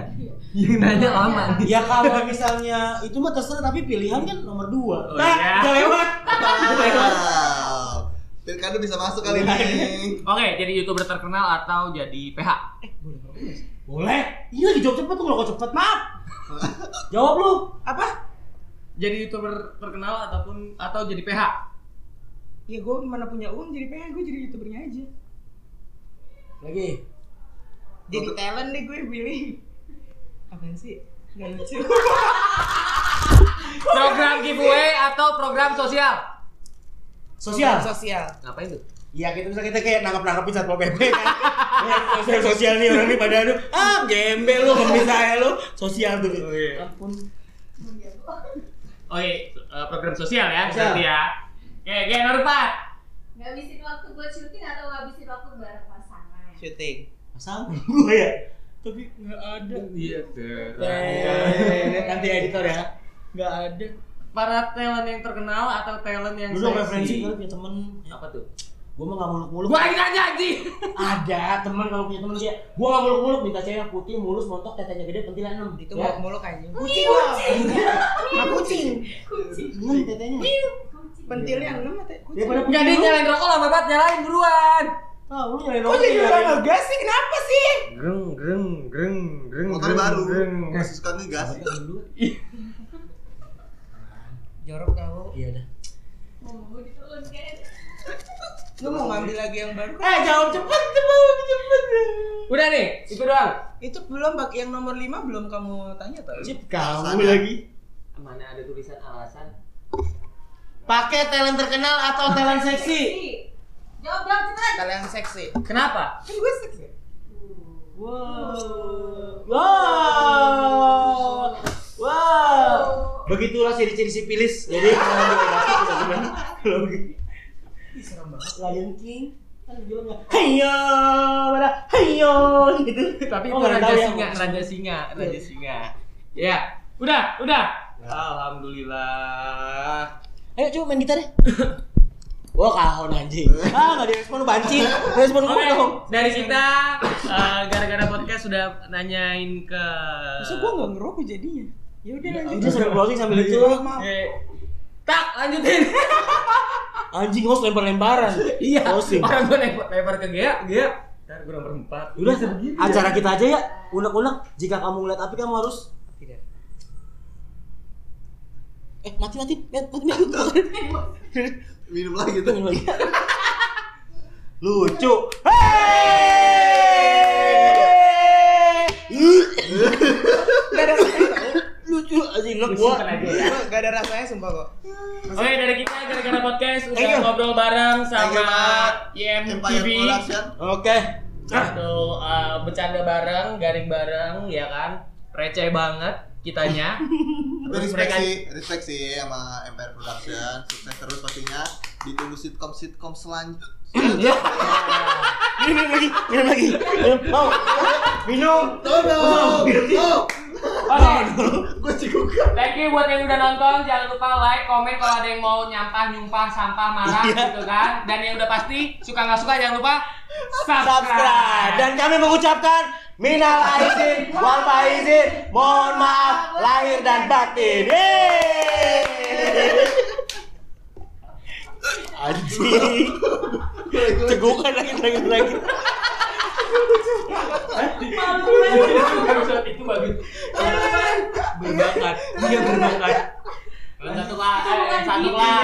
Speaker 2: Yang nanya lama nih.
Speaker 3: Ya kalau misalnya itu mah terserah tapi pilihan kan nomor dua.
Speaker 2: Oh,
Speaker 3: Nah,
Speaker 2: iya.
Speaker 3: udah lewat.
Speaker 1: Wow. Pilkada bisa masuk kali
Speaker 3: Iya,
Speaker 1: ini.
Speaker 2: Oke, jadi YouTuber terkenal atau jadi PH?
Speaker 3: Iya, Boleh. Ini lagi jawab cepet tuh kalau kau cepet maaf. Jawab lu.
Speaker 7: Apa?
Speaker 2: jadi youtuber terkenal ataupun atau jadi PH
Speaker 7: ya gue mana punya uang jadi pengen gue jadi youtubernya aja
Speaker 3: Lagi.
Speaker 7: jadi talent deh gue pilih apaan sih nggak lucu
Speaker 2: program giveaway atau program sosial
Speaker 3: Sosial.
Speaker 7: sosial
Speaker 2: ngapain tuh
Speaker 3: Iya kita bisa kita kayak nangkap nangkapin satpol pp
Speaker 2: <laughs>
Speaker 3: kan. Ya, sosial sosial nih orang nih pada aduh ah gembel lu ngemis aja lu sosial tuh.
Speaker 2: Oh, iya.
Speaker 7: ampun
Speaker 2: oke eh, program sosial ya
Speaker 3: Sosial.
Speaker 2: berarti ya oke oke nomor empat
Speaker 6: Ngabisin waktu buat syuting atau ngabisin waktu bareng pasangan?
Speaker 7: syuting
Speaker 3: Pasal <laughs> gue ya.
Speaker 7: tapi nggak ada
Speaker 4: Iya ter.
Speaker 3: Eh, Nanti editor ya.
Speaker 7: nggak ada
Speaker 2: para talent yang terkenal atau talent yang
Speaker 3: Lu dong referensi kalau punya temen.
Speaker 2: apa tuh
Speaker 3: Gue mah gak muluk-muluk.
Speaker 2: gua lagi nanya anjing
Speaker 3: Ada temen kalau punya temen kayak gue gak muluk-muluk minta cewek putih mulus montok tetenya gede pentil enam.
Speaker 7: itu
Speaker 3: ya.
Speaker 7: mau muluk aja
Speaker 6: Kucing,
Speaker 3: Nah, kucing.
Speaker 6: kucing,
Speaker 3: Enam tetenya.
Speaker 6: kucing.
Speaker 7: pentilnya enam atau kucing
Speaker 3: Ya pada
Speaker 2: nggak dia
Speaker 3: kucing. lu.
Speaker 2: nyalain rokok lama banget nyalain buruan
Speaker 3: Tahu lu nyalain
Speaker 7: kok
Speaker 3: rokok,
Speaker 7: jadi
Speaker 3: nyalain-
Speaker 7: orang ngegas sih kenapa sih
Speaker 4: Greng greng greng greng.
Speaker 1: motor
Speaker 4: greng,
Speaker 1: baru
Speaker 4: greng.
Speaker 1: masih suka ngegas
Speaker 7: jorok kau
Speaker 3: Iya dah.
Speaker 6: Mau ditolong kan?
Speaker 7: lu mau ngambil lagi yang baru kan?
Speaker 3: Eh jawab cepet, jawab cepet.
Speaker 2: udah nih itu doang
Speaker 7: itu belum bak yang nomor lima belum kamu tanya tau
Speaker 3: Cip kamu
Speaker 1: Alasannya.
Speaker 3: lagi.
Speaker 2: mana ada tulisan alasan
Speaker 3: Pakai talent terkenal atau talent seksi?
Speaker 6: Jawab jawab cepat.
Speaker 7: kalian seksi
Speaker 2: kenapa
Speaker 7: kan gue seksi
Speaker 3: Wow. Wow.
Speaker 7: Oh.
Speaker 3: Begitulah ciri-ciri sipilis. Jadi kalau di Bekasi sudah cuman kalau begitu. Lion King kan judulnya Hayo, pada Hayo gitu.
Speaker 2: tapi
Speaker 3: Oh,
Speaker 2: itu
Speaker 3: nggak
Speaker 2: raja
Speaker 3: tahu ya.
Speaker 2: singa raja singa raja singa ya udah udah alhamdulillah
Speaker 3: Ayo coba main <coughs> gitar deh. Wah kahon anjing. Ah nggak direspon lu banci. Respon
Speaker 2: Oke,
Speaker 3: gua dong.
Speaker 2: dari kita eh, gara-gara podcast sudah nanyain ke
Speaker 7: masa gue nggak ngerokok jadinya ya udah lanjut
Speaker 3: Udah sambil browsing sambil gitu itu.
Speaker 2: Eh, tak
Speaker 3: <laughs>
Speaker 2: lanjutin.
Speaker 3: Anjing host lempar-lemparan.
Speaker 2: Iya.
Speaker 3: Browsing.
Speaker 2: Orang gue lempar, lempar ke Gea, Gea. Ntar gue nomor empat.
Speaker 3: Udah, acara kita aja ya. Unek-unek, jika kamu ngeliat api kamu harus
Speaker 7: Tidak.
Speaker 3: Eh, mati mati, mati mati. mati.
Speaker 1: minum lagi
Speaker 3: Itu
Speaker 1: tuh
Speaker 3: minum lagi. <laughs> Lucu. Hey!
Speaker 7: Gak ada rasanya.
Speaker 3: Lucu anjing lu gua.
Speaker 2: Simpen aja ya.
Speaker 7: Gak ada rasanya sumpah kok.
Speaker 2: Oke, dari kita gara-gara podcast udah
Speaker 3: Thank you.
Speaker 2: ngobrol bareng
Speaker 1: Thank you,
Speaker 2: sama
Speaker 1: Pak. Empire
Speaker 2: YMTV.
Speaker 1: Production
Speaker 3: Oke.
Speaker 2: Atau eh, bercanda bareng, garing bareng, ya kan? Receh banget kitanya.
Speaker 1: Tapi
Speaker 2: Terus
Speaker 1: respect
Speaker 2: mereka
Speaker 1: sih, respect sih sama Empire Production Sukses terus pastinya Ditunggu sitkom-sitkom selanjutnya
Speaker 3: Iya. Minum lagi, minum lagi. Minum. Mau. Minum.
Speaker 1: Tolong! Oh!
Speaker 2: Oke,
Speaker 1: Gue cikukan
Speaker 2: thank you buat yang udah nonton. Jangan lupa like, komen kalau ada yang mau nyampah, nyumpah, sampah, marah gitu kan. Dan yang udah pasti suka nggak suka jangan lupa
Speaker 3: subscribe dan kami mengucapkan minal aidin wal faizin mohon maaf lahir dan batin Yeay! anjing cegukan lagi lagi lagi
Speaker 2: Episode itu bagus.
Speaker 3: Iya,
Speaker 2: Berbakat, dia berbakat. Yang satu lah, eh, yang satu lah.